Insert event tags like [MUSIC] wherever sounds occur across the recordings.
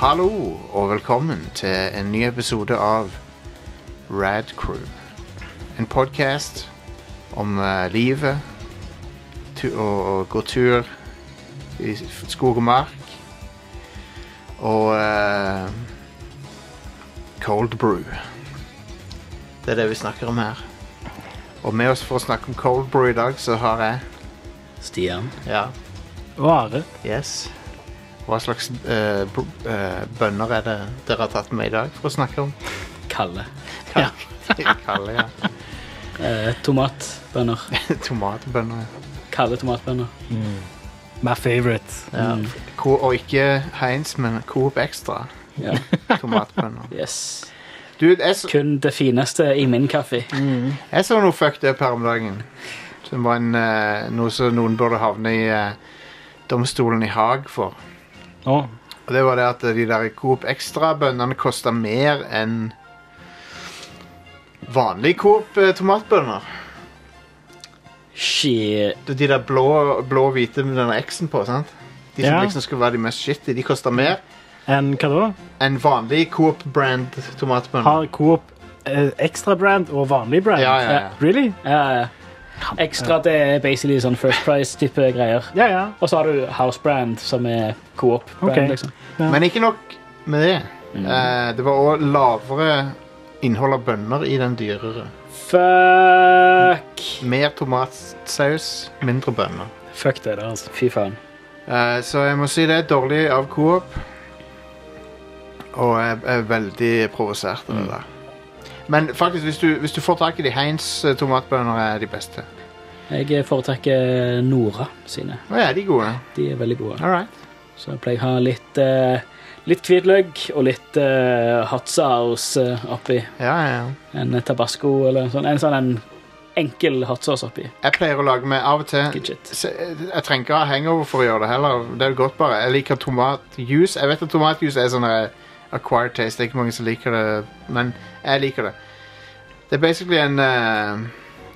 Hallo og velkommen til en ny episode av Rad Crew. En podkast om eh, livet, tu og, og gå tur i s- skog og mark. Og eh, cold brew. Det er det vi snakker om her. Og med oss for å snakke om cold brew i dag, så har jeg Stian. ja, Vare. Yes. Hva slags eh, br- eh, bønner er det dere har tatt med i dag for å snakke om? Kalle. Ja. Kalle, ja. Eh, tomatbønner. [LAUGHS] Tomatbønner. Kalle tomatbønner. Mm. My favorite. Ja. Mm. Ko og ikke Heinz, men Coop Extra Ja. [LAUGHS] [LAUGHS] tomatbønner. Yes. Du, jeg så, Kun det fineste i min kaffe. jeg så noe fucked up her om dagen. Som var en, eh, noe som noen burde havne i eh, domstolen i Haag for. Å, Og det var det at de der Coop Extra-bønnene kosta mer enn vanlige Coop eh, tomatbønner. Shit. Det er De der blå, blå og hvite med denne X-en på, sant? De som Ja. liksom skulle være de mest shitty, de koster mer enn hva da? enn vanlig Coop-brand tomatbønner. Har Coop eh, ekstra brand og vanlig brand? Eh, Ja, ja, ja. Really? Ja, ja. Ekstra det er basically sånn First Price-type greier. Ja, ja. Og så har du House Brand, som er Coop-brand. Ok. liksom. ja. Men ikke nok med det. Eh, det var òg lavere innhold av bønner i den dyrere. Fuck! Mer tomatsaus, mindre bønner. Fuck det der, altså. Fy faen. Eh, så jeg må si det er dårlig av Coop. Og jeg er veldig provosert av det der. Men faktisk, hvis du, hvis du får tak i de Heinz eh, tomatbønner, er de beste. Jeg foretrekker Nora sine. Å ja, de er gode. De er veldig gode. All right. Så jeg pleier å ha litt, eh, litt hvitløk og litt eh, hot sauce eh, oppi. Ja, ja, ja. En tabasco eller en sånn. En sånn en enkel hot sauce oppi. Jeg pleier å lage meg av og til Good shit. se- Jeg trenger ikke ha hangover for å gjøre det heller. Det er godt bare. Jeg liker tomatjuice. Jeg vet at tomatjuice er sånn eh, acquired taste. Det er ikke mange som liker det, men jeg liker det. Det er basically en eh,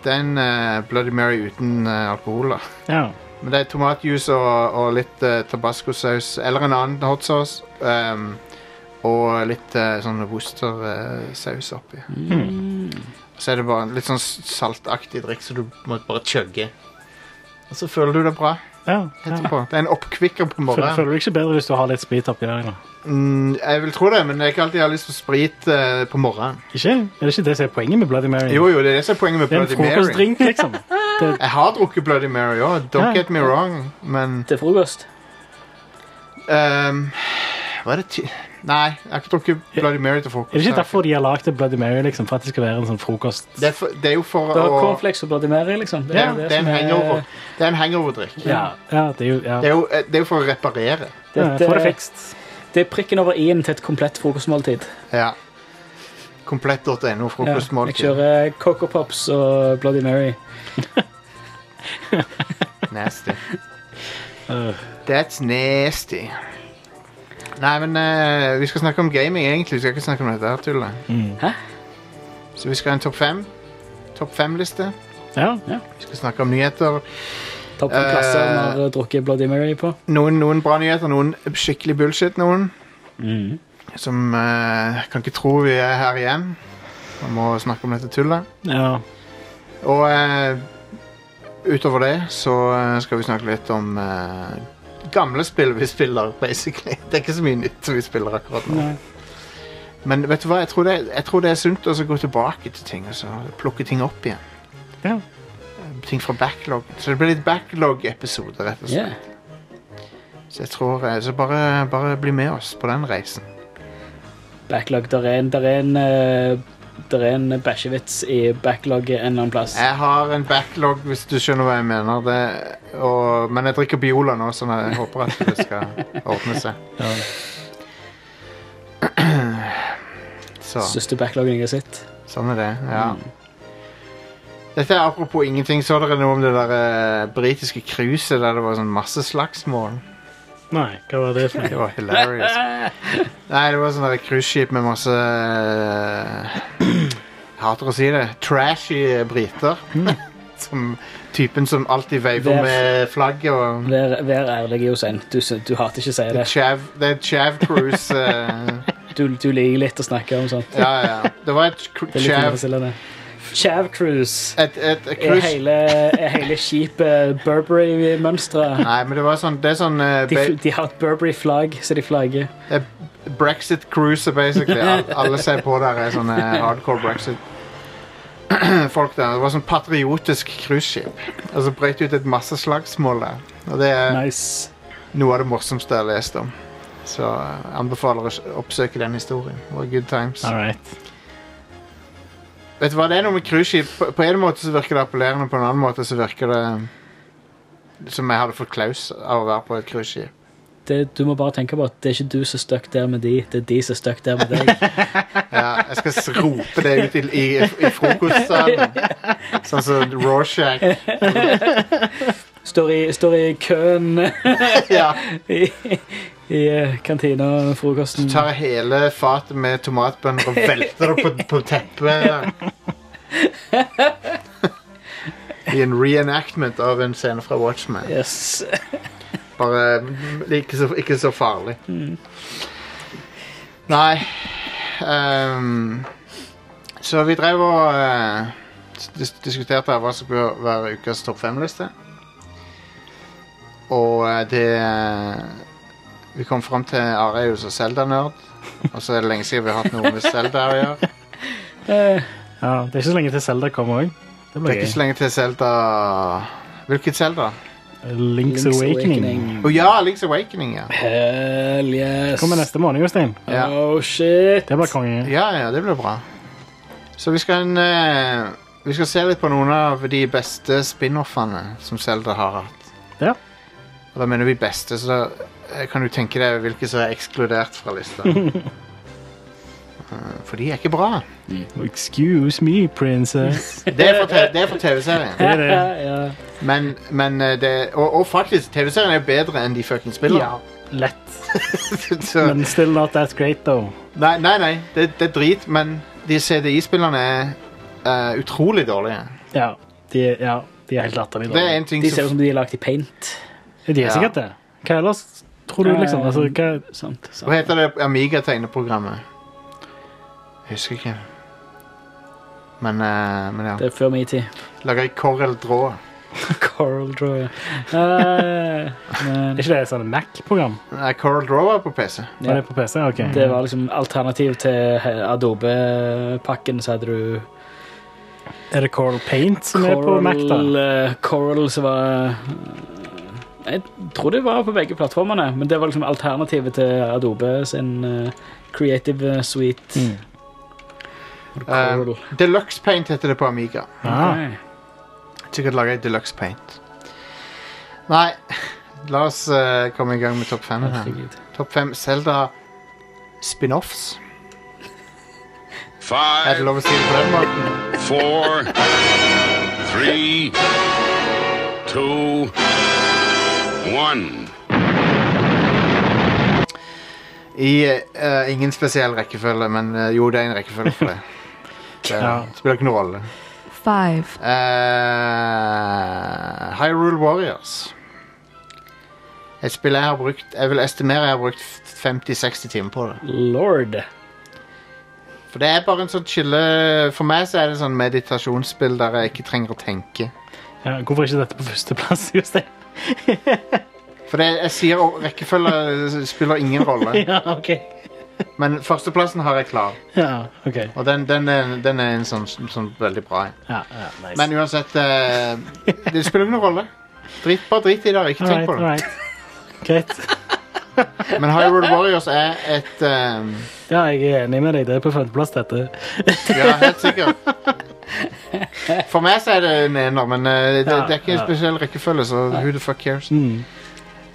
Det er en eh, Bloody Mary uten eh, alkohol, da. Ja. Men det er tomatjuice og, og litt eh, tabascosaus eller en annen hot sauce. ehm, og litt eh, sånn Worcester-saus oppi. Hmm. Mm. Så er det bare en litt sånn saltaktig drikk, så du må bare chugge. Og så føler du det bra ja, ja. etterpå. Det er en oppkvikker på Føler, morgenen. føler du ikke bedre hvis du har litt sprit oppi der? Eller? Mm, jeg vil tro det, men det er ikke alltid jeg har lyst på sprit eh, på morgenen. Ikke? Er det ikke det som er poenget med Bloody Mary? Jo, jo, det er det som er poenget med det er en Bloody Mary. frokostdrink, [LAUGHS] liksom. Det, Jeg har drukket Bloody Mary òg, don't Ja. get me wrong, men Til frokost. Ehm, Hva er det ti... Nei, jeg har ikke drukket Bloody Mary til frokost. er det ikke derfor de har lagd Bloody Mary? liksom, For at det skal være en sånn frokost? Det er, for, det er jo for Det å var cornflakes og Bloody Mary, liksom. ja, jo det er en som hangover. Det er en hangoverdrikk. Ja. Ja, det er jo, ja. Det, er jo- eh, det er jo for å reparere. Ja, Dette- Få det fikst. det er prikken over i-en til et komplett frokostmåltid. Ja. Komplett.no, Ja, jeg frokostmåltid. kjører eh, Coco Pops og Bloody Mary. Nasty. Øh. That's nasty. Nei, men eh, vi skal snakke om gaming, egentlig. Vi skal ikke snakke om dette her tullet. mm. Hæ? Så vi skal ha en topp fem. Topp fem-liste. Ja. Vi skal snakke om nyheter. Topp fem Eh. plasser vi har drukket Bloody Mary på. Noen, noen bra nyheter, noen skikkelig bullshit, noen. Mm. Som eh, kan ikke tro vi er her igjen. Man må snakke om dette tullet. ja. Og eh, utover det så eh, skal vi snakke litt om eh, gamle spill vi spiller, basically. Det er ikke så mye nytt vi spiller akkurat nå. Nei. Men vet du hva, jeg tror det, jeg tror det er sunt å så gå tilbake til ting og så plukke ting opp igjen. Eh, Ja. Ting fra backlog. Så det blir litt backlog-episode, rett og slett. Yeah. Så jeg tror, eh, så bare, bare bli med oss på den reisen. Backlog. Der er en, der er en, eh, der er en bæsjevits i backlog en eller annen plass. Jeg har en backlog, hvis du skjønner hva jeg mener. Det, og, men jeg drikker Biola nå, så jeg håper at det skal ordne seg. Ja. Så. Største backlogen jeg har sett. Mm. Sånn er det, ja. Dette er apropos ingenting. Så dere noe om det der eh, britiske cruiset der det var sånn masse slagsmål? Nei, hva var det for [LAUGHS] noe? Det var [LAUGHS] hilarious. Nei, det var sånn der cruiseskip med masse eh, Hater å si det. Trashy briter. [LAUGHS] Som typen som alltid veiver Hmm. Det- med flagget og Vær, vær ærlig, Jostein. Du, sy- du hater ikke å si Det det. er Chav, det er Chav Cruise [LAUGHS] eh, Du, du liker litt å snakke om sånt. Ja, ja. Det var et cru- Det er litt Chav tilfredsstillende. Chav Cruise et, et, et er cruise hele, er hele skipet Burberry-mønstret. Nei, men det var sånn Det er sånn eh, De, ba- de har et Burberry-flagg, så de flagger. Brexit cruiser, basically. Al- Alle ser på der er sånne hardcore Brexit [CLEARS THROAT] folk der. Det var sånn patriotisk cruiseskip. Og så brøt det ut et masse slagsmål der. Og det er Nice. noe av det morsomste jeg har lest om. Så jeg anbefaler å s- oppsøke den historien. Det var good times. All right. Vet du hva, det er noe med cruiseskip. På, på en måte så virker det appellerende, på en annen måte så virker det som jeg hadde fått klaus av å være på et cruiseskip. Det, du må bare tenke på at det er ikke du som er stuck der med de, det er de som er stuck der med deg. Ja, jeg skal s- rope det ut i, i, i frokostsalen. Sånn som Rorschach. Står i, står i køen Ja. i, i eh, kantina og Du frokosten. tar hele fatet med tomatbønner og velter det på, på teppet. der. I en reenactment av en scene fra Watchman. Yes. Bare mm, ikke så, ikke så farlig. Nei ehm, Så vi drev og eh, dis diskuterte hva som bør være ukas topp fem-liste. Og eh, det eh, Vi kom fram til Areus og Zelda-nerd. Og så er det lenge siden vi har hatt noe med Zelda å gjøre. Eh, Ja, det er ikke så lenge til Zelda kommer òg. Det Det blir er ikke gøy. så lenge til Zelda Hvilket Zelda? Link's, Link's Awakening. Å ja, Link's Awakening, ja. Hell yes. Kommer neste måned, Jostein. ja. Oh shit. Det blir konge. Ja, ja, det blir bra. Så vi skal, en, eh, vi skal se litt på noen av de beste spin-offene som Zelda har hatt. Ja. Og da mener vi beste, så da eh, kan du tenke deg hvilke som er ekskludert fra lista. Eh, For de er ikke bra. Excuse me, princess. Det er for, te- det er for TV-serien. Det er det. [LAUGHS] ja. Men, men eh, det Og, og faktisk, TV-serien er bedre enn de fucking spiller. Lett. [LAUGHS] så, Men still not that great, though. nei, nei, nei det, det er drit, men de CDI-spillerne er eh, utrolig dårlige. Ja, de, ja, de er helt latterlige. Det er dårlige. en ting De ser ut som de er lagd i paint. De er Ja. sikkert det. Hva ellers tror du, liksom? Altså, hva... Sant, Hva sant. heter det Amiga-tegneprogrammet? Jeg husker ikke. Men, eh, men ja. Det er før min tid. [LAUGHS] Lager i Corel Draw. Coral Draw, ja. Eh, [LAUGHS] men- Er ikke det et sånt Mac-program? Nei, Corel Draw var på Øh, PC. Var Ja. det på PC? Ok. Det var liksom alternativ til he- Adobe-pakken, så hadde du Er det Coral Paint som er på Mac, da? eh, Coral som var eh, Jeg tror det var på begge plattformene, men det var liksom alternativet til Adobe sin eh, Creative Suite. Mm. Coral. Deluxe Paint heter det på Amiga. Eh, Ah, Ok. Sikkert lager jeg Deluxe Paint. Nei, la oss eh, komme i gang med topp fem her. Herregud. Topp fem Zelda spin-offs. Er det Five, lov å si det på den måten? four, three, two, one. I eh, ingen spesiell rekkefølge, men eh, jo, det er en rekkefølge for det. [LAUGHS] Det Ja. spiller ikke noen rolle. five, Eh, Hyrule Warriors. Et spill jeg har brukt Jeg vil estimere jeg har brukt 50-60 timer på det. Lord. For det er bare en sånn chille For meg så er det en sånn meditasjonsspill der jeg ikke trenger å tenke. ja, hvorfor er ikke dette på førsteplass, [LAUGHS] Jostein? For det, jeg sier og rekkefølge spiller ingen [LAUGHS] rolle. Ja, ok. Men førsteplassen har jeg klar. Ja, ok. Og den, den, er, den er en sånn, sånn veldig bra en. Ja, ja, nice. Men uansett eh, Det spiller ingen rolle. Drit, bare drit i det. Ikke tenk Alright, på det. alright. Greit. Men Hyrule Warriors er et eh, Ja, jeg er enig med deg. Det er på femteplass, dette. Ja, helt sikkert. For meg så er det en ener, men eh, det, det er ikke en Ja, ja. spesiell rekkefølge, så who the fuck cares? Mm.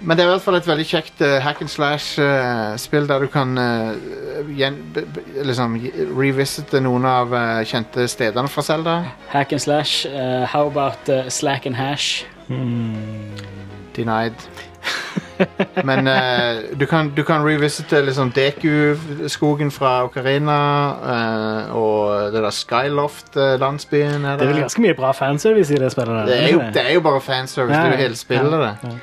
Men det er i hvert fall et veldig kjekt eh, hack and slash-spill der du kan eh, gjen, b, b, liksom revisite noen av eh, kjente stedene fra Zelda. Hack and slash. eh, how about eh, slack and hash? [LAUGHS] Mm. Denied. Men eh, du, kan, du kan revisite liksom Deku-skogen fra Ocarina eh, og det der eh, Skyloft-landsbyen. Det er vel ganske mye bra fanservice i det spillet. der, det, er jo, ikke det er jo bare fanservice. Det er jo hele spillet, ja, det. ja.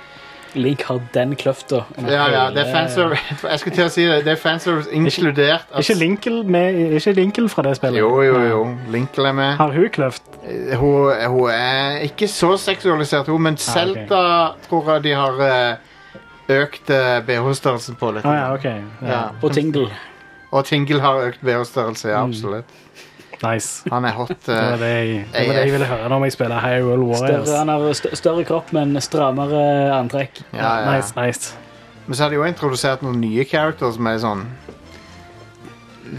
Link har den kløfta. Ja, ja, det er fanservice. [LAUGHS] Jeg skulle til å si det. Det er fanservice inkludert. Er Ikke Linkel med, er ikke Linkel fra det spillet. Jo, jo, jo. Linkel er med. Har hun kløft? Eh, Hun, hun er ikke så seksualisert, hun, Ah, men Zelda tror jeg de har eh, økt eh, BH-størrelsen på litt. Å Ah, ja, ok. Ja. Ja. Og Tingle. Og Tingle har økt BH-størrelse, ja, absolutt. Nice. Han [LAUGHS] er hot. Det var eh, Mm. det jeg, det var det jeg ville høre når jeg spiller Hyrule Warriors. Større, han har stø- større kropp, men strammere antrekk. ja, ja. Nice, nice. Men så har de jo introdusert noen nye characters som er sånn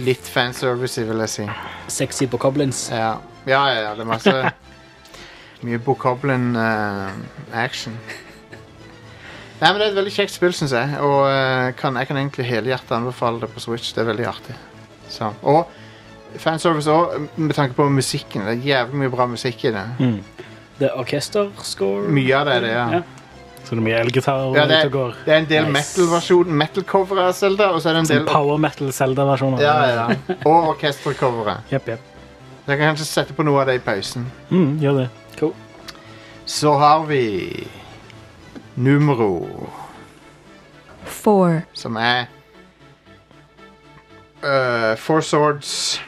Litt fanservice, vil jeg si. Sexy på Coblins. Ja, ja, ja, ja det er masse [LAUGHS] Mye Bokoblin eh, action. Nei, men Det er et veldig kjekt spill, syns jeg. Og eh, kan, jeg kan egentlig helhjertet anbefale det på Switch. Det er veldig artig. Så. Og fanservice òg, med tanke på musikken. Det er jævlig mye bra musikk i det. Det er orkesterscore. Mye av det er det, ja. Ja. Så det er mye elgitarer Ja, det, ute og går. det er en del Nice. metal-versjon Metal-cover av Zelda, og så er det en Som del Sånn power metal Zelda-versjoner. ja, ja. Og orkestercoveret. Jep, jep. Så Jeg kan kanskje sette på noe av det i pausen. Mm, gjør det. Cool. Så har vi Numero, four, som er øh, Four Swords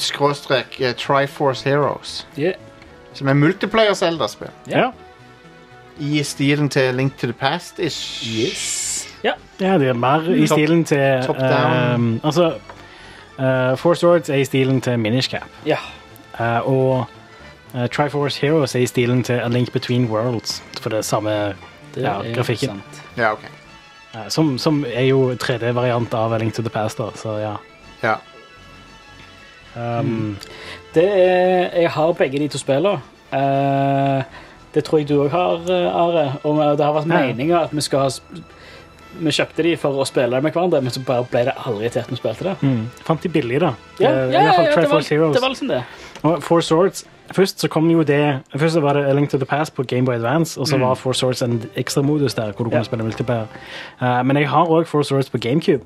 Skråstrek eh, Triforce Heroes. Yeah. Som er multiplayer Zelda-spill. Ja. I stilen til Link to the Past-ish. Ja. ja, det er mer i Top- stilen til top down. eh, Altså, eh, Four Swords er i stilen til Minish Cap. ja. Eh, og eh, Triforce Heroes er i stilen til A Link Between Worlds, for det er samme Det Ja, er grafikken. sant. Ja, ok. eh, som, som er jo 3D-variant av A Link to the Past, da, så ja. Ja. Um, Det er, jeg har begge de to spillene. Eh, det tror jeg du òg har, eh, Are. Og vi- det har vært Ja. meninga at vi skal ha sp- Vi kjøpte de for å spille dem med hverandre, men så bare ble det aldri til at vi spilte det. mm, fant de billig, da. Ja, Eh, ja, i hvert ja, fall ja, det, var, Triforce Heroes. det var liksom det. Og Four Swords Først så kom jo det Først så var det A Link to the Past på Game Boy Advance, og så var Four Swords en ekstramodus der hvor du kunne Ja. spille multiplayer. Eh, men jeg har òg Four Swords på GameCube.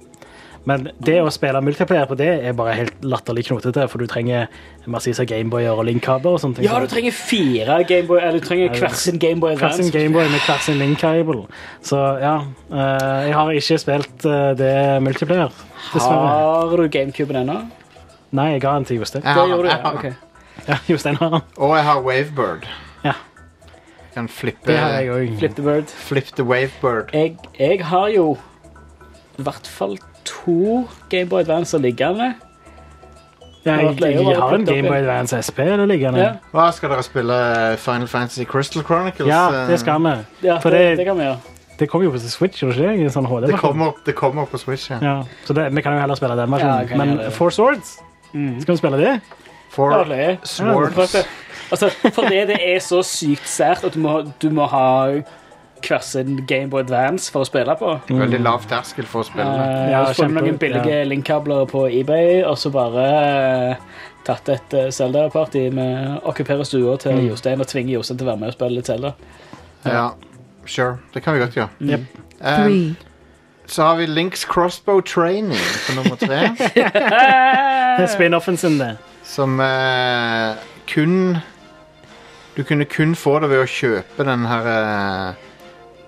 Men det å spille multiplayer på det er bare helt latterlig knotete, for du trenger massevis av Gameboyer og Link-kabler og sånne ting. Ja, du trenger fire Gameboy, eller du trenger hver sin Gameboy hver sin Advance. Gameboy med hver sin Link-kabel. Så ja, eh, jeg har ikke spilt eh, det multiplayer, dessverre. Har du GameCuben ennå? Nei, jeg ga den til Jeg Jostein. Det har- gjorde du, jeg ja. har- ok. Ja, Jostein har den. Og jeg har Wavebird. Ja. Kan flippe, Det har jeg òg. Flip the bird. flippe the Wavebird. Jeg, jeg har jo i hvert fall to Gameboy Advancer liggende. Ja, jeg, jeg, har en Gameboy Advance SP det liggende. Ja, Hva skal dere spille? eh, Final Fantasy Crystal Chronicles? Ja, eh, det skal vi. ja For det, det- det kan vi gjøre. Det kommer jo på Switch, gjør det ikke? det? I sånn HD Eh, Det kommer, det kommer på Switch, ja. Ja, så det, vi kan jo heller spille den versjonen. Ja, kan gjøre Men det. Four Swords, Mm. skal vi spille det? Ja, For det er. Swords. Prøv det. Altså, fordi det er så sykt sært at du må, du må ha hver sin Gameboy Advance for å spille på. Veldig lav terskel for å spille. det. Eh, Mm. Ja, og så funnet kjempe- noen billige linkkabler på eBay, og så bare eh, tatt et eh, Zelda-party med okkupere stua til Mm. Jostein og tvinge Jostein til å være med og spille litt Zelda. Ja, sure. Det kan vi godt gjøre. Mm. Jep. Eh, three, så har vi Links Crossbow Training på nummer [LAUGHS] tre. Det er Spin-offen sin, det. som eh, kun Du kunne kun få det ved å kjøpe den her eh,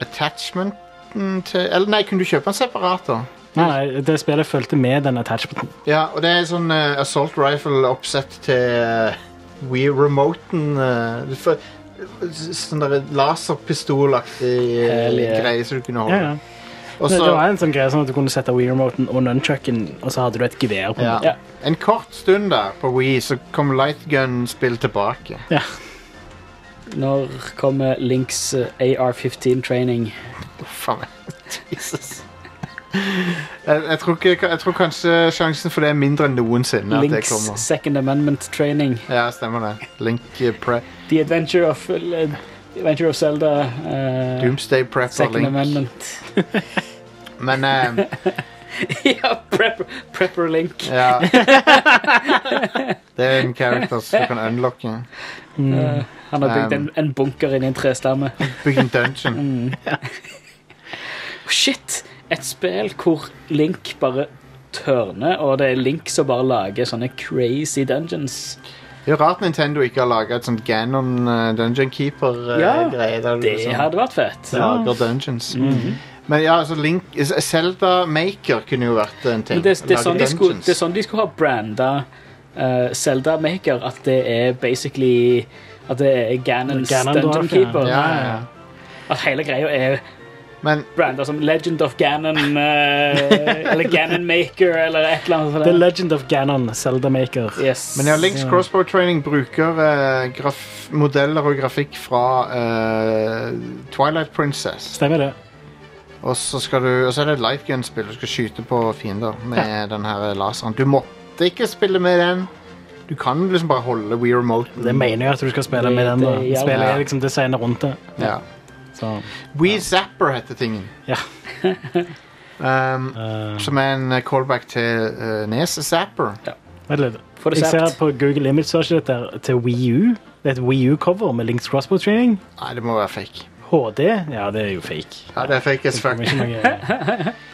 attachmenten til Eller nei, kunne du kjøpe den separat, da? Nei, nei, det spillet fulgte med den attachmenten. Ja, og det er sånn eh, assault rifle-oppsett til uh, Wii-remoten. eh, du får- s- sånn der laserpistolaktig eh, Hell yeah. greie som du kunne Ja, holde. ja. Og Det, så det var en sånn greie sånn at du kunne sette Wii-remoten og nunchucken, og så hadde du et gevær på den. ja. Ja. En kort stund der på Wii så kom lightgun-spill tilbake. [LAUGHS] Ja. Når kommer Links eh, AR-15-training? Faen. Jesus. Jeg, jeg, tror ikke, jeg tror kanskje sjansen for det er mindre enn noensinne. at det Links kommer. Second Amendment-training. Ja, stemmer det. Link eh, pre The Adventure of, eh, Adventure of Zelda. eh, Doomsday Prepper Second Link. Amendment. Men eh, [LAUGHS] ja, prepper, prepper Link. [LAUGHS] Ja. Det er en character som du kan unlocke. Eh, Han har bygd Mm. Um. en, en bunker inni [LAUGHS] en trestamme. Bygd en dungeon. Mm. Oh, Shit! Et spill hvor Link bare tørner, og det er Link som bare lager sånne crazy dungeons. Det er jo rart Nintendo ikke har laga et sånt Ganon eh, Dungeon Ja, Keeper-greie. der du Det sånn. liksom hadde vært fett. lager dungeons. Mm. Men ja, altså Link Zelda Maker kunne jo vært en ting. Men det, det, er Lage sånn de skulle, dungeons. det er sånn de skulle ha branda eh, Zelda Maker, at det er basically At det er Ganons Ganon Dungeon Dwarf, ja. Keeper. ja, ja, ja. At hele greia er Men branda som Legend of Ganon eh, [LAUGHS] eller Ganon Maker eller et eller annet. The sånt. Legend of Ganon, Zelda Maker. Yes. Men ja, Links Ja. Crossbow Training bruker eh, graf modeller og grafikk fra eh, Twilight Princess. Stemmer det. Og så, skal du, og så er det et light gun-spill. Du skal skyte på fiender med den her laseren. Du måtte ikke spille med den. Du kan liksom bare holde Wii Remote. Det mener jeg at du skal spille med Det- den. det da. hjelper. Spillet er liksom designet rundt det. Ja. Så, Wii Zapper heter tingen. Ja. [LAUGHS] um, eh, som er en eh, callback til uh, Nes Zapper. eh, vent litt. For det Jeg ser sept. på Google Image Search der, til Wii U. Det er et Wii U-cover med Links Crossbow Training. Nei, det må være fake. HD. Ja, det er jo fake. Ja, det er fake as Det kommer fuck. ikke noe... [LAUGHS]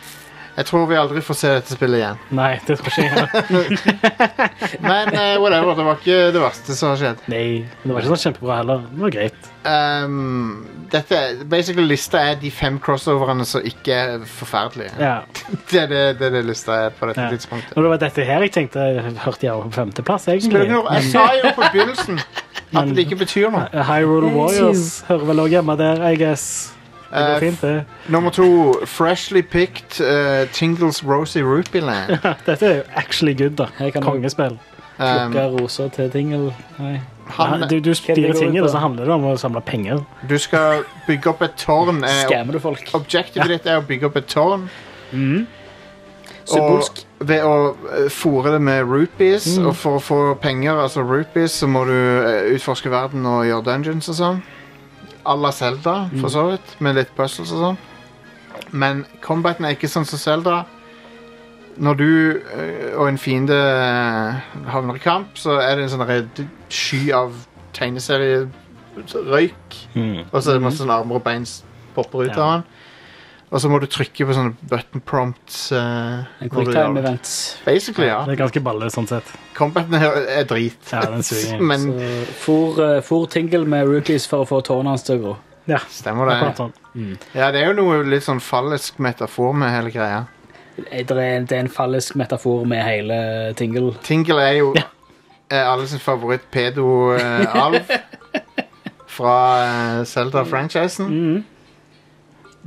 Jeg tror vi aldri får se dette spillet igjen. Nei, det tror ikke jeg. Men eh, whatever, det var ikke det verste som har skjedd. Nei, men det var ikke sånn kjempebra heller. Det var greit. Ehm, dette, basically Lista er de fem crossoverne som ikke er forferdelige. Ja. Det er det, det, er det lista er på dette Ja. tidspunktet. Når det var dette her jeg tenkte, hørte jeg var på femteplass, Spiller egentlig. ikke noe- Jeg sa jo på begynnelsen at det ikke betyr noe. Hyrule Warriors hører vel også hjemme der, I guess. Det Eh, går fint, det. Nummer to, freshly picked eh, Tingles Rosie [LAUGHS] Rupiland. Dette er jo actually good, da. Her kan du- Kongespill. Um, Plukke roser til tingle. Nei. han, Nei, du, du det styrer går ting, ut og på? så handler det om å samle penger. du skal bygge opp et tårn. eh, Skammer du folk? Mhm. Objektivet ditt er å bygge opp et tårn. Og Symbolsk. ved å eh, fôre det med rupees, og for å få penger, altså rupees, så må du eh, utforske verden og gjøre dungeons og sånn. À la Zelda, for så vidt, med litt puzzles og sånn. Men combaten er ikke sånn som Zelda. Når du eh, og en fiende eh, havner i kamp, så er det en sånn redd sky av tegneserierøyk. Og så er det masse sånne armer og bein som popper ut Ja. av han. Og så må du trykke på sånne button prompts. eh, En når du gjør quicktime det. event. Basically, ja. Det er ganske balle, sånn sett. Combaten her er drit. Ja, den suger. [LAUGHS] Men Så for, eh, for tingle med rookies for å få tårnet hans til å gro. Ja, stemmer akkurat det. sånn. Ja, det er jo noe litt sånn fallisk metafor med hele greia. Eh, Det er, det er en fallisk metafor med hele tingle. Tingle er jo eh, alle sin favoritt [LAUGHS] pedo-alv fra Selda-franchisen. Mm.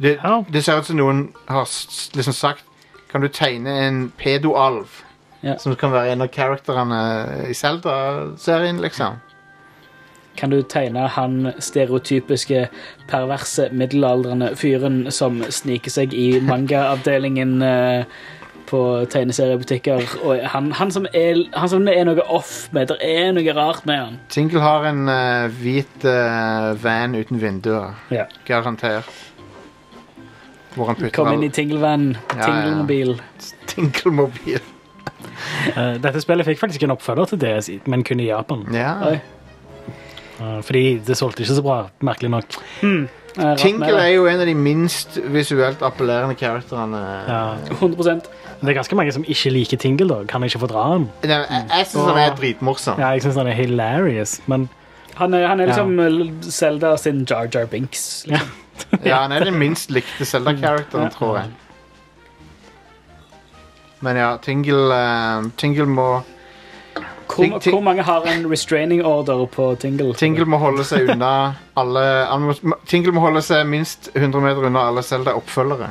Det, Ja. det ser ut som noen har s- liksom sagt Kan du tegne en pedo-alv? Ja. Som kan være en av karakterene i Selda-serien, liksom. Kan du tegne han stereotypiske, perverse, middelaldrende fyren som sniker seg i mangaavdelingen eh, på tegneseriebutikker? Og han, han, som er, han som det er noe off med, det er noe rart med han. Tingle har en eh, hvit eh, van uten vinduer. Ja. Garantert. Hvor han putter Kom inn i all tinglevan, ja. tinglemobil. Tingle-mobil. Eh, Dette spillet fikk faktisk en oppfølger til DS, men kun i Japan. Ja. Oi. Eh, Fordi det solgte ikke så bra, merkelig nok. Eh, rart med Tingle det. er jo en av de minst visuelt appellerende karakterene. Ja. 100 Det er ganske mange som ikke liker Tingle, da. Kan jeg ikke få dra den? Det- Jeg, jeg syns han er dritmorsom. Ja, jeg synes den er hilarious, men Han er, han er liksom eh, Zelda sin Jar Jar Binks. Liksom. Ja, han er den minst likte Zelda-karakteren, tror jeg. Men ja, Tingle, eh, Tingle, må, Hvor, Ting- ting- hvor mange har en restraining order på Tingle? Tingle må holde seg unna alle han må, Tingle må holde seg minst 100 meter unna alle Zelda-oppfølgere.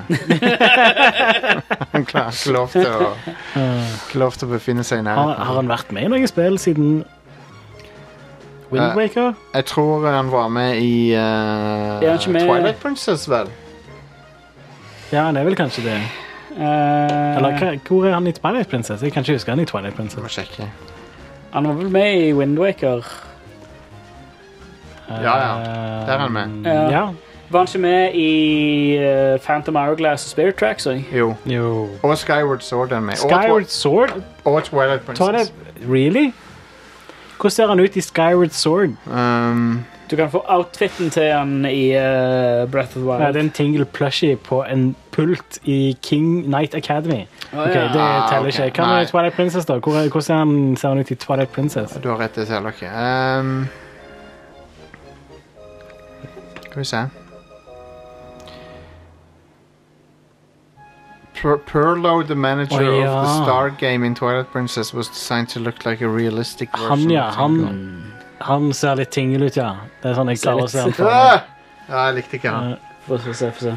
Han klarer ikke lov til å Ikke lov til å befinne seg i har, nærheten. har han vært med i noen spill siden Eh, Wind Waker? Jeg tror han var med i eh, Er han ikke med- Twilight Princess, vel? Ja, han er vel kanskje det. Eh, Eller hva- hvor er han i Twilight Princess? Jeg kan ikke huske han i Twilight Jeg må Princess. sjekke. han var vel med i Windwaker. Ja, ja. Der er han med. Ja. Ja. Var han ikke med i eh, Phantom Hourglass og Spirit Tracks òg? Jo. Jo. Og Skyward Sword er med. Og Skyward Sword? Twi- Og Twilight Princess. Twilight Really? Hvordan ser han ut i Skyward Sword? Um, Du kan få outfiten til han i eh, Breath of the Nei, Wild. det er en tingle plushie på en pult i King Night Academy. Å, Ok, ja. Det Ah, teller ok. ikke. Hva Nei. med Twilight Princess, da? Hvor, hvordan ser han, ser han ut i Twilight Princess? Du har rett, det selger ikke. Ehm, skal vi se Per Perlo, the manager Å, ja. of the Star Game in Twilight Princess, was designed to look like a realistic version Han, ja. of Tingle. Han, han ser litt tingle ut, ja. Det er sånn jeg Ser klarer litt- å se han for meg. Ah! Ja, jeg likte ikke han. Eh, Få se, se, få se.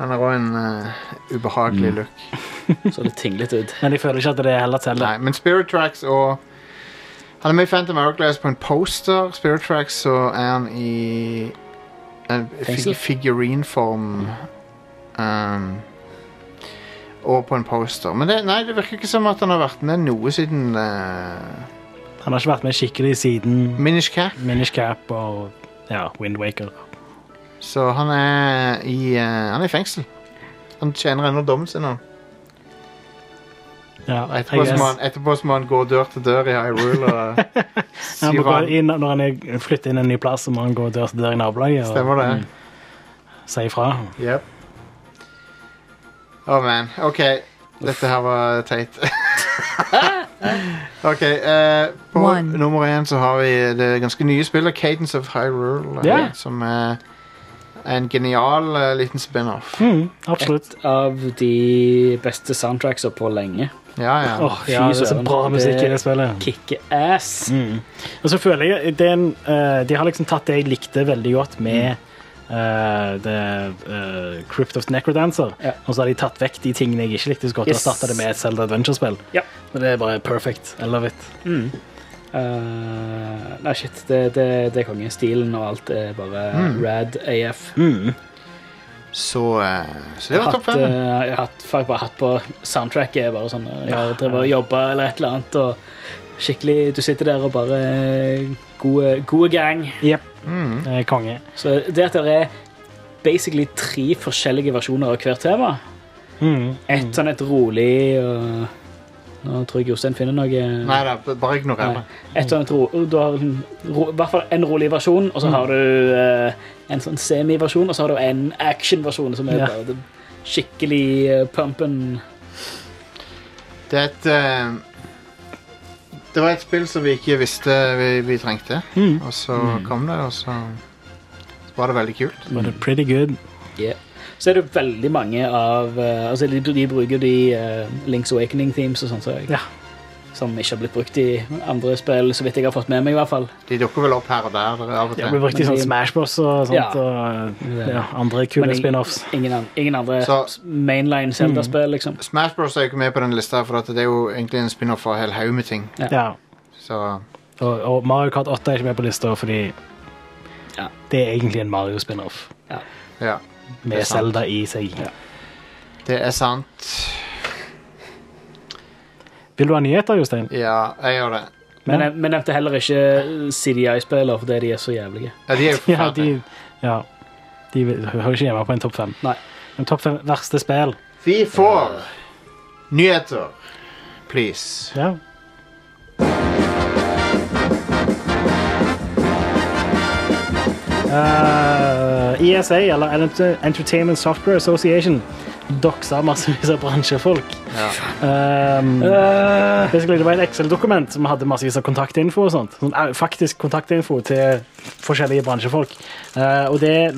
Han har òg en eh, ubehagelig Mm. look. Så litt tinglete ut. Men jeg føler ikke at det heller Nei, teller. men Spirit Tracks og Han er med i Phantom Hourglass på en poster. Spirit Tracks så er han i en fig Fengsel? figurinform. Um, og på en poster. Men det, nei, det virker ikke som at han har vært med noe siden uh, Han har ikke vært med skikkelig siden Minish Cap. Minish Cap og ja, Wind Waker. Så han er i eh, Han er i fengsel. Han tjener ennå dommen sin. han. Ja, Og I Etterpå så guess. må han- etterpå så må han gå dør til dør i Hyrule [LAUGHS] og Han må sier gå han- inn, når han er- flytter inn en ny plass, så må han gå dør til dør i nabolaget og Stemmer det? si ifra. Yep. Oh man, ok. Dette her var [LAUGHS] teit. ok, eh, på One. nummer én så har vi det ganske nye spillet Cadence of Hyrule. eh, Ja. Som eh, er en genial eh, liten spin-off. Mm, absolutt. Et av de beste soundtracksa på lenge. Ja, ja. Åh, fy, Ja, det så er den. bra musikk i Det- det spillet. Kicker ass. Mm. Og så føler jeg det er en, eh, De har liksom tatt det jeg likte veldig godt med eh, det, eh, Crypt of the Necrodancer, Ja. og så har de tatt vekk de tingene jeg ikke likte så godt, Yes. og erstatta det med et Zelda Adventure-spill. Ja. Men Det er bare perfect. I love it. Mm. Eh, nei, shit. Det, det, det er konge. Stilen og alt er bare rad AF. Mm. Så, eh, så det var hatt, topp fem. eh, jeg har hatt, faktisk bare hatt på soundtracket. Bare sånn, eh, jeg har drevet og jobba eller et eller annet. Og skikkelig, Du sitter der og bare eh, gode, gode gang. Jepp. Mm. Eh, Konge. Så det at det er basically tre forskjellige versjoner av hvert tema Mm. Et sånn et rolig og Nå tror jeg Jostein finner noe. eh, eh, Nei da, bare ignorer det. Et sånn et ro, du har liksom ro, i hvert fall en rolig versjon, og så Mm. har du eh, en sånn semi-versjon, og så har du en action-versjon som er Ja. bare det skikkelig eh, pumpen. Det er et eh, Det var et spill som vi ikke visste vi, vi trengte, Mm. og så kom det, og så, så var det veldig kult. Mm. But it's pretty good. Yeah. Så er det veldig mange av eh, altså de, de bruker de eh, Link's Awakening-themes og sånt, så jeg, Ja. som ikke har blitt brukt i andre spill, så vidt jeg har fått med meg. i hvert fall. De dukker vel opp her og der av og Det til. blir brukt i Men sånn de- Smash Bros og sånt, Ja. og ja, andre kule Men jeg- spin-offs. Eh, Ingen, an, ingen andre Så- mainline Mm. Zelda-spill, liksom. Smash Bros. er jo ikke med på den lista, for at det er jo egentlig en spin-off av en hel haug med ting. Ja. Ja. Så Og, og Mario Kart 8 er ikke med på lista fordi Ja. det er egentlig en Mario spin-off ja, Det med er sant. Zelda i seg. det er sant. Vil du ha nyheter, Jostein? Ja, jeg gjør det. Men Ja. jeg, men jeg nevnte heller ikke eh, CDI-spiller, fordi de er så jævlige. Ja, de er jo [LAUGHS] Ja, forferdelige. de, ja, de vil- hører ikke hjemme på en topp fem. Nei. En topp fem verste spill. Vi får nyheter. Please. Ja. Eh, ESA, eller Ent- Entertainment Software Association, doksa massevis av bransjefolk. Ja. Um, Eh, Mm. basically, det var et Excel-dokument som hadde massevis av kontaktinfo og sånt. Sånn, eh, faktisk kontaktinfo til forskjellige bransjefolk. Eh, og det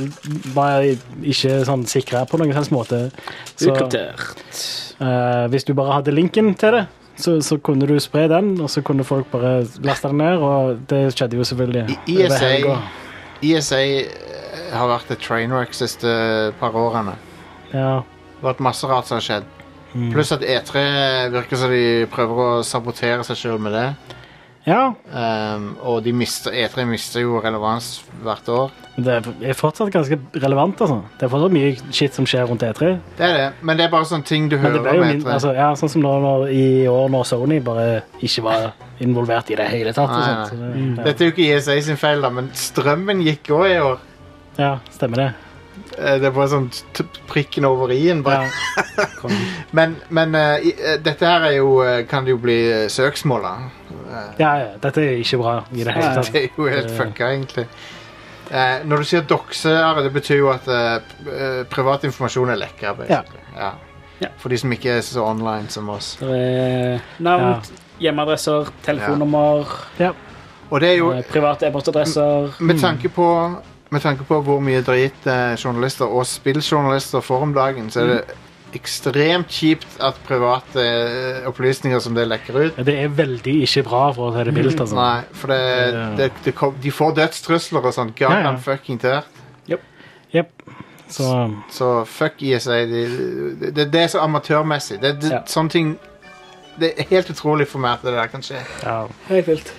var jeg ikke sånn sikra på noen slags måte. Så, Ukryptert. eh, hvis du bare hadde linken til det, så, så kunne du spre den, og så kunne folk bare laste den ned, og det skjedde jo selvfølgelig. I- E over ISA. helga. ESA eh, har vært et trainwreck de siste par årene. Ja. Det har vært masse rart som har skjedd. Mm. Pluss at E3 virker som de prøver å sabotere seg sjøl med det. ja. Um, og de mister, E3 mister jo relevans hvert år. Det er fortsatt ganske relevant, altså. Det er fortsatt mye shit som skjer rundt E E3. Det er det, men det er bare sånne ting du Men hører det ble jo om min, E3. altså, ja, sånn som når, når, i år når Sony bare ikke var involvert i det hele tatt. Og Nei, Mm. sånt, så det, Dette er jo ikke ESA sin feil, da, men strømmen gikk òg i år. ja. ja, stemmer det. Eh, Det var sånn t- prikken over i-en. Ja. bare. [LAUGHS] Men, men eh, i- eh, dette her er jo, eh, kan det jo bli eh, søksmål av. Ja, ja, dette er ikke bra i det hele Nei. [LAUGHS] tatt. Det er jo helt Det- fucka, egentlig. Eh, når du sier dokse, Are, det betyr jo at eh, p- eh, privat informasjon er lekka. basically. Ja. Ja. For de som ikke er så online som oss. Det er navn, Ja. hjemmeadresser, telefonnummer, Ja. Og det er jo eh, private e-postadresser. Mm. med tanke på med tanke på hvor mye drit eh, journalister og spilljournalister får om dagen, så er Mm. det ekstremt kjipt at private eh, opplysninger som det lekker ut Det er veldig ikke bra, for å si det mildt. Altså. Nei, for det, Ja. det, det kom, de får dødstrusler og sånn. God Ja, ja. damn fucking dirt. Jep. Så Så fuck E ISA. Det, det, det er så amatørmessig. Det, det, Ja. Sånne ting Det er helt utrolig for meg at det der kan skje. ja. Helt vilt.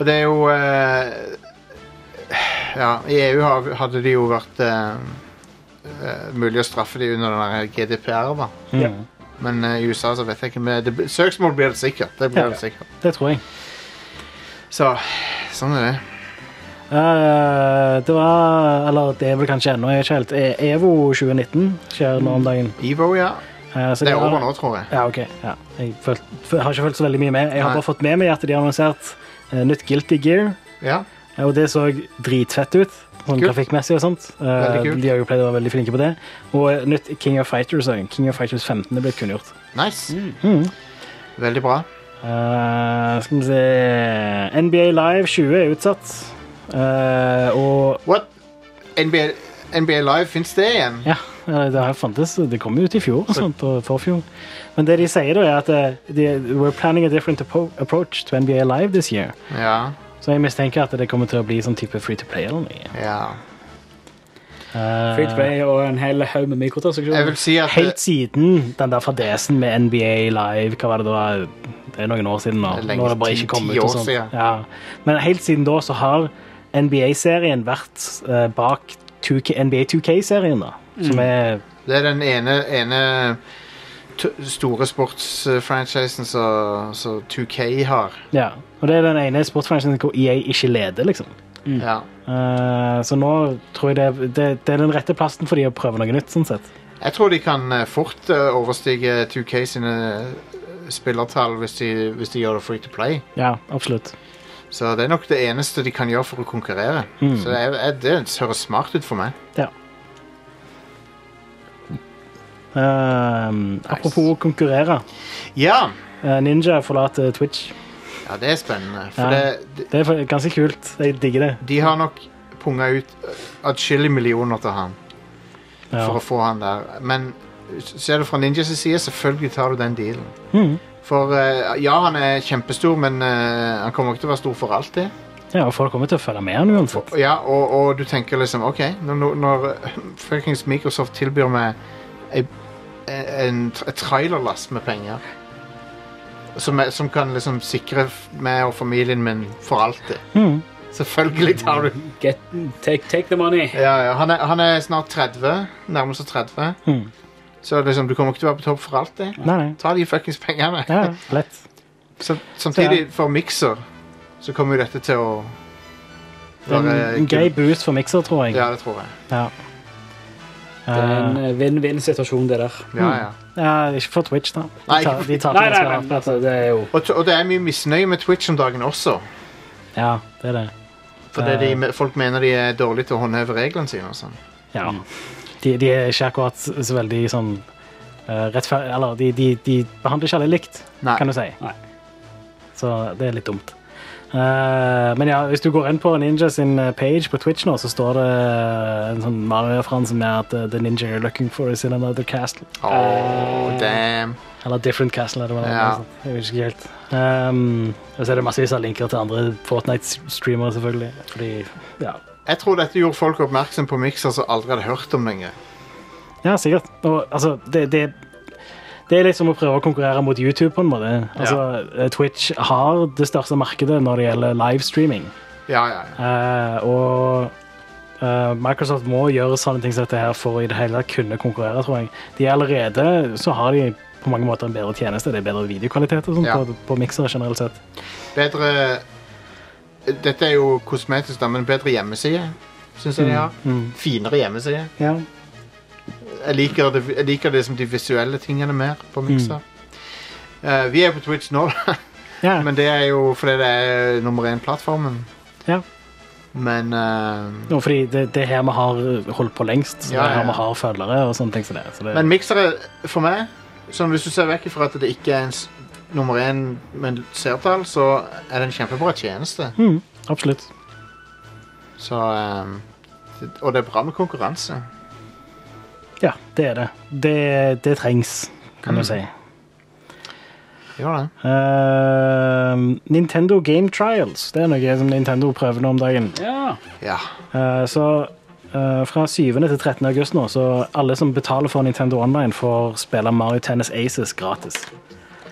Og det er jo eh, Ja, i EU har, hadde det jo vært eh, eh, mulig å straffe de under den der GDPR, da. Mm. Ja. Men eh, i USA så vet jeg ikke. Men det, blir- søksmål blir det sikkert. Det blir Ja. det sikkert. Det tror jeg. Så sånn er det. Eh, det var Eller det er vel kanskje ennå, jeg er ikke helt E- Evo 2019 skjer nå om dagen. Evo, ja. Eh, Mm. så Det de er har- over nå, tror jeg. Ja, ok. Ja. Jeg, følt, f- har ikke fulgt så veldig mye med. Jeg har Nei. bare fått med meg at de har annonsert eh, nytt Guilty Gear. Ja. Ja, Og det så dritfett ut, sånn Kult. grafikkmessig og sånt. Eh, Veldig kult. de har jo pleid å være veldig flinke på det. Og eh, nytt King of Fighters også. King of Fighters 15 er blitt kunngjort. Nice. Mm. Veldig bra. Eh, skal vi se NBA Live 20 er utsatt. Eh, og What? NBA, NBA Live, fins det igjen? ja, eh, det har fantes. Det kom jo ut i fjor og sånt, og forfjor. Men det de sier, da, er at eh, de, we're planning a different appro- approach to NBA Live this year. Ja. Så jeg mistenker at det kommer til å bli sånn type free to play eller noe. ja. Eh, Free to play og en hel haug med Jeg vil mikrotransaksjoner. si at Helt siden den der fadesen med NBA Live, hva var det det var? Det er noen år siden nå. Det er lenge Nå har det bare siden, ikke kommet ti ut og år sånt. siden. Ja. Men helt siden da så har NBA-serien vært eh, bak 2K, NBA 2K-serien, da. Som er det er den ene, ene t- store sportsfranchisen som som 2K har. Ja. Og det er den ene sportsfranchisen hvor EA ikke leder, liksom. Ja. Eh, så nå tror jeg det, det, det er den rette plassen for de å prøve noe nytt, sånn sett. Jeg tror de kan eh, fort eh, overstige 2K sine eh, spillertall hvis de, hvis de gjør det free to play. Ja, absolutt. Så det er nok det eneste de kan gjøre for å konkurrere. Hmm. Så jeg, jeg, det høres smart ut for meg. Ja. Eh, Apropos konkurrere. Ja! Eh, Ninja forlater Twitch. ja det er spennende. For Ja. det, de, Det er fa- ganske kult. Jeg digger det. de har nok punga ut eh, atskillig millioner til han Ja. for å få han der. Men s- ser du fra Ninjas side, selvfølgelig tar du den dealen. Mhm. For eh, ja, han er kjempestor, men eh, han kommer ikke til å være stor for alltid. ja, og folk kommer til å følge med han uansett. Ja, og, og du tenker liksom OK, når, når- når eh, fuckings Microsoft tilbyr meg ei- en, tr- et trailerlass med penger som, er, som kan liksom sikre f- meg og familien min for alltid Mhm. Selvfølgelig tar du Get, take, take the money. ja, ja, han, er, han er snart 30. Nærmer seg 30. Mhm. Så liksom, du kommer ikke til å være på topp for alltid. Nei, nei. Ta de fuckings pengene. Ja, ja, lett. Sam- Samtidig, for Mixer, så kommer jo dette til å Det er en- en grei boost for Mixer, tror jeg. eh, Ja, det tror jeg. Ja. Det er en Eh, eh, vinn-vinn-situasjon, det der. Ja, ja. ja, ikke for Twitch, da. Nei, De tar, ikke- de tar Nei, nei, skal nei, ha. men altså, det er jo Og, t- og det er mye misnøye med Twitch om dagen også. Ja, det er det. Fordi Eh. de, me- folk mener de er dårlige til å håndheve reglene sine. og sånn. Ja. De, de er ikke akkurat så så veldig sånn uh, rettferdig Eller de, de, de behandler ikke alle likt, Nei. kan du si. Nei. Så det er litt dumt. Eh, men ja, hvis du går inn på Ninja sin eh, page på Twitch nå, så står det en sånn Mario-referanse med at eh, the ninja you're looking for is in another castle. Eh. Åh, damn. Eller different castle, eller hva det Ja. var. Jeg vet ikke helt. Ehm, og så er det massevis av linker til andre Fortnite-streamere, selvfølgelig. Fordi, ja. Jeg tror dette gjorde folk oppmerksom på mikser som aldri hadde hørt om lenge. ja, sikkert. Og altså, det, det det er liksom å prøve å konkurrere mot YouTube. på en måte. Altså, eh, Twitch har det største markedet når det gjelder livestreaming. Ja, ja, ja. Eh, og eh, Microsoft må gjøre sånne ting som dette her for i det hele tatt kunne konkurrere, tror jeg. De er allerede så har de på mange måter en bedre tjeneste. Det er bedre videokvalitet og sånt Ja. på, på miksere generelt sett. Bedre eh, Dette er jo kosmetisk, da, men bedre hjemmeside syns jeg de Mm. har. Finere hjemmeside. Ja. Jeg liker det, jeg liker det som de visuelle tingene mer på Mm. mikser. Eh, vi er på Twitch nå, [LAUGHS] Ja. men det er jo fordi det er nummer én-plattformen. Ja. Men eh, Nå, fordi det, det er her vi har holdt på lengst, så Ja, det er ja, her vi ja. har følgere og sånne ting som det. er, Så det Men miksere, for meg sånn Hvis du ser vekk fra at det ikke er en s- nummer én med seertall, så er det en kjempebra tjeneste. mm, absolutt. Så, ehm, det- og det er bra med konkurranse. Ja, det er det. Det, det trengs, kan Mm. du si. Gjør det. Eh, Nintendo Game Trials. Det er noe som Nintendo prøver nå om dagen. Ja. Ja. Eh, så eh, fra 7. til 13. august nå, så alle som betaler for Nintendo Online, får spille Mario Tennis Aces gratis.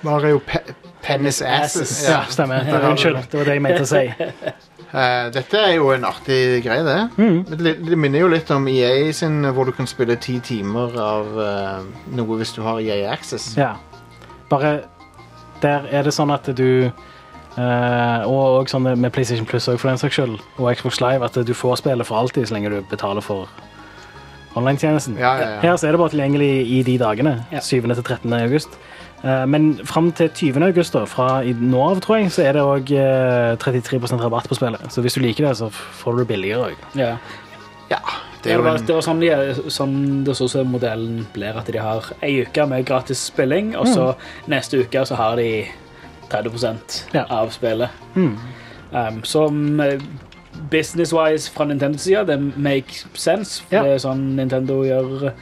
Mario Pe Penis Asses. Ja, stemmer. Der har du Unnskyld, det var det jeg mente å si. Eh, dette er jo en artig greie, det. Det, det minner jo litt om EA sin, hvor du kan spille ti timer av eh, noe hvis du har EA Access. Ja. Bare der er det sånn at du eh, og, og sånn med PlayStation Plus også, for den saks skyld, og Xbox Live, at du får spillet for alltid så lenge du betaler for online-tjenesten. Ja, ja, ja. Her så er det bare tilgjengelig i de dagene. Ja. 7. til 13. august. Eh, Men fram til 20. august, da, fra i nå av, tror jeg, så er det òg 33 rabatt på spillet. Så hvis du liker det, så f- får du det billigere òg. ja. Ja, det Det, er jo var, en, det var sånn, de, sånn det så ut som modellen blir at de har ei uke med gratis spilling, og så neste uke så har de 30 Ja. av spillet. Um, som eh, business-wise fra Nintendos side, det makes sense. For Ja. Det er sånn Nintendo gjør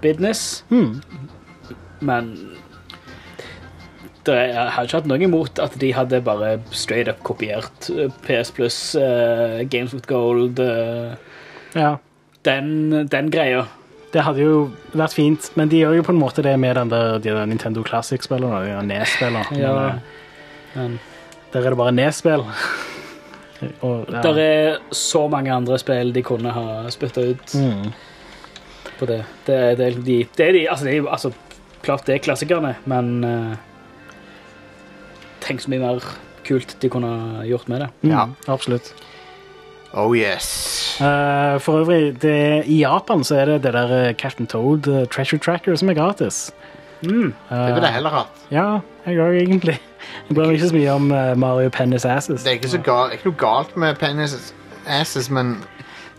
business. Mm. Men det, jeg har ikke hatt noe imot at de hadde bare straight up kopiert eh, PS Plus, eh, Games with Gold, eh, Ja. den, den greia. Det hadde jo vært fint, men de gjør jo på en måte det med den der, de der Nintendo Classic-spillene. og de der NES-spillene. Men, Ja. eh, Men Der er det bare NES-spill. [LAUGHS] Og, ja. der er så mange andre spill de kunne ha spytta ut Mm. på det. Det er, det er de, det er de altså, det er, jo- altså, klart det er klassikerne, men eh, Tenk så mye mer kult de kunne ha gjort med det. Mm, Ja. Absolutt. Oh yes. Eh, for øvrig, det, i Japan så er det det der eh, Captain Toad eh, Treasure Tracker som er gratis. Det ville jeg heller hatt. Ja, jeg òg, egentlig. Jeg bryr meg ikke så mye om eh, Mario Pennis Asses. Det er ikke, så gal, ikke noe galt med penis asses, men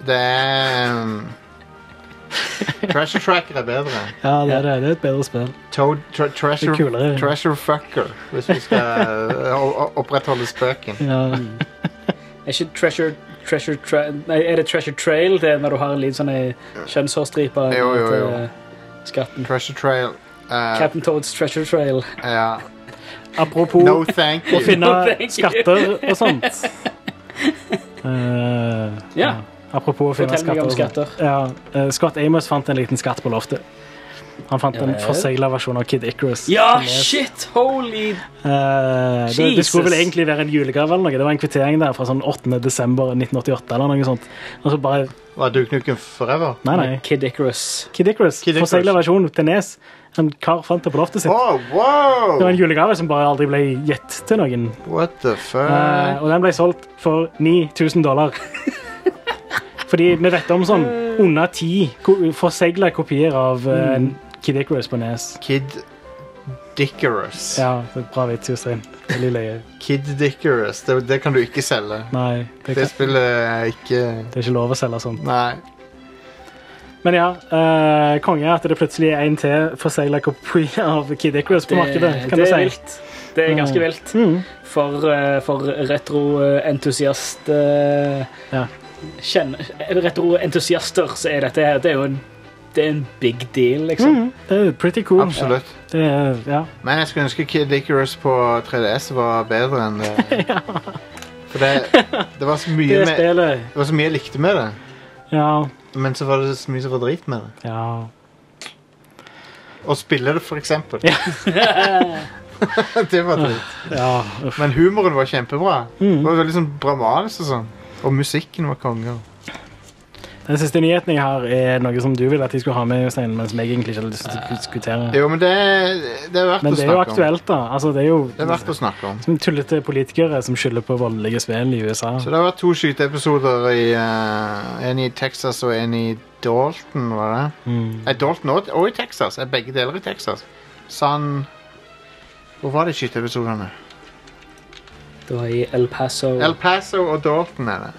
det er um, Treasure Tracker er bedre. Ja, det er det. Det er et bedre spill. Toad, tre, treasure, Det er kulere. treasure Fucker, hvis vi skal uh, o- o- opprettholde spøken. Ja. Mm. Er ikke treasure, treasure tra Nei, er det Treasure Trail? Det er når du har en liten sånn ei kjønnshårstripe Jo, jo, jo. til eh, skatten. Treasure Trail. Uh, Captain Toads Treasure Trail. ja. Apropos No thank å you. finne Thank [LAUGHS] you. skatter og sånt. Eh, Ja. Apropos å finne Fortell meg skatter. om og sånt. skatter. Ja, eh, Scott Amos fant en liten skatt på loftet. Han fant Ja en vel. forsegla versjon av Kid Icarus. Ja, som er- shit! Holy Eh, det, det Jesus. skulle vel egentlig være en julegave eller noe. Det var en kvittering der fra sånn 8. desember 1988 eller noe sånt. Og så bare, Var Duke Nukem forever? nei, nei. Kid Icarus. Kid Icarus. Kid Icarus. Forsegla versjon til Nes. En kar fant det på loftet sitt. Oh, Det var en wow! julegave som bare aldri ble gitt til noen. What the Eh, fuck? og den ble solgt for 9000 dollar. [LAUGHS] Fordi vi vet om sånn under ti ko- forsegla kopier av eh, Mm. Kid Icarus på Nes. Kid Dickerus. Ja, det er bra vits, Jostein. Veldig løye. Kid Dickerus. Det, det kan du ikke selge. Nei, det, Det kan, spillet er ikke det er ikke lov å selge sånt. Nei. Men ja, eh, konge at det plutselig er en til forsegla kopi av Kid Icarus på markedet. det kan du er si. vilt. Det er ganske vilt. Mm. For, eh, for retroentusiast eh, Ja. kjenn- Retroentusiaster, så er dette her Det er jo en, det er en big deal, liksom. Mm, det er pretty cool. Absolutt. Det er, ja. Men jeg skulle ønske Kid Icarus på 3DS var bedre enn [LAUGHS] det. For det, det, var så mye Det med, spillet det var så mye jeg likte med det, Ja. men så var det så mye som var drit med det. ja. Å spille det, for eksempel. [LAUGHS] det var drit. ja. uff. Men humoren var kjempebra. Det Mm. var veldig sånn bra manus og sånn. Og musikken var konge. Den siste nyheten jeg har, er noe som du ville at jeg skulle ha med, Jostein, mens jeg egentlig ikke hadde lyst til å diskutere. Jo, men Eh, det, det er verdt Men å det er jo snakke om. aktuelt, da. Altså, det er jo Det er verdt å snakke om. som tullete politikere som skylder på voldelige spill i USA. Så det har vært to skyteepisoder. i, eh, En i Texas og en i Dalton, var det? Mm. Er Eh, Dalton og, og i Texas? Er begge deler i Texas? San Hvor var det skyteepisodene? Det var i El Paso. El Paso og Dalton er det.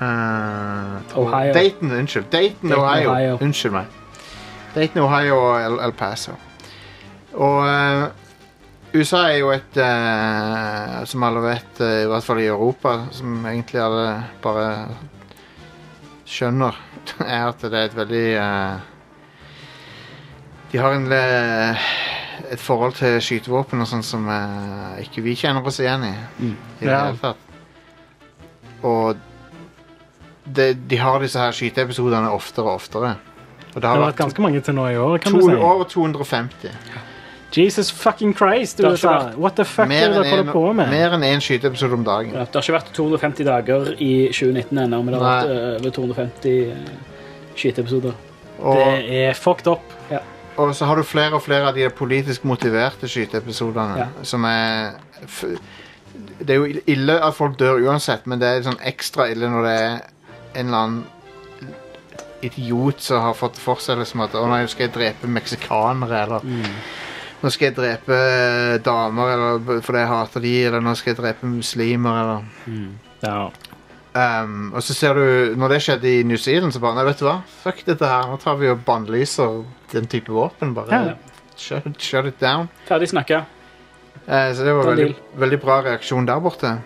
Eh, Ohio. Dayton, unnskyld. Dayton, Dayton, Ohio. Ohio. Unnskyld meg. Dayton, Ohio og El, El Paso. Og eh, USA er jo et eh, Som alle vet, eh, i hvert fall i Europa, som egentlig alle bare skjønner, [LAUGHS] er at det er et veldig eh, De har en eh, et forhold til skytevåpen og sånn som eh, ikke vi kjenner oss igjen i. I det Ja. hele tatt. Og de, de har disse her skyteepisodene oftere og oftere. Og det Det har har vært vært ganske mange til nå i år, kan to, du si. over 250. Jesus fucking Christ, Det har ikke USA. vært- What the fuck er Mer det dere enn holder på en- med? mer enn én skyteepisode om dagen. Ja, Det har ikke vært 250 dager i 2019 ennå, men det har vært Nei. eh, over 250 eh, skyteepisoder. Og, Det er fucked up. og så har du flere og flere av de politisk motiverte skyteepisodene Ja. som er f Det er jo ille at folk dør uansett, men det er sånn ekstra ille når det er en eller annen idiot som har fått for seg liksom at 'Å nei, nå skal jeg drepe meksikanere', eller Nå skal jeg drepe eh, damer eller, b- fordi jeg hater de, eller nå skal jeg drepe muslimer. Eller. Mm. Ja. Ehm, og så ser du, når det skjedde i New Zealand, så bare Nei, vet du hva? Fuck dette her. Nå tar vi og bannlyser den type våpen. Bare Ja. shut, it- shut it down. Ferdig snakka. Eh, så det var Ta veldig, veldig bra reaksjon der borte.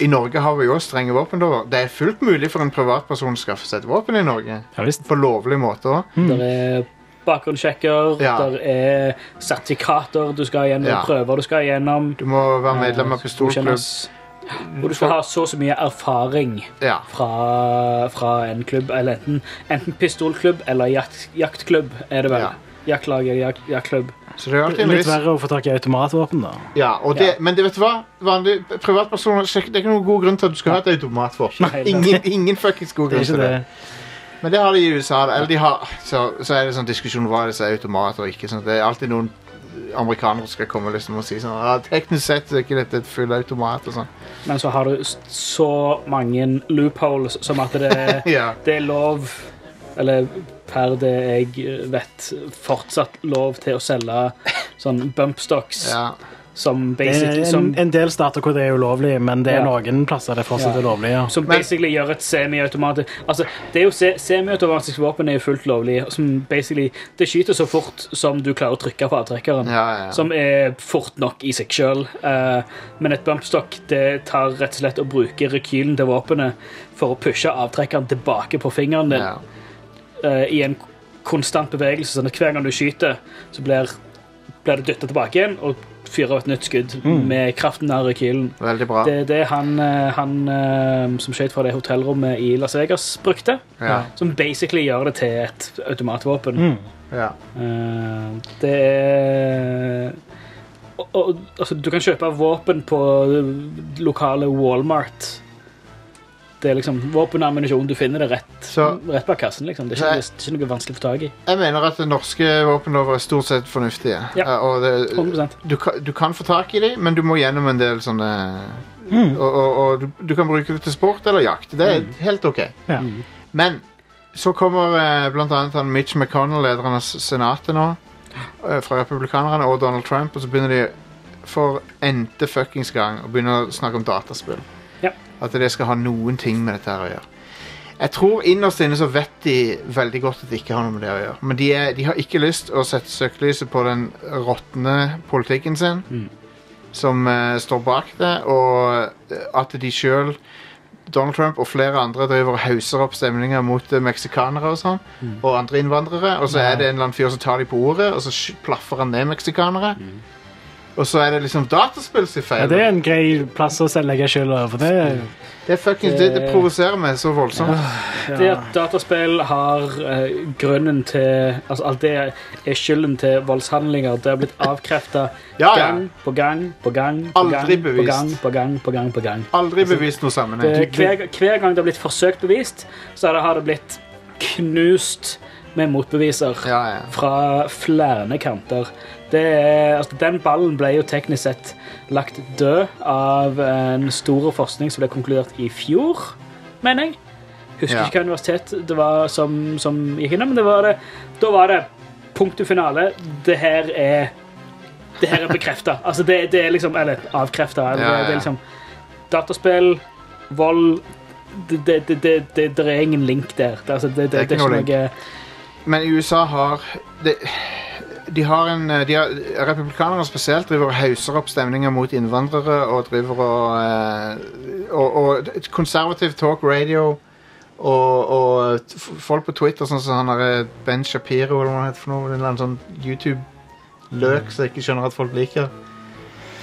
I Norge har vi jo også strenge våpenlover. Det er fullt mulig for en privatperson å skaffe seg et våpen i Norge. Ja, visst. Mm. På lovlig måte òg. Der er bakgrunnssjekker, Mm. Ja. der er sertifikater du skal gjennom, Ja. prøver du skal gjennom. Du må være medlem av eh, pistolklubb. godkjennes. Og du skal ha så og så mye erfaring Ja. fra, fra en klubb, eller enten, enten pistolklubb eller jakt, jaktklubb, er det vel. Ja. Jaktlag eller jakt, jaktklubb. Så det er alltid en Litt risk. verre å få tak i automatvåpen, da. Ja, og det, Men det, vet du hva? Vanlig, privatpersoner, sjekk- det er ikke noen god grunn til at du skal ha et automatvåpen. Nei, det- Ingen, ingen fuckings god Det grunn er ikke til det. det. Men det har de i USA. da. Eller de har, så, så er det sånn diskusjon om hva det som er automat og ikke. Sånn. Det er alltid noen amerikanere som skal komme liksom, og si sånn ah, Teknisk sett er ikke dette et full automat og sånn. Men så har du s- så mange loopholes som at det, Ja. det er lov Eller per det jeg vet, fortsatt lov til å selge sånn bumpstocks ja. som Det basically, er en, som, en del stater hvor det er ulovlig, men det Ja. er noen plasser det fortsatt Ja. er lovlig. Ja. som Men- basically gjør et semiautomatisk Altså, det er jo se, semiautomatiske våpen er jo fullt lovlig, som basically Det skyter så fort som du klarer å trykke på avtrekkeren. Ja, ja, ja. Som er fort nok i seg sjøl. men et bumpstock det tar rett og slett å bruke rekylen til våpenet for å pushe avtrekkeren tilbake på fingeren din ja. eh, i en konstant bevegelse. sånn at Hver gang du skyter, så blir, blir det dytta tilbake igjen og fyrer et nytt skudd med kraften av rekylen. Veldig bra. Det er det han, eh, han eh, som skjøt fra det hotellrommet i Las Vegas, brukte. Ja, Som basically gjør det til et automatvåpen. Mm. ja. Eh, det er og, og, altså, Du kan kjøpe våpen på lokale Walmart. Det er liksom våpen og ammunisjon. Du finner det rett, Så- rett bak kassen. liksom. Det er Nei. ikke, det er ikke noe vanskelig å få tak i. Jeg mener at det norske våpenlover er stort sett fornuftige. Ja. Eh, Og det, 100%. du kan, du kan få tak i dem, men du må gjennom en del sånne Mm. Og, og, og du, du kan bruke det til sport eller jakt. Det er helt OK. Ja. Men så kommer eh, blant annet han Mitch McConnell, lederen av s- senatet nå, eh, fra republikanerne, og Donald Trump, og så begynner de for n-te fuckings gang å begynne å snakke om dataspill. Ja. At det skal ha noen ting med dette her å gjøre. Jeg tror innerst inne så vet de veldig godt at det ikke har noe med det å gjøre. Men de, er, de har ikke lyst å sette søkelyset på den råtne politikken sin som eh, står bak det, og eh, at de sjøl Donald Trump og flere andre driver og hauser opp stemninger mot eh, meksikanere og sånn, og andre innvandrere. Og så er det en eller annen fyr som tar dem på ordet, og så sk- plaffer han ned meksikanere. Og så er det liksom dataspill sin feil. Ja, det er en grei plass å selv legge skylda for. Det er det, er fucking, det, det provoserer meg så voldsomt. Det at dataspill har eh, grunnen til Altså alt det er skylden til voldshandlinger. Det har blitt avkrefta Ja, ja. gang på gang på gang på Aldri gang, på bevist. gang på gang på gang. på gang. Aldri bevist noe sammenheng. Det, hver, hver gang det har blitt forsøkt bevist, så har det- har det blitt knust med motbeviser Ja, ja. fra flere kanter. Det er, altså, den ballen ble jo teknisk sett lagt død av en stor forskning som ble konkludert i fjor, mener jeg. Husker Ja. ikke hva universitet det var som, som gikk innom, men det var det. da var det punktum finale. Det her er det her er bekrefta. altså, det, det er liksom Eller avkrefta. Ja, ja, Det ja. er liksom dataspill, vold, det, det, det, det, det der er ingen link der. Det, altså, det, det, det er ikke noe, Men USA har De, de har en eh, de har, Republikanere spesielt driver og hauser opp stemninger mot innvandrere og driver og eh, Og, og et konservativ talk radio og, og t- f- folk på Twitter, sånn som han der eh, Ben Shapiro eller hva han heter for noe, en eller annen sånn YouTube-løk som jeg ikke skjønner at folk liker.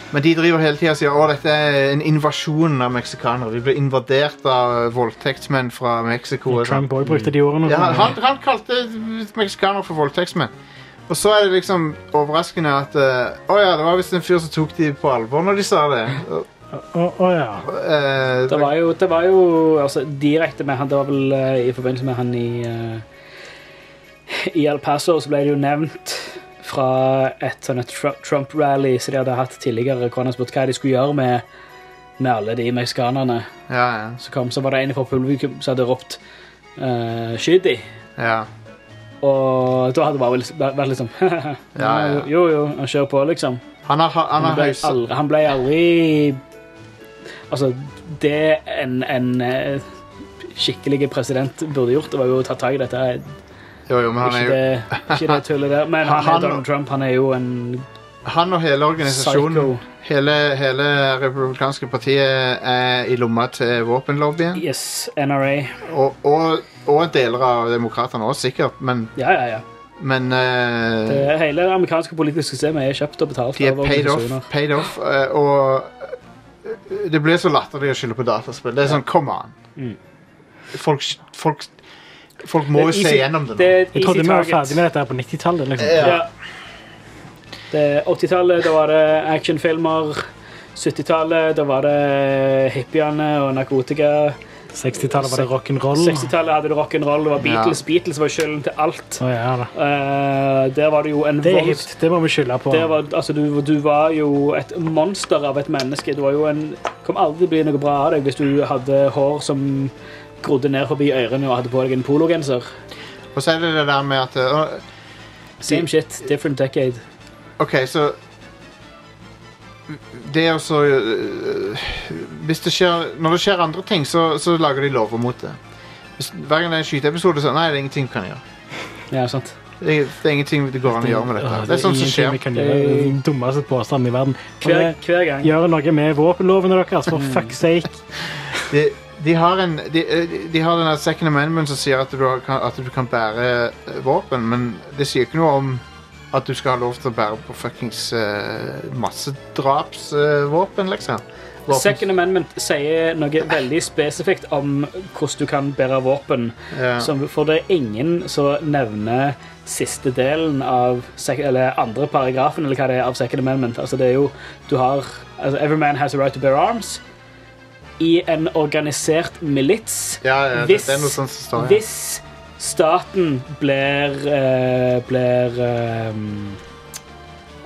Men de driver hele tida og sier at dette er en invasjon av meksikanere. De ble invadert av voldtektsmenn fra Mexico. og sånn. Trump også brukte de ordene. Ja, han, han kalte meksikanere for voldtektsmenn. Og så er det liksom overraskende at eh, Å ja, det var visst en fyr som tok de på alvor når de sa det. Og, Å, å, ja. eh, Det var jo, det var jo altså, direkte med han, det var vel eh, i forbindelse med han i eh, I El Paso så ble det jo nevnt fra et sånn et Tru- Trump-rally som de hadde hatt tidligere, hvor han hadde spurt hva de skulle gjøre med, med alle de meksikanerne ja, ja, som kom. Så var det en fra publikum som hadde ropt uh, 'skyt de', ja. og da hadde det bare vært- vært liksom [LAUGHS] ja, ja. Jo, jo, kjør på, liksom. Han har, han Han har ble høysa aldri, han ble aldri Altså, det en, en eh, skikkelig president burde gjort, det var jo å ta tak i dette. her. Jo, jo, men han Ikke er jo det, ikke det tullet der. Men han, Han- er Donald Trump han er jo en Han og hele organisasjonen, psycho. hele, hele republikanske partiet, er i lomma til våpenlobbyen. Yes, NRA. Og, og, og deler av demokratene òg, sikkert, men, Ja, ja, ja. men eh, Det, hele det amerikanske politiske systemet er kjøpt og betalt De er av paid off, organisasjoner. paid off eh, og eh, det blir så latterlig å skylde på dataspill. Det er sånn, come on. Mm. Folk, folk, folk må jo Det er se easy- gjennom det nå. Det er et Jeg trodde easy vi var target. ferdig med dette her på 90-tallet. Liksom. Ja. Ja. Det 80-tallet, da var det actionfilmer. 70-tallet, da var det hippiene og narkotika. 60-tallet var det rock'n'roll. 60-tallet hadde du rock'n'roll, det var Beatles. Beatles var skylden til alt. Å, ja, da. Eh, der var det jo en det er volds- hipt. Det må vi skylde på. Der var, altså, du, du var jo et monster av et menneske. Du var jo en, kom aldri til å bli noe bra av deg hvis du hadde hår som grodde ned forbi ørene og hadde på deg en pologenser. Og så er det det der med at eh, Same shit, different decade. OK, så Det er også eh, Hvis det skjer Når det skjer andre ting, så, så lager de lover mot det. Hvis, hver gang det er en skyteepisode, så Nei, det er ingenting vi kan gjøre. Ja, sant. Det er, det er ingenting det går an å gjøre med dette. Det er sånt som ingenting skjer. vi kan gjøre. Det er den dummeste påstanden i verden. eh, Hver, hver gang. Gjør noe med våpenlovene deres, for fuck's sake. De, de har en de, eh, de- de har denne second amendment som sier at du, har, at du kan bære eh, våpen, men det sier ikke noe om at du skal ha lov til å bære på fuckings uh, massedrapsvåpen, liksom. Våpen- Second Amendment sier noe veldig spesifikt om hvordan du kan bære våpen. Ja. Som, for det er ingen som nevner siste delen av sec- Eller andre paragrafen eller hva det er av Second Amendment. Altså det er jo Du har altså, Every man has a right to bear arms. I en organisert milits. ja, ja, det, hvis- det er noe sånt som står her. Hvis staten blir eh, Blir eh,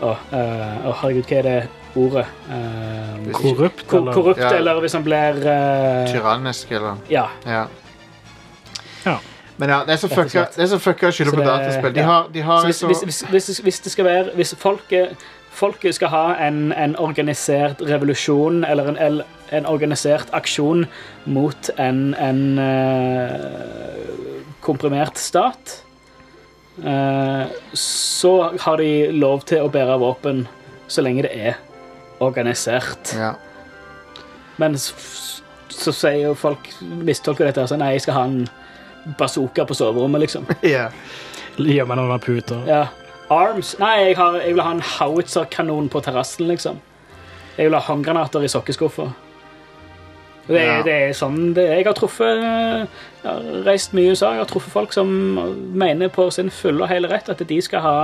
Å, eh, å, herregud, hva er det ordet? Eh, Korrupt, Ko- eller? korrupt, Ja. eller hvis han blir eh, Tyrannisk, eller Ja. Ja. Ja. Men ja, det er så og fucka slett. det er så fucka å skylde Så på det- dataspill. De ja. har, de Så har hvis, så, hvis, hvis, hvis, hvis det skal være Hvis folket, folket skal ha en, en organisert revolusjon eller en, el- en organisert aksjon mot en, en eh, komprimert stat eh, så har de lov til å bære våpen så lenge det er organisert. ja. [LAUGHS] Men s- så sier jo folk mistolker dette og sier nei, jeg skal ha en bazooka på soverommet, liksom. ja. Gjør meg noen puter. Ja. Arms? Nei, jeg, har, jeg vil ha en howitzer-kanon på terrassen, liksom. Jeg vil ha håndgranater i sokkeskuffa. Det, er- Ja. det er sånn det er. Jeg har truffet jeg har reist mye i USA. Jeg har truffet folk som mener på sin fulle og hele rett at de skal ha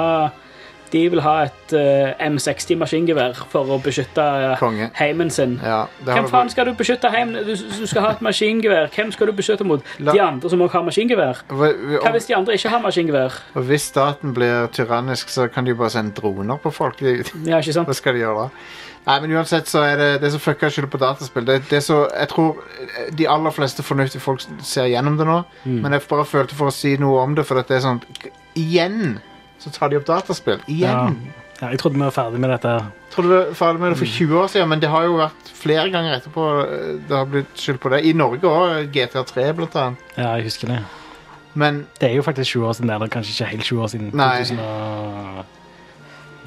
De vil ha et eh, M60 maskingevær for å beskytte eh, Konge. heimen sin. ja. Det har Hvem du- faen skal du beskytte heim? Du, du skal ha et maskingevær. Hvem skal du beskytte mot? De andre som også har maskingevær? Hva Hva- hvis de andre ikke har maskingevær? Og hvis staten blir tyrannisk, så kan de jo bare sende droner på folk. De- Ja, ikke sant? Hva skal de gjøre da? Nei, men uansett så er det det som fucker skylder på dataspill. Det, det er så, jeg tror eh, de aller fleste fornuftige folk ser gjennom det nå, men jeg bare følte for å si noe om det, for at det er sånn k- Igjen så tar de opp dataspill. Igjen! Ja, jeg trodde vi var ferdig med dette. her. Tror du vi var ferdig med det for 20 år siden, men det har jo vært flere ganger etterpå eh, det har blitt skyldt på det. I Norge eh, òg, GTA3 blant annet. Ja, jeg husker det. Men Det er jo faktisk 20 år siden. Eller kanskje ikke helt 20 år siden. Nei.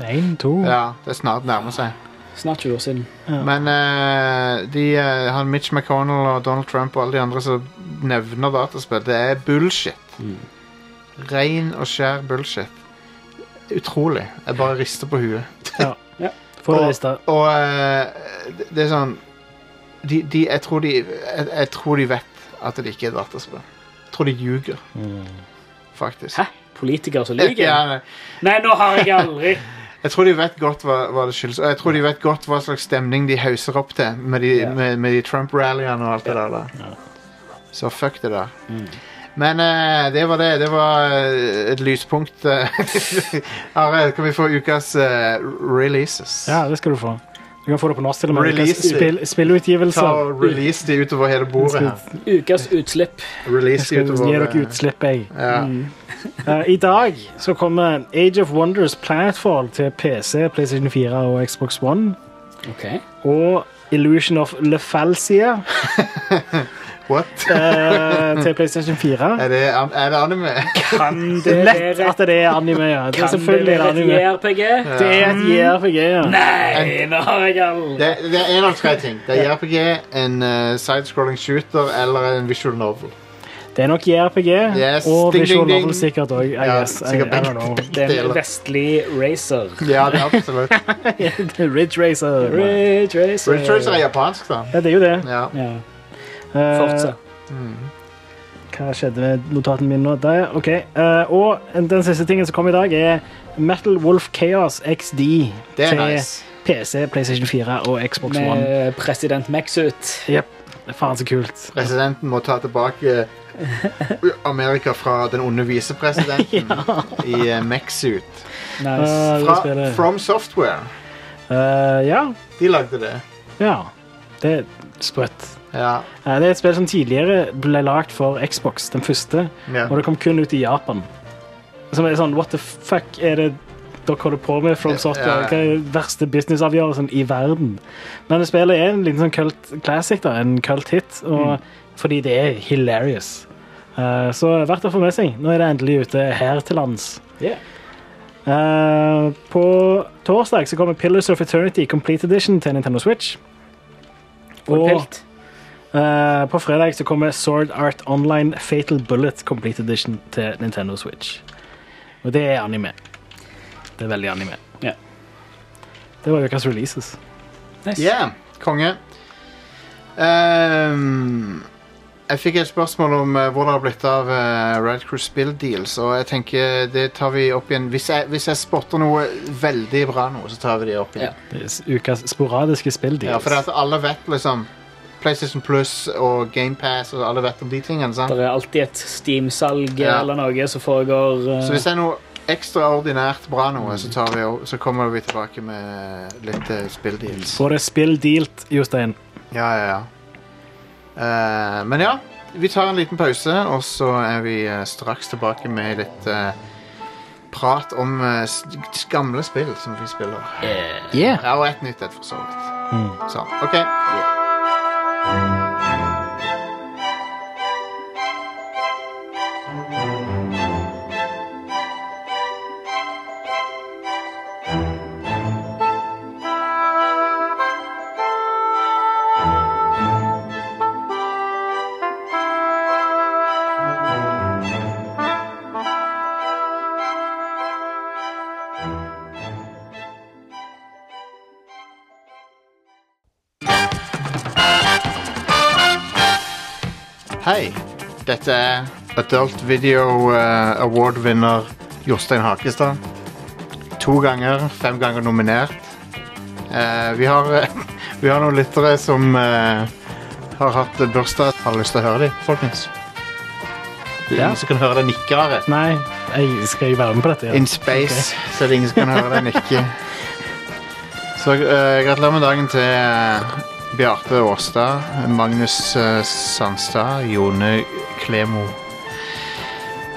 2001, 2 ja. ja, det er snart nærmer seg. Snart 20 år siden. Men eh, de, eh, han Mitch McConnell og Donald Trump og alle de andre som nevner dataspill, det er bullshit. Mm. Ren og skjær bullshit. Utrolig. Jeg bare rister på huet. Få det Og- lista. Og eh, det- det er sånn de, de, jeg, tror de, jeg, jeg tror de vet at det ikke er dataspill. Jeg tror de ljuger, faktisk. Hæ? Politiker som lyver? Ja, nei. Nei, nå har jeg aldri jeg tror de vet godt hva, hva det skyldes. Og jeg tror de vet godt hva slags stemning de hauser opp til med de, Ja. med, med de Trump-rallyene og alt det der. Da. Så fuck det der. Men eh, det var det. Det var eh, et lyspunkt. eh. [LAUGHS] Are, kan vi få ukas eh, releases? Ja, det skal du få. Du kan få det på norsk til og med. Release it. Spill, Ta spillutgivelser. og release de utover hele bordet her. Ukas utslipp. Jeg Release de skal gi utover eh, dere utslipp, jeg. Ja. Eh, I dag så kommer Age of Wonders Planetfall til PC, PlayStation 4 og Xbox One. Ok. Og Illusion of Lefalcia What? eh, til PlayStation 4. Er det, er det anime? [LAUGHS] Kan Det det er lett være at det er anime. Ja. Det er Kan det selvfølgelig et være et anime. JRPG? Det er et JRPG. Ja. Nei, nå har jeg aldri Det, det er en av tre ting. Det er JRPG, en eh, sidescrolling shooter eller en visual novel. Det er nok JRPG, Yes, og ding, visual ding, ding. novel sikkert òg. Ja, I guess. I, I sikkert don't [LAUGHS] know. Det er en Deler. vestlig racer. Ja, det er [LAUGHS] absolutt. Ridge Racer. Ridge racer. Ridge Racer er japansk, da. Ja, det er jo det. Ja. Mm. Ja. Eh, Fortsa. Hva skjedde med notatene mine nå? Der, ok. Eh, og den siste tingen som kom i dag, er Metal Wolf Chaos XD Det til er nice. PC, PlayStation 4 og Xbox One. Med president Max ut. Jep. Faen, så kult. Presidenten må ta tilbake eh, Amerika fra den onde [LAUGHS] visepresidenten i uh, Mech-suit. Nice. Eh, det Fra spillet. From Software. Eh, ja. De lagde det. ja. Det er sprøtt. Ja. Eh, det er et spill som tidligere ble lagd for Xbox, den første, ja. og det kom kun ut i Japan. Som er sånn What the fuck er det dere holder på med? From Ja, Software? ja. Hva er den verste businessavgjørelsen i verden? Men det spillet er en liten sånn cult classic, da, en cult hit, Mm. og, fordi det er hilarious. Eh, så verdt å få med seg. Nå er det endelig ute her til lands. Yeah. Eh, på torsdag så kommer Pillars of Eternity Complete Edition til Nintendo Switch. Og Og eh, på fredag så kommer Sword Art Online Fatal Bullet Complete Edition til Nintendo Switch. Og det er anime. Det er veldig anime. Ja. Det var ukas releases. Nice. Yeah, konge. Ehm, jeg fikk et spørsmål om eh, hvor det har blitt av uh, Red Crew Spill Deals, og jeg tenker det tar vi opp igjen. Hvis jeg, hvis jeg spotter noe veldig bra nå, så tar vi det opp igjen. Det er s- ukas sporadiske spilldeals. Ja, for det at alle vet liksom PlayStation Plus og GamePass og alle vet om de tingene, sant? Det er alltid et Steam-salg Ja. eller noe som foregår. eh, Så hvis det er noe ekstraordinært bra noe, så, tar vi, o- så kommer vi tilbake med litt uh, Spill Deals. Får det spill dealt, Jostein. Ja, ja, ja. Eh, men ja, vi tar en liten pause, og så er vi eh, straks tilbake med litt eh, prat om eh, s- gamle spill som vi spiller. Ja, og et nytt et, for så vidt. Sånn. OK. Hei. Dette er Adult Video eh, Award-vinner Jostein Hakestad. To ganger, fem ganger nominert. Eh, vi, har, [LAUGHS] eh, vi har noen lyttere som eh, har hatt bursdag. Har du lyst til å høre dem, folkens? Det er Ja. ingen som kan høre det nikke, Are. Nei, jeg skal jeg være med på dette? Ja. In space, så det er ingen som kan høre deg nikke. [LAUGHS] Så eh, gratulerer med dagen til eh, Bjarte Årstad, Magnus eh, Sandstad, Jone Klemo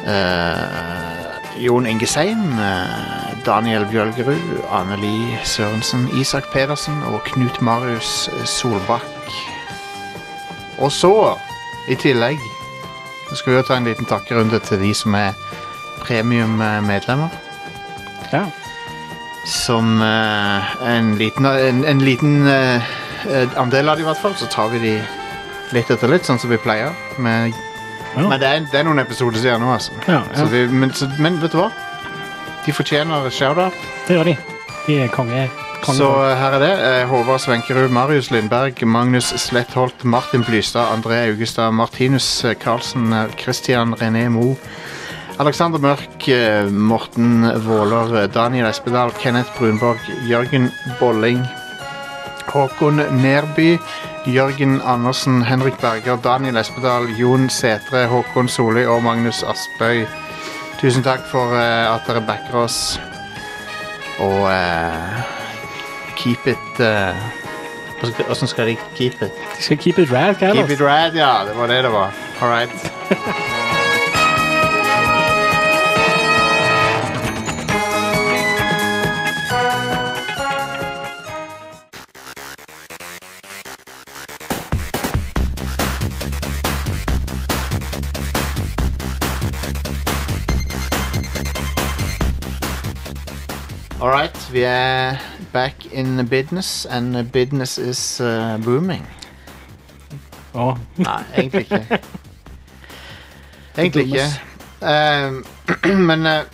eh, Jon Inge Seim, eh, Daniel Bjølgerud, Anne Li Sørensen, Isak Pedersen og Knut Marius Solbakk. Og så, i tillegg, så skal vi jo ta en liten takkerunde til de som er eh, premiummedlemmer. Ja. Som eh, en liten, en, en liten eh, eh, andel av det, i hvert fall. Så tar vi de litt etter litt, sånn som vi pleier. Men, Ja. men det, er, det er noen episoder siden nå, altså. Ja, Så ja. vi, men, så, men vet du hva? De fortjener shout-out. Det gjør de. De er konge. konge Så eh, her er det. Eh, Håvard Svenkerud, Marius Lindberg, Magnus Slettholt, Martin Blystad, André Augestad, Martinus eh, Karlsen, eh, Christian René Mo, Alexander Mørk, eh, Morten Våler, eh, Daniel Espedal, Kenneth Brunborg, Jørgen Bolling, Håkon Nerby, Jørgen Andersen, Henrik Berger, Daniel Espedal, Jon Setre, Håkon Solli og Magnus Aspøy. Tusen takk for eh, at dere backer oss. Og eh, Keep it eh, hvordan skal- Hvordan skal de keep it? De skal keep it rad, hva Keep ellers? it rad, ja. Det var det det var. All right. All right, vi er back in business, and business is eh, booming. Å, Nei, egentlig ikke. Egentlig ikke. Eh, [CLEARS THROAT] men eh,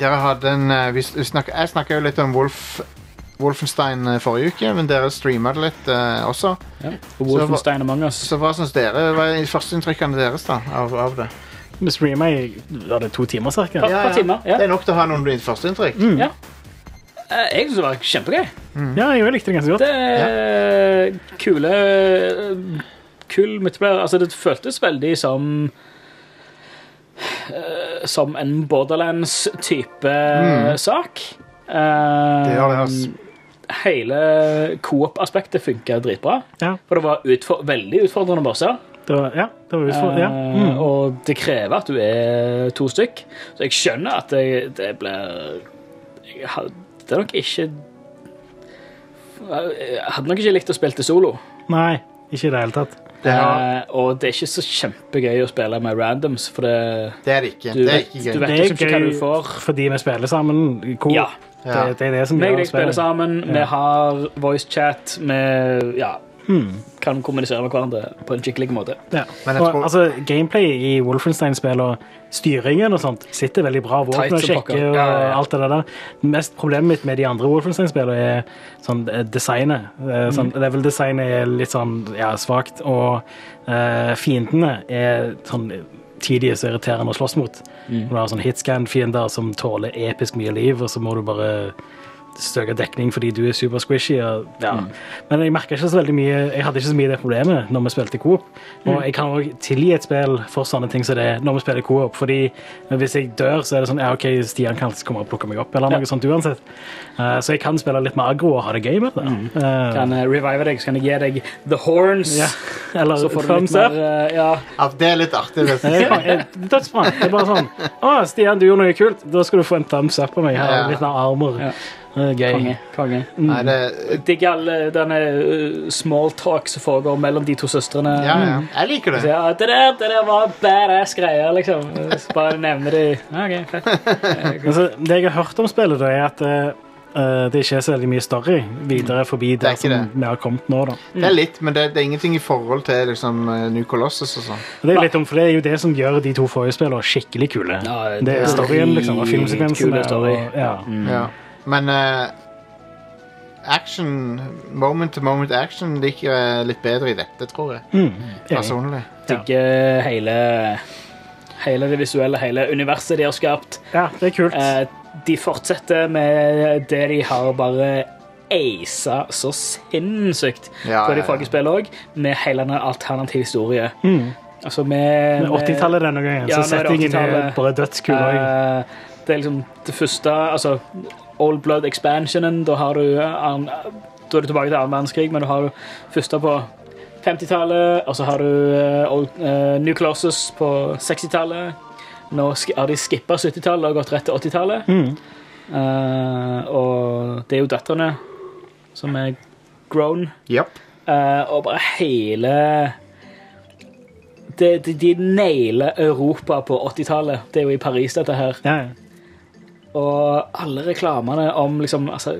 dere hadde en eh, vi, s- vi snakk, Jeg snakka jo litt om Wolf, Wolfenstein eh, forrige uke, men dere streama det litt eh, også. Ja. Og Wolfenstein Among Us. Så hva syns dere? Hva er førsteinntrykkene deres da, av, av det? Vi streama i var det to timer, cirka. Ja. par timer, ja. Mm. Det er nok til å ha noen førsteinntrykk. Ja. Eh, Jeg syns det var kjempegøy. Ja, jeg likte det ganske godt. Det er kule Kul multiplayer. Altså, det føltes veldig som eh, Som en Borderlands-type sak. Mm. Eh, Det gjør det, ass. Hele coop-aspektet funka dritbra. Ja, For det var utfor veldig utfordrende bosser. det var, ja, det var utfor, ja. Eh, Mm. Og det krever at du er to stykk. Så jeg skjønner at det, det blir jeg had- Det er nok ikke Jeg hadde nok ikke likt å spille til solo. Nei, ikke i det hele tatt. Det, er- Eh, og det er ikke så kjempegøy å spille med randoms, for det, det er det ikke. du, Det er vet, ikke du gøy. vet Det er liksom ikke hva gøy. du får. Fordi vi spiller sammen. i Kor. Ja. Ja. Det, det er det som Meg og gjør deg spiller spillet. sammen, vi Ja. har voicechat, vi ja, Hmm. kan kommunisere med hverandre på en skikkelig måte. Ja. Men jeg Og, tror- altså, gameplay i Wolfenstein-spill og styringen og sånt sitter veldig bra. Tight Våpen og som sjekke pokker. og Ja, ja, ja. alt det der. Det mest problemet mitt med de andre Wolfenstein-spillene er sånn eh, designet. Mm. Eh, Sånn, Level-designet er litt sånn ja, svakt, og eh, fiendene er sånn tidlig så irriterende å slåss mot. Mm. Du har sånn hitscan-fiender som tåler episk mye liv, og så må du bare støke dekning fordi du er super squishy. Og, ja. Men jeg merket ikke så veldig mye Jeg hadde ikke så mye det problemet når vi spilte coop. Mm. Og jeg kan også tilgi et spill for sånne ting som det er når vi spiller coop. Fordi hvis jeg dør, så er det sånn ja, OK, Stian kan alltid komme og plukke meg opp, eller Ja. noe sånt uansett. Eh, så jeg kan spille litt mer aggro og ha det gøy med det. Eh, Mm. Kan jeg revive deg, så kan jeg gi deg the horns. ja. Eller Så får du litt thumbs up. mer eh, ja. Ja, det er litt artig. Det. [LAUGHS] Det er bare- eh, Dødsbra. Det er bare sånn Å, Stian, du gjorde noe kult. Da skal du få en thumbs up av meg. Her Ja. er litt mer armor. Ja. Eh, Gøy. Konge. konge. Nei, det Digger all eh, denne eh, small talk som foregår mellom de to søstrene. Mm. ja, ja. Jeg liker Så, det. ja, det, der, det der var badass greier, liksom. Så bare nevner de ja, ok, fett. Altså, det jeg har hørt om spillet, da, er at eh, det ikke er så veldig mye story videre forbi er der ikke som det. vi har kommet nå. da. Det er litt, men det, det er ingenting i forhold til liksom, eh, New Colossus og sånn. Og det er jo litt om, for det er jo det som gjør de to forrige spillene skikkelig kule. Ja, det er storyen liksom, og filmsekvensene. dritkule story. Mm. Og, ja. Ja. Men eh, action Moment to moment action liker jeg litt bedre i dette, tror Mm. jeg. Enig. Personlig. Digger hele, hele det visuelle, hele universet de har skapt. ja, det er kult. Eh, de fortsetter med det de har bare eisa så sinnssykt Ja, på ja, de ja. forrige spillene òg, med hele den alternative historie. Altså med, Mm. Men 80-tallet denne gangen, Ja, nå så er det settingen er 80-tallet. bare dødskul. også. Eh, det er liksom det første Altså, Old Blood Expansionen, da har du eh, an, Da er du tilbake til annen verdenskrig, men du har du første på 50-tallet, og så har du eh, old, eh, New Colossus på 60-tallet. Nå sk- har de skippa 70-tallet og gått rett til 80-tallet. Eh, og det er jo døtrene som er grown. Japp. Eh, og bare hele det, de, de nailer Europa på 80-tallet. Det er jo i Paris, dette her. Ja, ja. Og alle reklamene om liksom altså,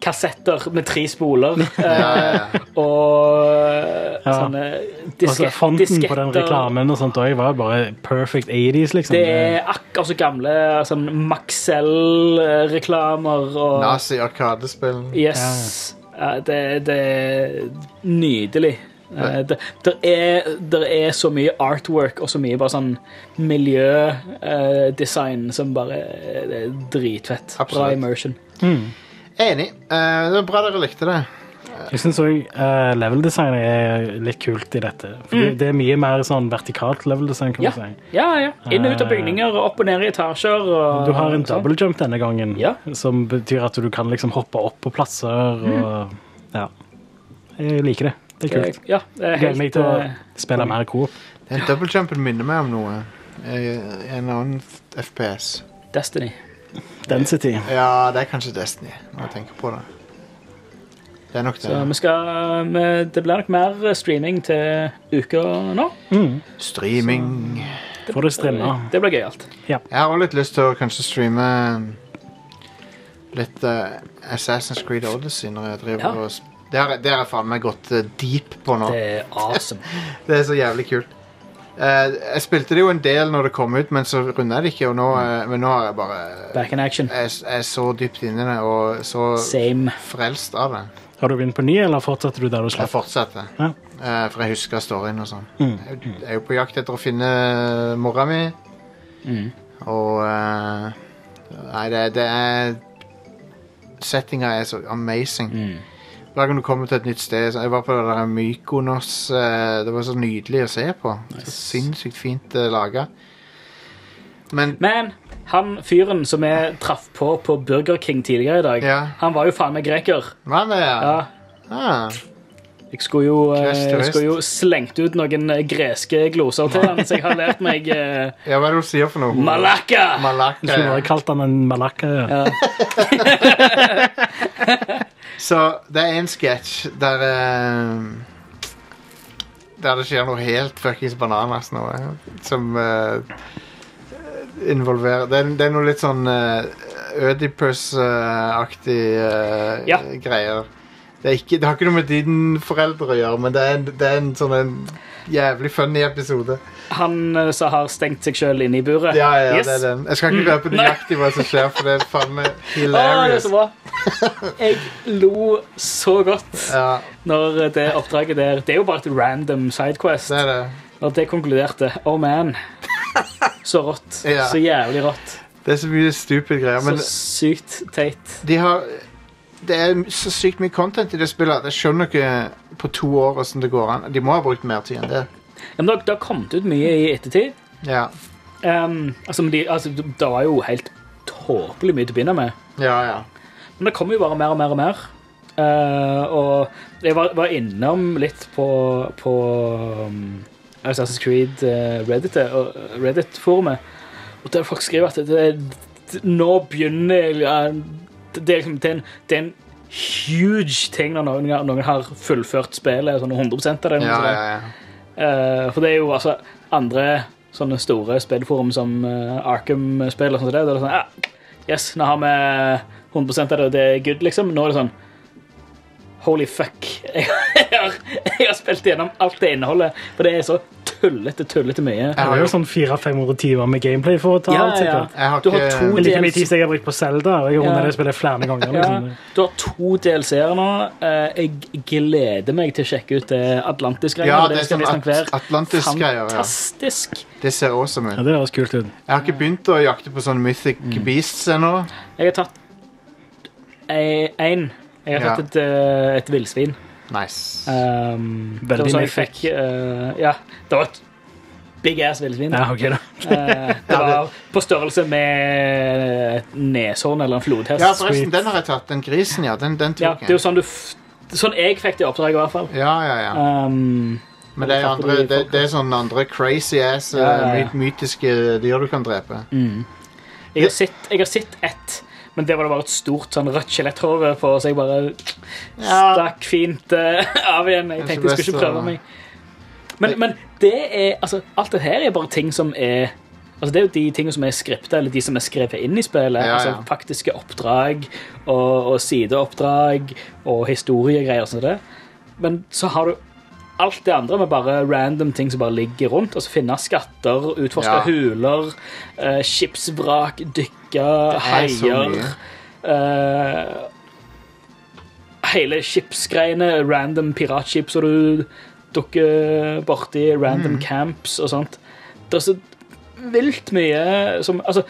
kassetter med tre [LAUGHS] spoler. eh, Ja, ja, ja. og eh, Ja. sånne Altså, diske, fonten disketter. på den reklamen og sånt også var bare perfect 80s, liksom. Det er akkurat så gamle sånn Maxell-reklamer og Nazi-arkadespillen. Yes. Ja, det, det er nydelig. Eh, Det der er, der er så mye artwork og så mye bare sånn miljødesign som bare det er dritfett. Bra Absolutt. immersion. Enig. Eh, det er bra dere likte det. Jeg syns òg leveldesignet er litt kult i dette. For det- Det er mye mer sånn vertikalt leveldesign, Mm. kan Ja. man si. ja, ja. Inn og ut av bygninger og opp og ned i etasjer. Og, Eh. Du har en og sånn. double jump denne gangen, Ja. som betyr at du kan liksom hoppe opp på plasser og Ja. Jeg liker det. Det er kult. Eh, Ja, det er Mm. Jeg gleder helt meg til å eh, spille mer coop. Den double jumpen minner meg om noe. Eh, En annen FPS. Destiny. Density. Ja, det er kanskje Destiny, når jeg tenker på det. Det er nok Så vi det. skal, eh, vi- det blir nok mer eh, streaming til uka nå. Streaming. Får det strimma. Det blir gøyalt. Jeg har også litt lyst til å kanskje streame litt eh, Assassin's Creed Odyssey når jeg driver Ja. og sp- Det har jeg- det har jeg faen meg gått eh, deep på nå. Det er awesome. Det er så jævlig kult. Eh, jeg spilte det jo en del når det kom ut, men så runda jeg det ikke. Og nå, eh, men nå har jeg bare Back in action. Eh, jeg, s- jeg er så dypt inni det og så Same. frelst av det. Har du begynt på ny, eller fortsetter du der du Jeg slapp? fortsetter. Ja. Eh, for jeg husker storyen og sånn. Jeg, jeg er jo på jakt etter å finne eh, mora mi. Mm, Og eh, Nei, det, det er Settinga er så amazing. Mm. Hver gang du kommer til et nytt sted så Jeg var på det der Mykonos. eh, Det var så nydelig å se på. Så sinnssykt fint uh, laga. Men Men han fyren som vi traff på på Burger King tidligere i dag, Ja. han var jo faen meg greker. Hva er det? Ja. Ah, Jeg skulle jo, eh, Krest til jeg vest. skulle jo slengt ut noen eh, greske gloser til han, så jeg har lært meg eh, ja, hva er det du sier for noe? malaka. Du skulle bare Malakka. kalt han en malakka. Ja. Så det er en sketsj der eh, Der det skjer noe helt fuckings bananas nå. eh, Som eh, involverer det er, det er noe litt sånn uh, Ødipus-aktig eh, Ja. greier. Det, er ikke, det har ikke noe med dine foreldre å gjøre, men det er en, det er en sånn en jævlig funny episode. Han eh, som har stengt seg sjøl inne i buret. Ja, ja, yes. Mm. det er den. Jeg skal ikke røpe nøyaktig hva som skjer, for det er faen meg Å, det er hilarious. så bra. Jeg lo så godt Ja, når det oppdraget der Det er jo bare et random sidequest. det er det. Når det konkluderte. Oh man. Så rått. Ja. Så jævlig rått. Det er så mye stupid greier. Men Så sykt teit. de har Det er så sykt mye content i det spillet at jeg skjønner ikke på to år hvordan det går an. De må ha brukt mer tid enn det. Ja, men det har- det har kommet ut mye i ettertid. Ja. Ehm, altså, men de, altså, det var jo helt tåpelig mye til å begynne med. Ja, ja. Men det kommer jo bare mer og mer og mer. Eh, og jeg var, var innom litt på, på um, Assassin's Creed eh, Reddit, og- Reddit-forumet, og der folk skriver at det, det, nå begynner ja, det, er liksom, det, er en, det er en huge ting når noen, noen har fullført spillet, sånn 100 av det. ja, sånn. ja, ja. Eh, for det er jo altså andre sånne store spillforum som eh, Arkham-spill og sånt. som Det, der det er sånn, ah, yes, nå har vi 100 av det, og det er good, liksom. Nå er det sånn Holy fuck. [LAUGHS] Jeg har, jeg har spilt gjennom alt det innholdet, for det er så tullete, tullete mye. Jeg har jo sånn 400-500 timer med gameplay for å ta alt. sikkert. Jeg har Du har ikke- to Det er like mye DLC tid som jeg har brukt på Zelda. og Jeg har Ja. rundet det spillet flere ganger. Liksom. Ja, du har to DLC-er nå. Eh, Jeg gleder meg til å sjekke ut det Atlantis-greiene. Ja, for det er skal sånn visstnok At- være Atlantis-greier, ja. Fantastisk. Det ser awesome Ja, ut. det høres kult ut. Jeg har ikke begynt å jakte på sånne Mythic Beasts ennå. Jeg har tatt én. Jeg har Ja. tatt et, eh, et villsvin. Nice. Um, det Veldig var sånn jeg mythic. fikk eh, Ja, det var et big ass villsvin. Ja, ok da. Eh, det var på størrelse med et neshorn eller en flodhest. Ja, Ja, forresten, sweet. den har jeg tatt. Den grisen, ja. Den, den tok det er jo jeg. sånn du f Sånn jeg fikk det oppdraget, i hvert fall. Ja, ja, ja. Um, Men det er, Tapper andre, de det, folka. det er sånne andre eh, crazy ass, Ja, ja, ja. mm. myt- mytiske dyr du kan drepe. jeg, har sett, jeg har sett ett Men det var det bare et stort sånn rødt skjeletthår på, så jeg bare stakk fint eh, [LAUGHS] av igjen. Jeg Kanskje tenkte jeg skulle best ikke prøve å- meg. Men, men det er altså, Alt det her er bare ting som er Altså, det er jo de tingene som er skriptet, eller de som er skrevet inn i spillet. Ja, altså ja. Faktiske oppdrag og, og sideoppdrag og historiegreier og sånn. som det. Men så har du alt det andre med bare random ting som bare ligger rundt. Altså finne skatter, utforske Ja. huler, eh, skipsvrak, dykke, er så heier mye. eh, Hele skipsgreiene, random piratskip som du dukker borti, Mm. random camps og sånt. Det er så vilt mye som Altså,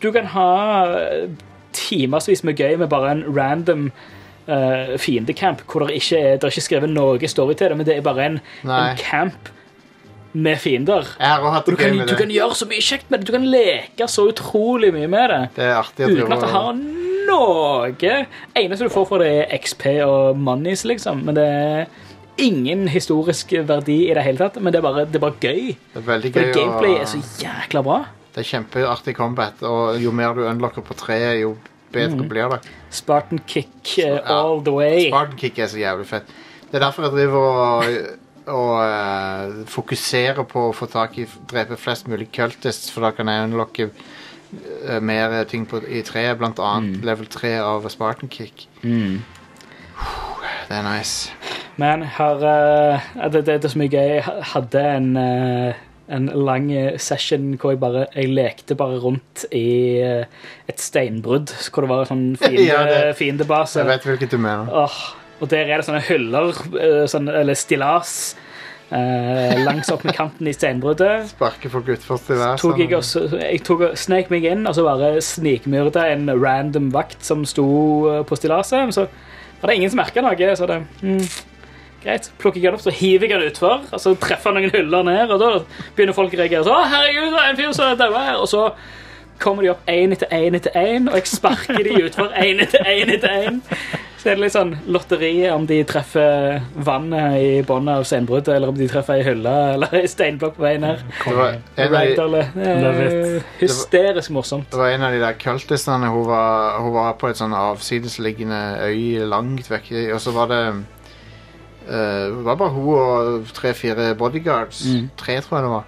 du kan ha timevis med gøy med bare en random eh, fiendecamp hvor det ikke er, det er ikke skrevet noe story til det, men det er bare en, Nei. en camp med fiender. Jeg har også hatt Og du det gøy kan, med du kan det. gjøre så mye kjekt med det. Du kan leke så utrolig mye med det. Det er artig å Uten at det drive har og noe Eneste du får for det, er XP og monies, liksom. Men det er ingen historisk verdi i det hele tatt. Men det er bare, det er bare gøy. Det er veldig For gøy gameplay er så å jækla bra. Det er kjempeartig combat, og jo mer du unlocker på treet, jo bedre Mhm. blir det. Spartan kick eh, ja. all the way. Spartan kick er så jævlig fett. Det er derfor jeg driver og, og eh, fokuserer på å få tak i drepe flest mulig cultists, for da kan jeg unlocke eh, mer ting på, i treet, blant Mhm. annet level 3 av Spartan kick. Det er nice. Mm. Men her, eh, det, det, det er så mye gøy. Jeg hadde en, eh, en lang eh, session hvor jeg bare jeg lekte bare rundt i eh, et steinbrudd. Hvor det var en sånn fiende, [LAUGHS] Ja, det- fiendebase. Jeg vet hvilket du mener. Åh, og der er det sånne hyller, eh, sånn, eller stillas, eh, langs opp med kanten i steinbruddet. Sparke folk utfor til hver Tok jeg, sånn. også, jeg tok, og- snek meg inn og så bare snikmyrda en random vakt som sto eh, på stillaset. Men så var det ingen som merka noe. Så det, mm, greit. Plukker jeg den opp, så hiver jeg den utfor. Og så treffer jeg noen hyller ned, og da begynner folk å reagere. Så, «Å, herregud, det er en fyr som er daua her. Og så kommer de opp én etter én etter én, og jeg sparker de utfor én etter én etter én. Så er det litt sånn lotteriet om de treffer vannet i bunnen av steinbruddet, eller om de treffer ei hylle eller ei steinblokk på veien her. Det var en av de- Ragdolle. Love Eh, hysterisk morsomt. Det var en av de der kultistene hun var, hun var på et sånn avsidesliggende øy langt vekk Og så var det eh, Det var bare hun og tre-fire bodyguards. Mm. Tre, tror jeg det var.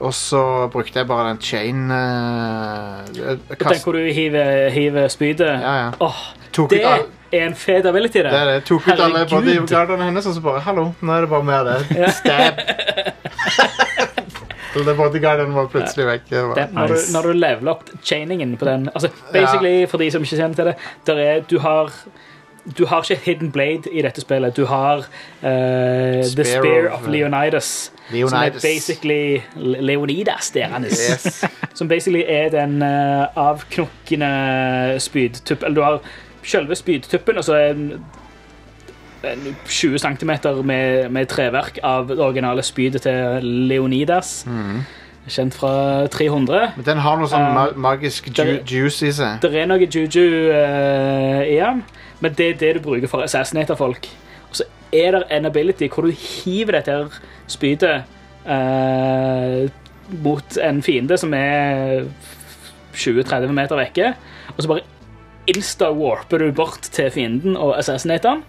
Og så brukte jeg bare den chain eh, eh, Tenk kast, hvor du hiver, hiver spydet. Ja, ja. Åh, Tok det ut alle, er en fet ability, det. det er det. Tok ut alle Herregud. bodyguardene hennes, og så bare Hallo, nå er det bare mer det. [LAUGHS] Stab. Så den bodyguarden var plutselig vekk. Det var- Den, når, du, Nice. når du leveler opp chainingen på den altså, Basically, for de som ikke kjenner til det, der er, du har du har ikke Hidden Blade i dette spillet. Du har eh, The Spear Spear of, of Leonidas. Som er Leonidas. basically Le- Leonidas deres. Yes. Som basically er den eh, avknokkende spydtupp... Eller du har selve spydtuppen, og så en, en 20 cm med, med treverk av det originale spydet til Leonidas. Kjent fra 300. Men den har noe sånn ma magisk ju Eh, den- juice i seg. Det er noe juju eh, i den, men det er det du bruker for å assassinate folk. Og så er det en ability hvor du hiver dette her spydet eh, mot en fiende som er 20-30 meter vekke, og så bare insta-warper du bort til fienden og assassinater han.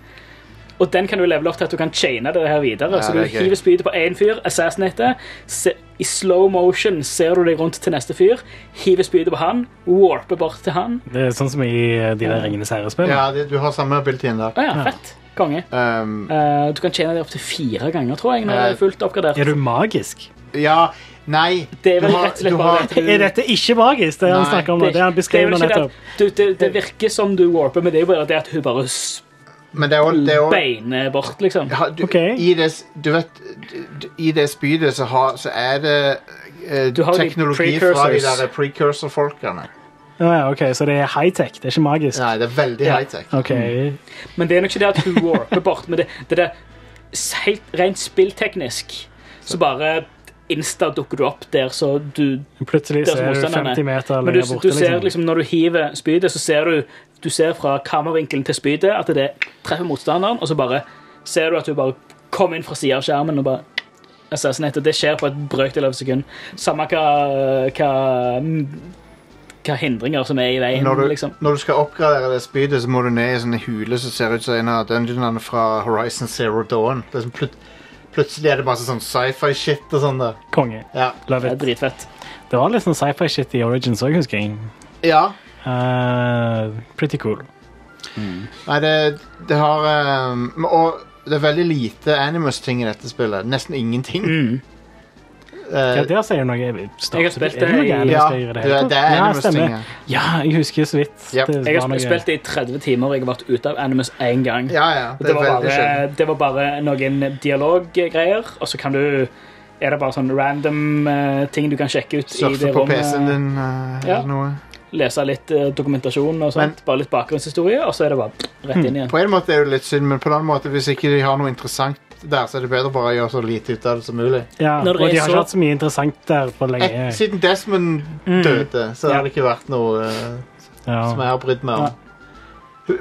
Og den kan du levele opp til at du kan chaine det her videre. Ja, så det du er gøy. hiver spydet på én fyr, assassinater. Se, I slow motion ser du deg rundt til neste fyr, hiver spydet på han, warper bort til han. Det er sånn som i eh, de der Ringenes herre-spill. Ja, det, du har samme abilityen der. Å ja, fett. Konge. Um, Eh, du kan tjene det opptil fire ganger, tror jeg, når det er fullt oppgradert. Er du magisk? ja, nei Det er du vel har- rett og slett du bare har- det at du- Er dette ikke magisk? Det han Nei. snakker om nå. Det han det, er beskrev vel nå ikke det, nettopp. at, du, det, det virker som du warper, men det er jo bare det at hun bare Men det er også, det er også beiner bort, liksom. ha, du, Ok. i, det, s- du vet, d- I det spydet så, har, så er det eh, Du har jo de teknologi fra de precursors. der precursor-folkene. Ja, ja, ok, Så det er high-tech, det er ikke magisk? Nei, det er veldig Ja. Mm. high-tech. Ok, Men det er nok ikke det at hun warper bort, men det, det er s- helt rent spillteknisk. Så bare insta dukker du opp der, så du Plutselig Det er så er du motstanderne. 50 meter Men du, lenger borte. du ser liksom når du hiver spydet, så ser du Du ser fra kameravinkelen til spydet at det treffer motstanderen, og så bare ser du at du bare kom inn fra siden av skjermen og bare Assassinate. Det skjer på et brøkdel av et sekund. Samme hva, hva mm, hva hindringer som er i veien. Når du, liksom. når du skal oppgradere det spydet, så må du ned i en sånn hule som ser ut som en av dungeonene fra Horizon Zero Dawn. Det er sånn plut plutselig er det masse sånn sci-fi-shit og sånn der. Konge. Ja. Love Det er it. dritfett. Det var litt sånn sci-fi-shit i Origins òg, husker jeg. ja. Eh, pretty cool. Nei, det, det har ehm, Og det er veldig lite Animus-ting i dette spillet. Nesten ingenting. Mm. Eh, Ja, der sier du noe. Jeg, Jeg har spilt det i- ja, Ja, det, er- det er ja, Animus-ting. stemmer. Ja. Ja, jeg husker så vidt. Yep. det Jeg var har noe- sp- spilt det i 30 timer, og jeg har vært ute av Animus én gang. ja, ja. Det var, veldig sjelden. bare, det var bare noen dialoggreier, og så kan du Er det bare sånn random eh, ting du kan sjekke ut i Surfe det på rommet? PC-en din eh, Ja. eller noe. Lese litt eh, dokumentasjon og sånt. bare litt bakgrunnshistorie, og så er det bare rett inn igjen. På en måte er det litt synd, men på den måte, hvis ikke de har noe interessant der, så er det bedre bare å gjøre så lite ut av det som mulig. Ja, Når og det de er har så- ikke hatt så mye interessant der på Et, lenge. siden Desmond Mm. døde, så har det ikke vært noe eh, som Ja. jeg har brydd meg om.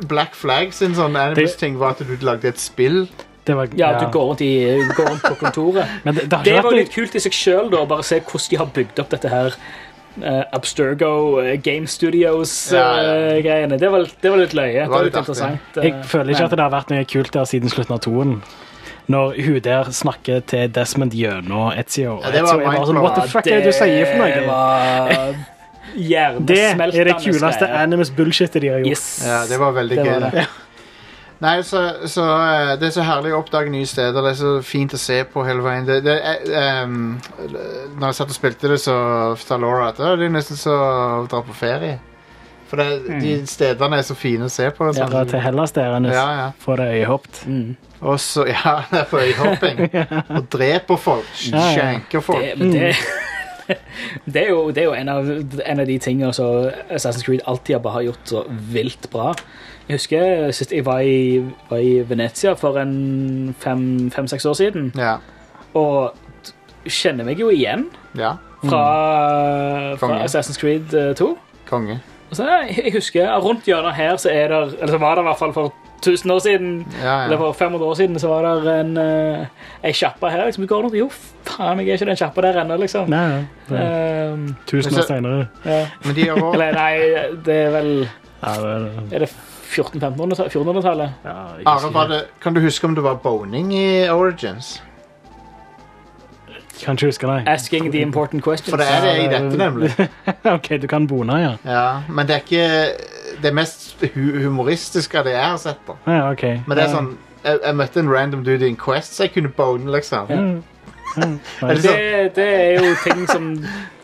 Black Flag sin sånn Animus-ting var at du lagde et spill. Det var, Ja, du går rundt, i, går rundt på kontoret. Men det, det har Det ikke var vært jo noe- litt kult i seg sjøl, da. Bare se hvordan de har bygd opp dette her. eh, Abstergo eh, Game Ja, ja. Studios-greiene. det, var, det var litt løye. Det var litt artig. interessant. eh, Jeg føler ikke at det har vært noe kult der siden slutten av toen. Når hun der snakker til Desmond gjennom Etzio. Ja, det var Ezio er bare sånn, mindblowing. What the fuck er det du sier for Det noe? var Det hjernesmeltende er det kuleste greier. Animus-bullshitet de har gjort. Yes. Ja, det var veldig Det gøy. var det. Ja. Nei, så, så eh, Det er så herlig å oppdage nye steder. Det er så fint å se på hele veien. Det, det, eh, em, når jeg satt og spilte det, så sa Laura at «Å, det er nesten så å dra på ferie. For det, de stedene er så fine å se på. og Ja, sånn. dra til Hellas der, Anders. Ja, ja. Få det øyehoppet. Mm. Og så, [LAUGHS] ja, det er for [LAUGHS] øyehopping. Og dreper folk. ja. Skjenker folk. Det, men det, [LAUGHS] det, er jo, det er jo en av, en av de tingene som Assassin's Creed alltid har bare gjort så vilt bra. Jeg husker sist jeg var i, var i Venezia for en fem-seks år siden, Ja. og t- kjenner meg jo igjen ja. fra, fra Mm. Konge. Assassin's Creed eh, 2. Konge. Og så, jeg, jeg husker Rundt hjørnet her så er der, eller så var det i hvert fall for 1000 år siden Ja, Eller ja. for 500 år siden så var det en, eh, ei kjappe her. Liksom, du går rundt, jo, faen, jeg er ikke den kjappa der ennå, liksom. Nei, nei. Ehm, Tusen Men år så- senere. ja. Men de har også [LAUGHS] Eller nei, det er vel Ja, det- Er det 1400-1500-tallet? ja, jeg Are, var husker det, kan du huske om det var boning i Origins? ikke. Kan ikke huske det. Asking the important questions. For det er det i dette, nemlig. [LAUGHS] OK, du kan bone, ja. Ja, men det er ikke det mest hu humoristiske av det jeg har sett. på. Ja, ok. Men det er sånn jeg, jeg møtte en random dude i en Quest, så jeg kunne bone, liksom. Ja. Mm. Eller Det, så, det er jo ting som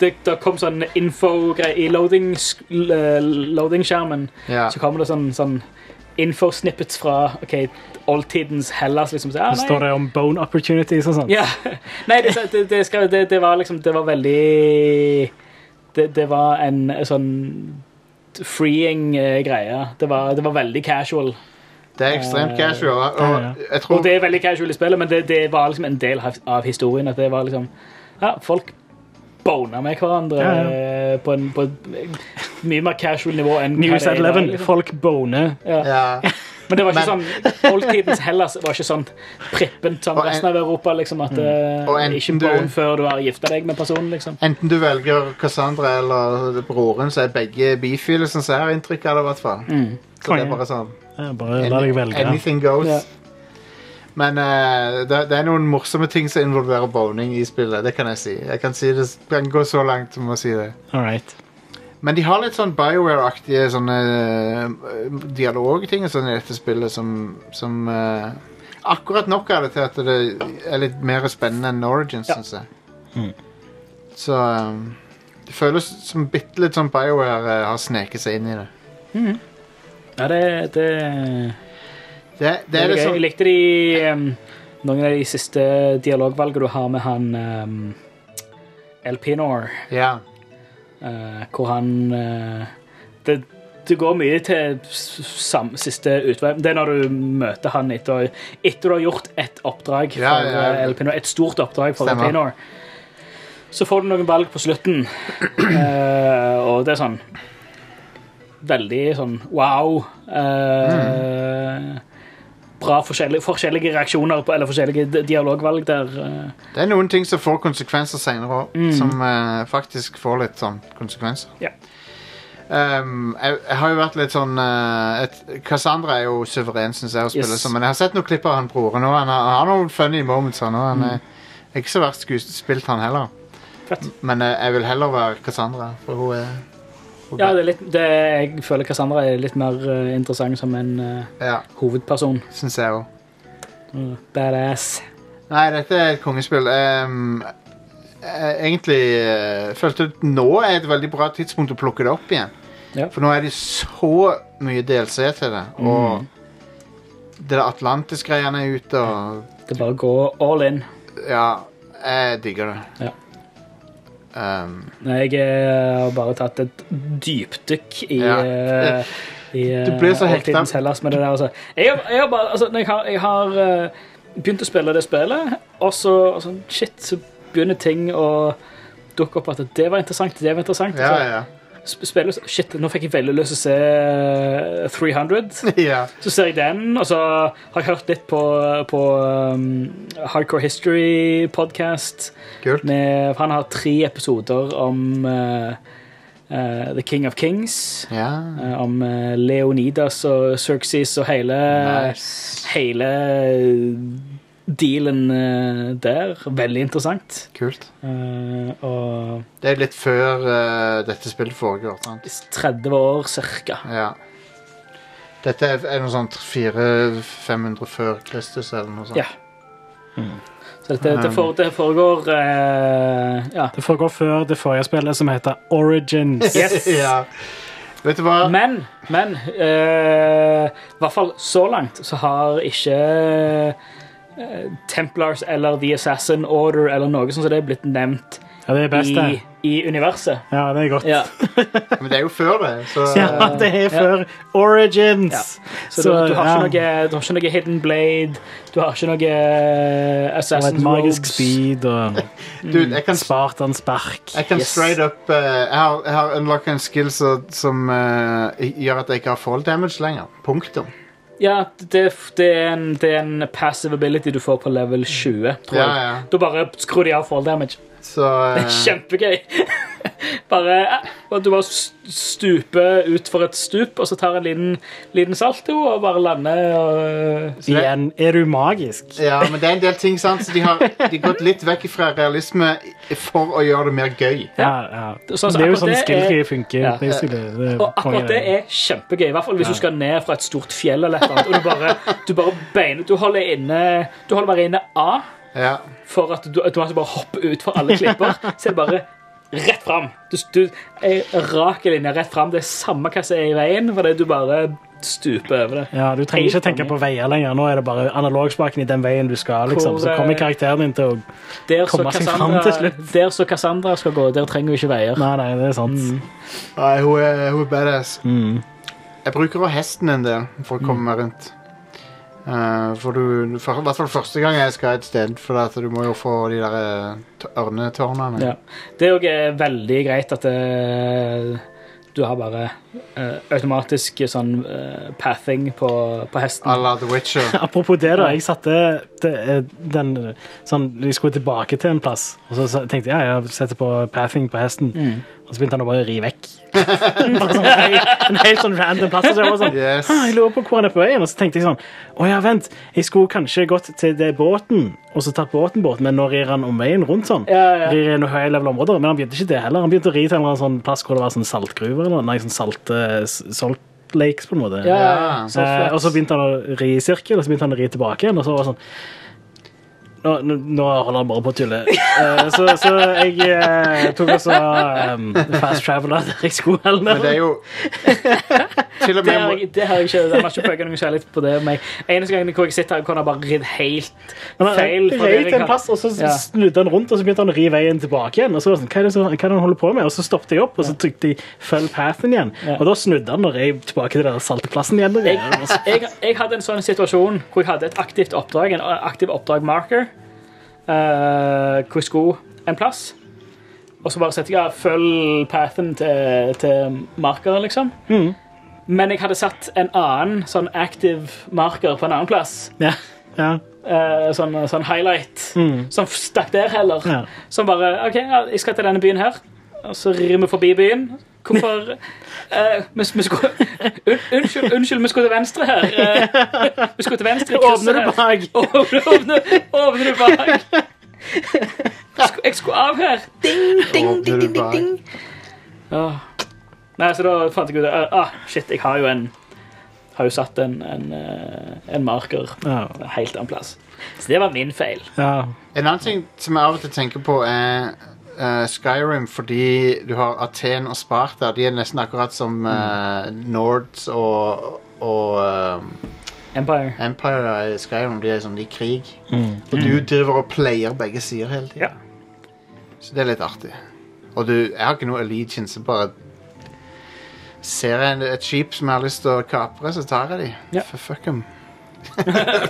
Det, det kom sånn info-greier i loading- sk- l- loading-skjermen. ja. så kommer det sånn, sånn info-snippets fra ok, oldtidens Hellas. liksom. Så, ja, Det står nei, det om bone opportunities og sånn. ja. nei det, det, det, skal, det, det var liksom Det var veldig Det, det var en sånn freeing eh, greie. Det var, det var veldig casual. Det er ekstremt Eh, casual. ja, Og jeg Og tror det er veldig casual i spillet, men det, det var liksom en del av, av historien. at det var liksom, ja, Folk bona med hverandre Ja, ja. eh, på, en, på et mye mer casual nivå enn hva News det er at i dag, 11. liksom. Folk boner. Ja. ja. Men det var ikke Men- sånn oldtidens Hellas var ikke sånn prippent som Og en- resten av Europa. liksom At Og mm. enten ikke du- bone før du har gifta deg med personen. liksom Enten du velger Cassandra eller broren, så er begge bifile, sånn som jeg har inntrykk av det. i hvert Mm. fall. Så det er bare sånn Ja, Bare la deg velge. Anything goes. Ja. Men eh, det, det er noen morsomme ting som involverer boning i spillet. Det kan jeg si. Jeg kan, si det, jeg kan gå så langt som å si det. All right. Men de har litt sånn Bioware-aktige sånne eh, dialogting og sånn i dette spillet som, som eh, Akkurat nok av det til at det er litt mer spennende enn Origins, Ja. synes syns jeg. Så eh, det føles som bitte litt sånn Bioware eh, har sneket seg inn i det. Ja, det, det, Det, det det er er gøy. liksom Jeg likte de um, noen av de siste dialogvalgene du har med han um, Elpinor, Ja. eh, hvor han eh, det, det går mye til s- sam, siste utvei. Det er når du møter han etter, etter du har gjort et oppdrag for Ja, ja, ja. eh, Elpinor. Et stort oppdrag for Stemmer. Elpinor. Så får du noen valg på slutten, eh, og det er sånn Veldig sånn wow. eh, Bra forskjellige, forskjellige reaksjoner på, eller forskjellige di- dialogvalg der. eh. Det er noen ting som får konsekvenser seinere òg, som eh, faktisk får litt sånn konsekvenser. Mm. Ja. Ehm, jeg, jeg har jo vært litt sånn eh, et, Cassandra er jo suveren, syns jeg, å spille Yes. som. Men jeg har sett noen klipp av han broren òg. Han, har- han har noen funny moments, han òg. Han er er ikke så verst skues- spilt, han heller. Mm. Fett. Men eh, jeg vil heller være Cassandra, for hun er hun Ja, det er litt, det, jeg føler Cassandra er litt mer eh, interessant som en eh, ja, hovedperson. syns jeg òg. Mm, Badass. Nei, dette er et kongespill. Ehm, jeg egentlig eh, følte at nå er et veldig bra tidspunkt å plukke det opp igjen. Ja. For nå er det så mye DLC til det. Og det der Atlantis-greiene er ute, og Det er bare å gå all in. Ja, jeg digger det. Ja. Ehm, Nei, Jeg eh, har bare tatt et dypdykk i, Ja. eh, i eh, Du blir så hekta. oldtidens Hellas med det der. Altså. Jeg, har- jeg har bare altså, når jeg har, jeg har eh, begynt å spille det spillet, og så og sånn, Shit, så begynner ting å dukke opp at det var interessant, det var interessant. ja, ja. Så sp- spiller, jeg- shit, nå fikk jeg veldig lyst til å se eh, 300. ja. [LAUGHS] Så ser jeg den, og så har jeg hørt litt på, på um, Hardcore History podcast. Kult. Med, for han har tre episoder om eh, eh, The King of Kings. Ja. eh, om eh, Leonidas og Xerxes og hele, Nice. hele dealen eh, der. Veldig interessant. Kult. Eh, og Det er litt før eh, dette spillet foregår. sant? 30 år cirka. Ja. Dette er, er noe sånt 400-500 før Kristus eller noe sånt. Ja. Så dette, det, fore- det foregår eh, Ja. Det foregår før det forrige spillet, som heter [LAUGHS] Origins. Yes. ja. Vet du hva? Men, men eh, I hvert fall så langt så har ikke eh, Templars eller The Assassin Order eller noe sånt som det er blitt nevnt Ja, det er best, i, det. i universet. Ja, det er godt. Ja. Men det er jo før det, så [LAUGHS] Ja, det er før Origins! Så, du, du, har ja, ikke noe, du har ikke noe Hidden Blade, du har ikke noe eh, og et Assassin's magisk Robes. speed og eh, Dude, jeg kan, Spartan spark. jeg kan Yes. straight up eh, Jeg har, jeg har unlocka en skill så, som eh, gjør at jeg ikke har fall damage lenger. Punktum. Ja, det, det, er en, det er en passive ability du får på level 20, tror Ja, jeg. ja. Da bare skrur de av fall damage. Så eh, Kjempegøy. [LAUGHS] Bare, eh, du bare s- stuper ut for et stup, og så tar en liten, liten salto og bare lander. eh, Og... Igjen, er du magisk? ja, men det er en del ting, sant? Så de har, de har gått litt vekk fra realisme for å gjøre det mer gøy. Ja, ja. Så, altså, det er jo akkurat sånn det er- skilltree funker. Ja. basically. Det er Og akkurat kongen. det er kjempegøy, i hvert fall hvis du skal ned fra et stort fjell eller et eller annet, og du bare, du bare beiner, du holder inne, du holder bare inne A Ja. for at du automatisk bare hopper ut for alle klipper, så er det bare rett frem. Du, du er rak linje rett frem, det er samme hva som er i veien, fordi du bare stuper over det. Ja, Du trenger ikke Helt tenke konge. på veier lenger. Nå er det bare analogspaken i den veien du skal. liksom. Så Hvor, eh, kommer karakteren din til å Der så, Komme seg fram Cassandra, til slutt. der så Cassandra skal gå, der trenger hun ikke veier. Nei, nei, det er sant. Mm. Nei, hun er, hun er badass. Mm. Jeg bruker også hesten en del for å Mm. komme meg rundt. Eh, for du, for, I hvert fall første gang jeg skal et sted, for at du må jo få de der eh, t- ørnetårnene. Ja. Det er jo eh, veldig greit at eh, du har bare eh, automatisk sånn eh, pathing på, på À hesten. la The Witcher. Apropos det, da. Jeg satte det, eh, den sånn, Jeg skulle tilbake til en plass, og så sa- tenkte jeg ja, jeg setter på pathing på hesten. Mm. Og så begynte han å bare ri vekk. [LAUGHS] bare sånn, en helt- en helt sånn random plass. Og så jeg var sånn, [LAUGHS] Yes. «Ah, jeg lurer på hvor han er på veien. Og så tenkte jeg sånn Å ja, vent. Jeg skulle kanskje gått til det båten, og så tatt båten bort, men nå rir han om veien rundt sånn. Ja, ja. Rir i noe høy level områder, Men han begynte ikke det heller. Han begynte å ri til en eller annen sånn plass hvor det var sånn saltgruver eller nei, sånn salt, eh, s- salt lakes, på en måte. Ja, Ja. så Eh, flaks. og så begynte han å ri i sirkel, og så begynte han å ri tilbake igjen. Og så var det sånn nå, nå, nå holder han bare på å tulle. Eh, så, så jeg eh, tok også um, fast traveler der jeg skulle. Eller, Men det er jo [LAUGHS] Til og det med har, må- jeg, det har jeg ikke Jeg har ikke pøket noe kjærlighet på det. Men eneste gangen hvor jeg sitter her, kan jeg bare ridd helt Men han feil. fra der rei jeg til en kan. plass, og så Ja. snudde han rundt, og så begynte han å ri veien tilbake igjen. Og så var det sånn, hva er det, som- hva er det han holder på med? Og så stoppet jeg opp, og så trykte jeg følg pathen igjen. Ja. Og da snudde han og rei tilbake til den saltplassen igjen. Og så, jeg, [LAUGHS] jeg hadde en sånn situasjon hvor jeg hadde et aktivt oppdrag, en eh, aktiv oppdrag-marker, eh, hvor jeg skulle en plass. Og så bare setter jeg ja, følg pathen til, til markeren, liksom. Men jeg hadde satt en annen sånn aktiv marker på en annen plass. ja, ja. eh, sånn, sånn highlight. Som stakk der heller. Mm. Ja. Som bare OK, ja, jeg skal til denne byen her. Og så rir vi forbi byen. [LAUGHS] Hvorfor eh, vi, vi skulle, un, unnskyld, unnskyld, vi skulle til venstre her. Eh, vi skulle til venstre i krysset Åpner du her. bak? [LAUGHS] Åpne, åpne, åpne du bak. Jeg skulle- Jeg skulle av her. Åpner du bak? Ah. Ja. Nei, så da fant jeg ut eh, ah, Shit, jeg har jo en Har jo satt en, en, eh, en marker Ja. en helt annen plass. Så det var min feil. ja. En annen ting som jeg av og til tenker på, er eh, Skyrim, fordi du har Aten og Sparta. De er nesten akkurat som Mm. eh, Nords og, og eh, Empire. Empire i Skyrim. De er sånn i krig. Og du driver og player begge sider hele tiden. Ja. Så det er litt artig. Og du, jeg har ikke noe allegiance, jeg bare Ser jeg en- et skip som jeg har lyst til å kapre, så tar jeg de. Ja. For fuck em. [LAUGHS]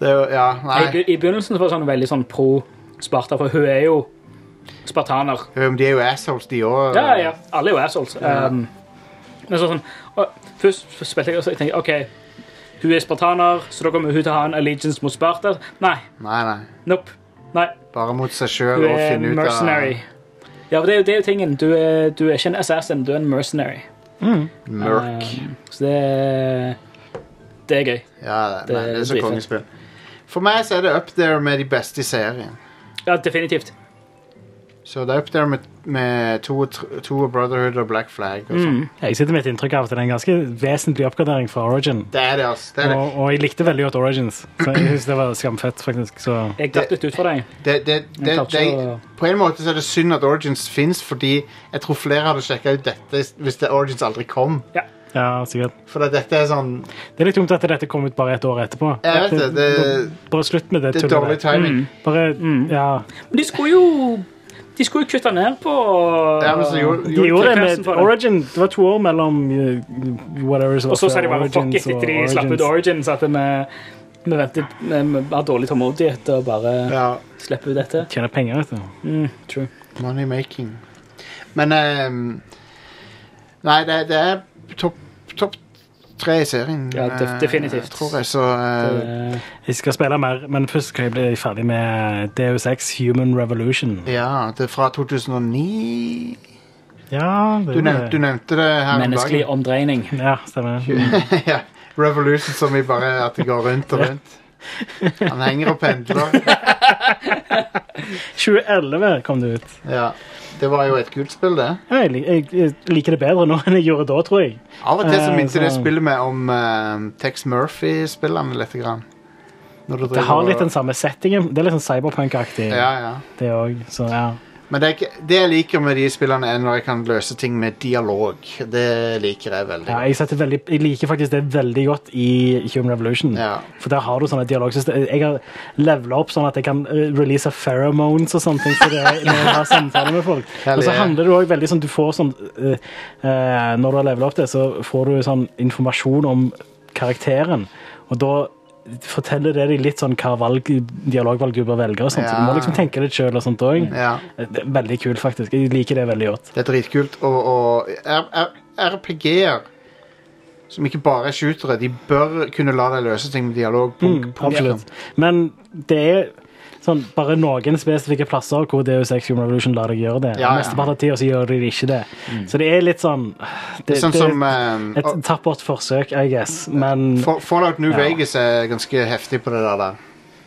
det er jo Ja, I, nei. be- I begynnelsen så var det sånn veldig sånn pro Sparta, for hun er jo spartaner. Jo, men Um, De er jo assholes, de òg. Ja, ja. Alle er jo assholes. Ja. Um, men så sånn, og, først så spilte jeg og så tenkte jeg, OK, hun er spartaner, så da kommer hun til å ha en allegiance mot Sparta. Nei. Nei, nei. Nope. Nei, Bare mot seg sjøl hun og er finne ut mercenary. Ja, for det er jo, det er jo tingen. Du er, du er ikke en assassin, du er en mercenary. av mørk. Um, så det er, det er gøy. Ja, det, det nei, det er så blir kongespill. For meg så er det up there med de beste i serien. Ja, definitivt. Så det er up there med, med to, to Brotherhood og Black Flag. Og sånn. Jeg sitter med et inntrykk av at det er en ganske vesentlig oppgradering fra Origin. Det er det, altså. Det, er det. Og, og jeg likte veldig godt Origins. Så jeg synes det var skamfett, faktisk. Så Jeg datt litt ut for deg. Det, det, det, klarte det, ikke å- på en måte så er det synd at Origins fins, fordi jeg tror flere hadde sjekka ut dette hvis det Origins aldri kom. ja, sikkert. For at dette er sånn Det er litt dumt at dette kom ut bare et år etterpå. Jeg vet det, det- Bare slutt med det Mm. Det er dårlig tullet. der. timing. Bare, Mm. ja. Men de skulle jo De skulle jo kutte ned på Ja, men så gjorde, De gjorde gjorde det frekvensen med for det. Origin. Det var to år mellom uh, whatever som Og så var sa de før bare fuck it Origins etter de og slapp ut Origins. Origins. At vi, vi ventet vi, vi har dårlig tålmodighet og bare ja, slipper ut dette. Tjener penger, vet du. Mm, true. Money making. Men ehm, Nei, det, det er topp topp tre i serien. Ja, def- eh, definitivt. Tror jeg, så eh, Eh, Jeg skal spille mer, men først skal jeg bli ferdig med DU6 Human Revolution. Ja, det er fra 2009 Ja, det Du var nevnte, det. du nevnte det her om [LAUGHS] Menneskelig dagen. omdreining. Ja, stemmer. ja. Revolution som i bare at det går rundt og rundt. Han henger og pendler. 2011 kom det ut. Ja. Det var jo et kult spill, det. Ja, Jeg, lik- jeg, jeg liker det bedre nå [LAUGHS] enn jeg gjorde da, tror jeg. Av og til så Eh, minner så- det spillet meg om eh, Tex Murphy-spillene litt. Grann. Når du Det har driver litt den og- samme settingen. Det er litt sånn cyberpunk-aktig, ja, ja. det òg. Så ja. Men det, er ikke, det jeg liker med de spillene, er når jeg kan løse ting med dialog. Det liker jeg veldig. ja jeg, setter veldig, jeg liker faktisk det veldig godt i Human Revolution. Ja. For der har du sånne dialogsystem. Jeg har levela opp sånn at jeg kan eh, release pheromones og sånne ting. Så det er, når jeg har samtaler med folk. Hell Og så yeah. handler det også veldig sånn Du får sånn eh, eh, Når du har levela opp det, så får du sånn informasjon om karakteren. Og da forteller det deg litt sånn hva valg, dialogvalg du bør velge. og sånt. Så du må Ja. liksom tenke litt sjøl og sånt òg. Ja. Det er Veldig kult, faktisk. Jeg liker det veldig godt. Det er dritkult. Og, og R- R- RPG-er som ikke bare er shootere, de bør kunne la deg løse ting med dialog. Punk, liksom. Mm, absolutt. Men det er sånn, bare noen spesifikke plasser hvor DU6 Human Revolution lar deg gjøre det. Ja, ja. Mesteparten av tida så gjør de ikke det. Så det er litt sånn Det, Sånn det er som eh, et tappert forsøk, I guess, men Fa- Fallout New Ja. Vegas er ganske heftig på det der, der.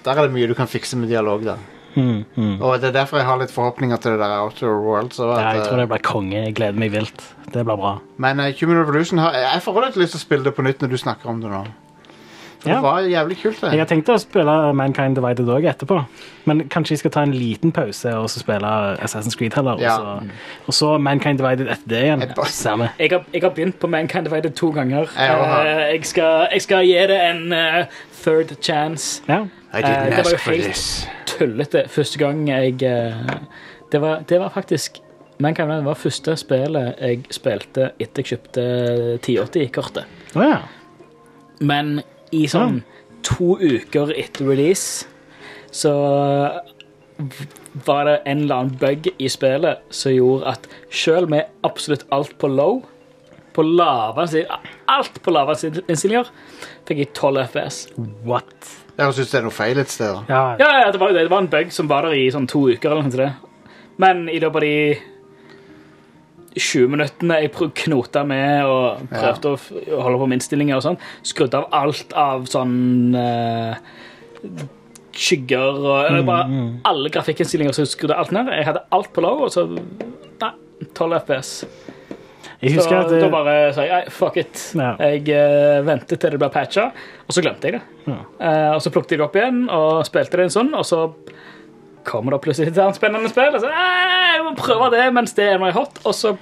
Der er det mye du kan fikse med dialog, da. mm, mm. Og det er derfor jeg har litt forhåpninger til det der Outer Worlds. Og Ja, at, jeg tror eh, det blir konge. Jeg gleder meg vilt. Det blir bra. Men eh, Human Revolution har Jeg får litt lyst til å spille det på nytt når du snakker om det nå. For Ja. det var jævlig kult, Jeg det. har tenkt å spille Mankind Divided òg etterpå, men kanskje jeg skal ta en liten pause og så spille Assassin's Creed heller. Ja. Og, så, og så Mankind Divided etter det igjen. Jeg bare- Samme. Jeg har, jeg har begynt på Mankind Divided to ganger. Jeg også har. Eh, jeg, skal, jeg skal gi det en eh, third chance. Ja. I Eh, didn't det var jo ask for helt- this. Tullete første gang jeg eh, det, var, det var faktisk Mankind Divided var første spillet jeg spilte etter jeg kjøpte 1080-kortet. Å ja. Men i sånn to uker etter release så v- var det en eller annen bug i spillet som gjorde at selv med absolutt alt på low, på lave alt på lave innstillinger, fikk jeg 12 FPS. What? Det høres eh, ut som det er noe feil et sted. da. Ja, Ja, ja, det var jo det. Det var en bug som var der i sånn to uker eller noe sånt. Men i løpet av de 20 minuttene jeg prøv- knota med og prøvde å f- å holde på med innstillinger og sånn, skrudde av alt av sånn eh, skygger og eller bare Alle grafikkinnstillinger så skrudde jeg alt ned. Jeg hadde alt på lav, og så Nei, 12 FPS. Jeg Så husker at da eh, bare sa jeg «Nei, fuck it. Ja. Jeg eh, ventet til det ble patcha, og så glemte jeg det. Ja. Eh, og så plukket jeg det opp igjen og spilte det en sånn, og så kommer det plutselig et annet spennende spill. Og så, «Nei, jeg må prøve det mens det er meg hot, og så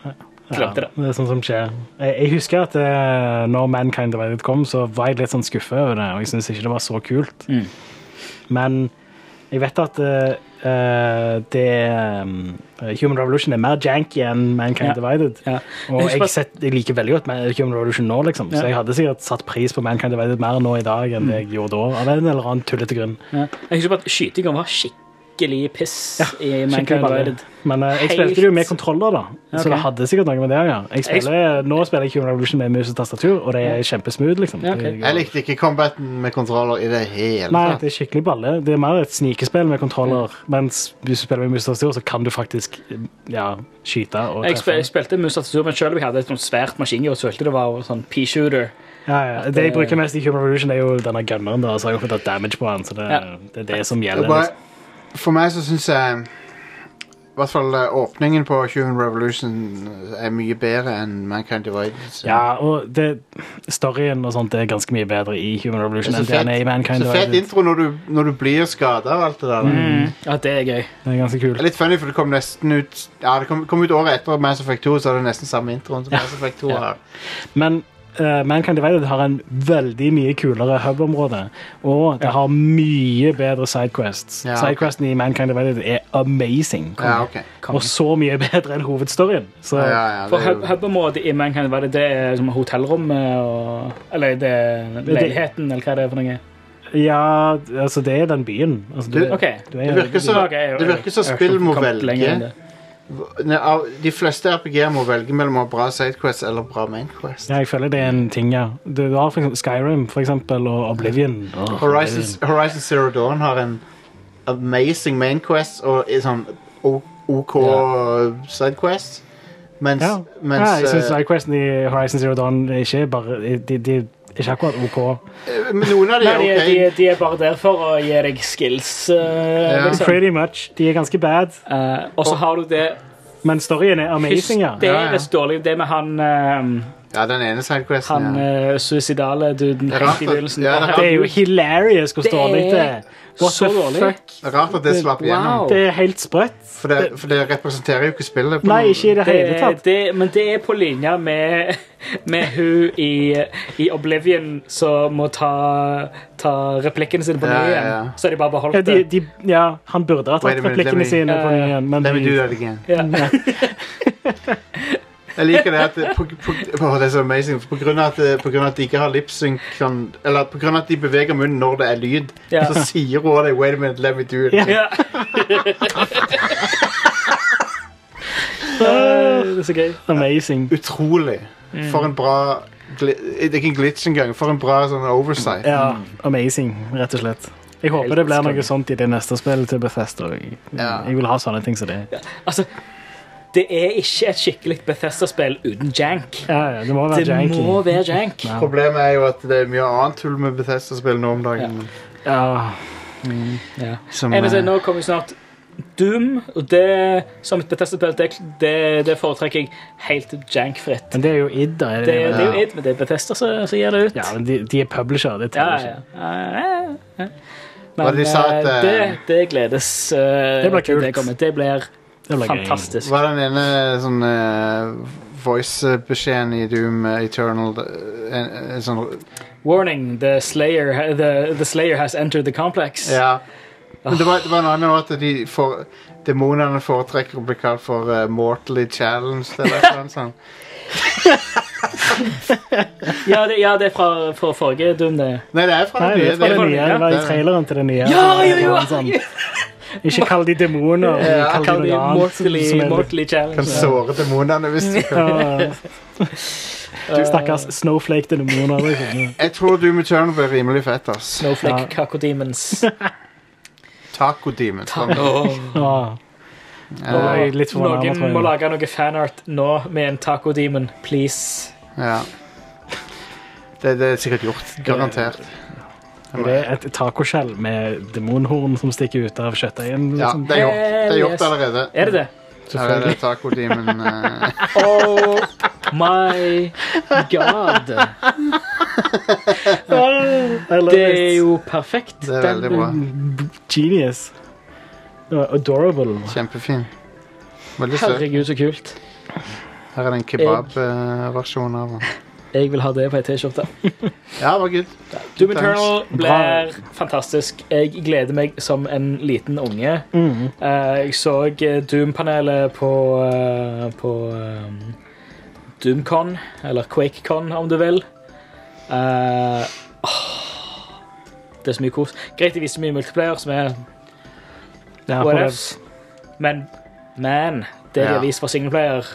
glemte jeg det. Ja, det er sånn som skjer. Jeg, jeg husker at eh, når Mankind Divided kom, så var jeg litt sånn skuffet over det, og jeg syntes ikke det var så kult. Mm. Men jeg vet at eh, eh, det eh, Human Revolution er mer janky enn Mankind Ja. Divided. Ja. Og Husk jeg, at- sett, jeg liker veldig godt Man- Human Revolution nå, liksom. Ja. Mm. Så jeg hadde sikkert satt pris på Mankind Divided mer nå i dag enn det jeg gjorde da, av en eller annen tullete grunn. Ja. Jeg husker bare at skytinga var skikkelig piss i Skikkelig Mankind balle. Divided. Men eh, jeg Helt- spilte det jo med kontroller, da. Ja, ok. Så det hadde sikkert noe med det å gjøre. Jeg Jeg spiller- Nå spiller jeg Human Revolution med mus og tastatur, og det er kjempesmooth. liksom. Ja, ok. Det går- Jeg likte ikke combaten med kontroller i det hele Nei, tatt. det er skikkelig balle. Det er mer et snikespill med kontroller. Mens hvis du spiller med mus og tastatur, så kan du faktisk ja, skyte og Jeg, spil, jeg treffe. spilte med Mustatur, men selv om jeg hadde et sånt svært maskingevær, så følte jeg det var sånn P-shooter. Ja, ja. Det jeg bruker mest i Human Revolution, er jo denne gunneren. da, så har jeg fått damage på den, så det, Ja. det er det som Det gjelder. er bare- liksom. For meg så syns jeg i hvert fall eh, åpningen på Human Revolution er mye bedre enn Mankind Divided. så- Ja, og det, storyen og sånt er ganske mye bedre i Human Revolution Så enn det den er i Mankind. så fet Divided. intro når du, når du blir skada og alt det der. da. Mm. Ja, det er gøy. Det er ganske kult. Det er litt funny, for det kom nesten ut Ja, det kom, kom ut året etter Mass Effect 2, så er det nesten samme introen som Mass Effect 2 har. Men eh, Mankind Divided har en veldig mye kulere hub-område. Og det har mye bedre sidequests. Ja, ok. Sidequesten i Mankind Divided er amazing. Ja, ok. Og så mye bedre enn hovedstoryen. Så Ja, ja, det For er jo- hub- hub-området i Mankind Valley, det er som hotellrommet og Eller det er leiligheten, eller hva det er for noe. ja, altså, det er den byen. Altså, Du- OK. du det virker så- Ok, jeg- det virker som jeg- jeg- spill må jeg- jeg- jeg- velge. lenger enn det. Nei, av- De fleste RPG må velge mellom å ha bra sidequest eller bra mainquest. Ja, jeg føler det er en ting, ja. Du har for eksempel Skyrim for eksempel, og Oblivion. Åh, Horizon, Oblivion. Horizon Zero Dawn har en amazing mainquest og en sånn O- OK sidequest. Mens, Ja. mens ja, jeg synes eh, sidequesten i Horizon Zero Dawn er ikke bare De, de er ikke akkurat OK. eh, men noen av de Nei, er de, OK. de, de er bare der for å gi deg skills, eh, liksom. Pretty much. De er ganske bad. Eh, og så har du det Men storyen er amazing, ja. Ja, ja. hysterisk dårlige, det med han eh, Ja, den ene sidequesten. Han ja. eh, suicidale duden Det er helt i rart at- begynnelsen. ja, det er Bare, rart Det er jo hilarious hvor Det er dårlig det er. What så the dårlig. fuck? Det er Rart at det slapp igjennom. Wow. Det er helt sprøtt. For det, for det representerer jo ikke spillet. på Nei, noen- ikke i det hele Det, tatt. Eh, det, men det er på linje med, med hun i, i Oblivion som må ta, ta replikken sin på Ja, ny ja, igjen. ja. Så har de bare Ja, beholdt de, det. de, ja, han burde ha Wait a tatt minute, replikkene let me- sine på Ja, ja. igjen, men Let me do de, that again. Ja. Mm. Jeg liker det at det- på, på, å, det er så amazing. for På grunn av at, det- på grunn av at de ikke har lipsync kan- Eller på grunn av at de beveger munnen når det er lyd, Ja. så sier hun det. Wait a minute, let me do it. Ja. [LAUGHS] Ja. Eh, det er så gøy. amazing. Utrolig. Mm. For en bra gli- Det er ikke en glitch engang. For en bra sånn oversight. Ja, amazing, rett og slett. Jeg håper Helt det blir skam. noe sånt i det neste spillet til Bethesda. Jeg, Ja. jeg vil ha sånne ting som det. Altså, det er ikke et skikkelig Bethesda-spill uten jank. Ja, ja, det må være Det janky. må være jank. Ja. Problemet er jo at det er mye annet tull med Bethesda-spill nå om dagen. Ja. Ja. Som, Jeg vil si, eh, nå kommer jo snart Doom, og det som et Bethesda-spill, det, det, det foretrekker jeg helt jankfritt. Men det er jo id, da. Er Det, det det? det er jo id, men det er Bethesda som som gir det ut. Ja, men de, de er publisher. Det Ja, teller ja. ikke. ja. ja. Og Men de sa at, eh, eh, det, det gledes. eh, Det blir til kult. kommer. Det blir Det blir gøy. fantastisk. var eh, den ene sånn eh, voice-beskjeden i Doom eh, Eternal eh, en, en sånn Warning, the slayer, ha- the, the slayer has entered the complex. Ja. Men det var, det var en annen også at de for, demonene foretrekker å bli kalt for eh, Mortally Challenged eller et eller annet sånt. Ja, det, ja, det er fra, fra forrige Doom, det. Nei, det er fra Nei, den det nye. er det er- fra det nye. Det var i traileren til det nye. Ja, Det ja, var ja! en sånn- Ikke kall de demoner. Ja, kall Kall de det noe annet. som Eh, Mortally, er litt- mortally Kan Challenge. såre demonene hvis [LAUGHS] du kan. Ja. [LAUGHS] Du stakkars snowflake til demoner. liksom. Jeg tror Doom Eternal blir rimelig fett, ass. [LAUGHS] Snowflake, Kakodemons. Taco Demon. Ja. var jeg litt fornærmet, Noen tror jeg. må lage noe fanart nå med en tacodemon, please. Ja. Det, det er sikkert gjort. Garantert. Og Det er et tacoskjell med demonhorn som stikker ut av kjøttdeigen. Ja, Liksom. det er gjort, det er gjort allerede. Er det det? Her er det tacotimen. eh, Oh [LAUGHS] My god. I love Det er it. jo perfekt. Det er veldig bra. Genius. Det var Adorable. Kjempefin. Veldig søt. Herregud, så kult. Her er det en kebabversjon av den. Jeg vil ha det på ei T-skjorte. Ja, det var good. Doom Eternal Bra. blir fantastisk. Jeg gleder meg som en liten unge. Mm. Eh, jeg så eh, Doom-panelet på, eh, på eh, Doomcon, eller QuakeCon om du vil. Eh, åh, det er så mye kos. Greit, de viser mye multiplayer, som er Det her får whatevs, men man, det de Ja. har vist for singleplayer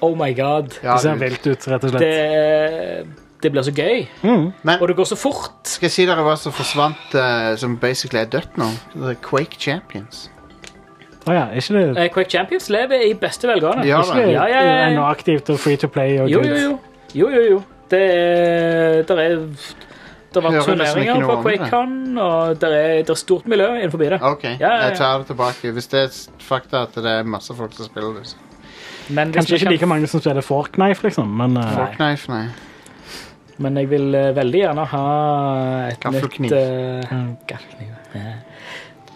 Oh my god. Ja, det ser dude. vilt ut, rett og slett. Det, det blir så gøy, Mm. Men og det går så fort. skal jeg si dere hva som forsvant, eh, som basically er dødt nå? The Quake Champions. Å ja, er ikke det, Eh, Quake Champions lever i beste velgående. Ja, ikke det da. Ja, ja, ja, ja. ennå aktivt og free to play? Og Jo, good? jo, jo. jo, jo, jo. Det er Der er der var Hører nesten ikke turneringer noe på om det. QuakeCon, og der er, der er stort miljø innenfor det. OK, ja, ja. jeg tar det tilbake. Hvis det er s- fakta at det er masse folk som spiller det. så- Men, hvis Kanskje vi ikke kan- like mange som spiller Forknife, liksom, men eh, Forknife, nei. men jeg vil eh, veldig gjerne ha et Gaffelkniv. nytt eh, Mm. Gaffelkniv. ja.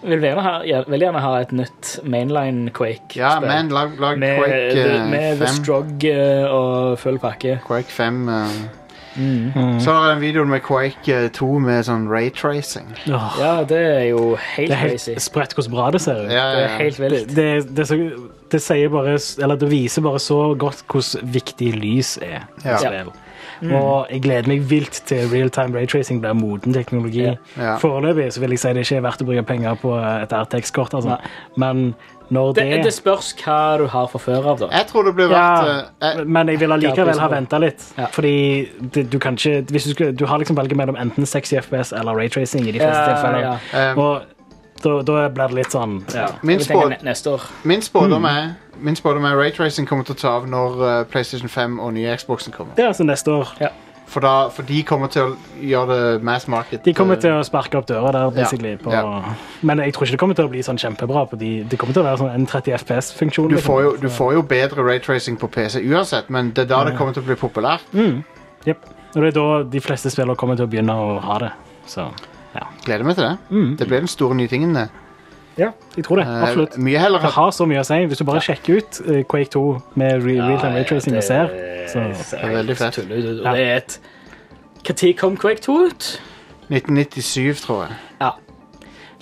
Jeg vil gjerne ha, ja, veldig gjerne ha et nytt mainline Quake. Ja, spill. men lag, lag med, Quake eh, the, med The 5. Strog eh, og full pakke. Quake 5 eh. mm. Så er det en video med Quake eh, 2 med sånn raytracing. Åh, Ja, det er jo helt, Det er crazy. helt sprøtt hvordan bra det ser ut. Ja, Det er ja, ja. helt vilt. Det, det, er så, det sier bare Eller det viser bare så godt hvordan viktig lys er i Ja. spill. Mm. Og jeg gleder meg vilt til real-time raytracing blir moden teknologi. Ja. Ja. Foreløpig så vil jeg si det ikke er verdt å bruke penger på et RTX-kort, altså. men når det, Det, det spørs hva du har fra før av, da. Jeg tror det blir verdt ja, eh, jeg- men jeg vil allikevel ha venta litt. Ja. Fordi det, du kan ikke hvis du, skulle, du har liksom valget mellom enten 60 FPS eller raytracing i de fleste Ja, tilfeller. ja. Og da, da blir det litt sånn ja. Min Jeg tenker spå- ne- neste år. Min spådom Mm. er Min spådom er Raytracing kommer til å ta av når eh, PlayStation 5 og nye Xboxen kommer. Det er altså neste år. For, da, for de kommer til å gjøre det mass market. De kommer eh, til å sparke opp døra der, basically. På, ja. Men jeg tror ikke det kommer til å bli sånn kjempebra. På de, det kommer til å være sånn en 30 FPS-funksjon. du får, jo, du får jo bedre raytracing på PC uansett, men det er da Mm. det kommer til å bli populært. Jep. Og det er da de fleste spillere kommer til å begynne å ha det. Så Gleder meg til det. Mm. Det blir den store nye tingen, det. ja, jeg tror det. Eh, Absolutt. mye heller Det at har så mye å si. Hvis du bare sjekker ut eh, Quake 2 med re real-time raytracing og ser, så Det er veldig fett. Tuller ut, og Ja. det er et Når kom Quake 2 ut? 1997, tror jeg.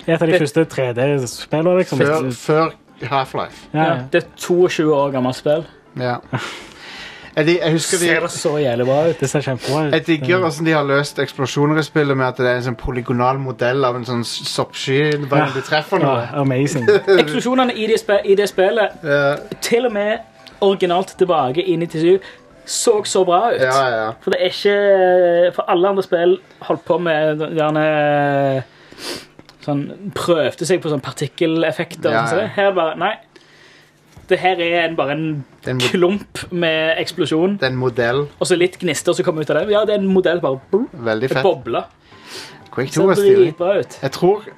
Det er et av de første 3D-spillene, liksom. Før, før Half-Life. Ja, ja. Det er 22 år gammelt spill. Ja. Jeg, di- jeg husker de Ser det så jævlig bra ut. Det ser kjempebra jeg ut. digger hvordan de har løst eksplosjoner i spillet med at det er en sånn polygonal modell av en sånn soppsky hver gang du treffer noe. Ja, [LAUGHS] amazing. Eksplosjonene i det, spe- i det spillet, Ja, til og med originalt tilbake i 97, så så bra ut. ja, ja. For det er ikke eh, For alle andre spill holdt på med gjerne Sånn Prøvde seg på sånn partikkeleffekter. og Ja, sånn som ja. det. Her bare Nei. Det her er en, bare en Det er en, mo- klump med eksplosjon det er en modell. og så litt gnister som kommer ut av det. Ja, det er en modell bare boom, Veldig det fett. bobler. Quake 2 Ser er stilig. dritbra ut. Jeg tror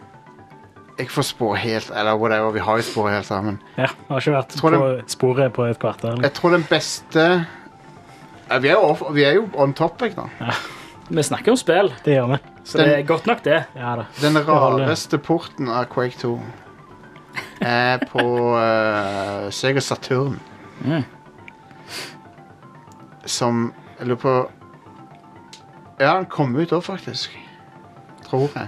Jeg får spå helt Eller whatever, vi har jo spå helt sammen. Ja, jeg har ikke vært Tror på det- sporet på et kvarter. eller? Jeg tror den beste ja, vi, er jo off, vi er jo on topic, da. Vi snakker om spill, Det gjør vi. så det er godt nok, det. Ja da. Den holder. rareste porten av Quake 2 er på uh, Sega Saturn. Som Jeg lurer på Ja, den kom ut da, faktisk. Tror jeg.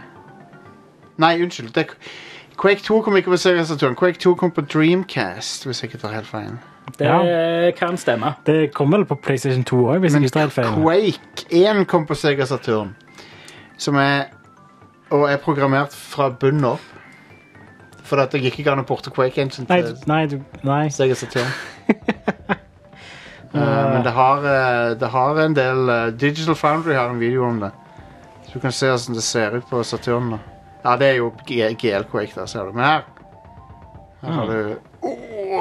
Nei, unnskyld. Det, er- Quake 2 kom ikke på Sega Saturn. Quake 2 kom på Dreamcast, hvis jeg ikke tar helt feil. Det Ja. kan stemme. Det kom vel på PlayStation 2 òg, hvis jeg ikke tar helt feil. Quake 1 kom på Sega Saturn. Som er Og er programmert fra bunnen opp. For at det gikk ikke an å porte Quake 1 sin Nei, til du- nei, du- nei. Sega [LAUGHS] Saturn. Eh, men det har, eh, det har en del eh, Digital Foundry har en video om det. Så du kan se hvordan det ser ut på Saturn. Da. Ja, det er jo G- GL Quake, da, ser du. Men her Her har du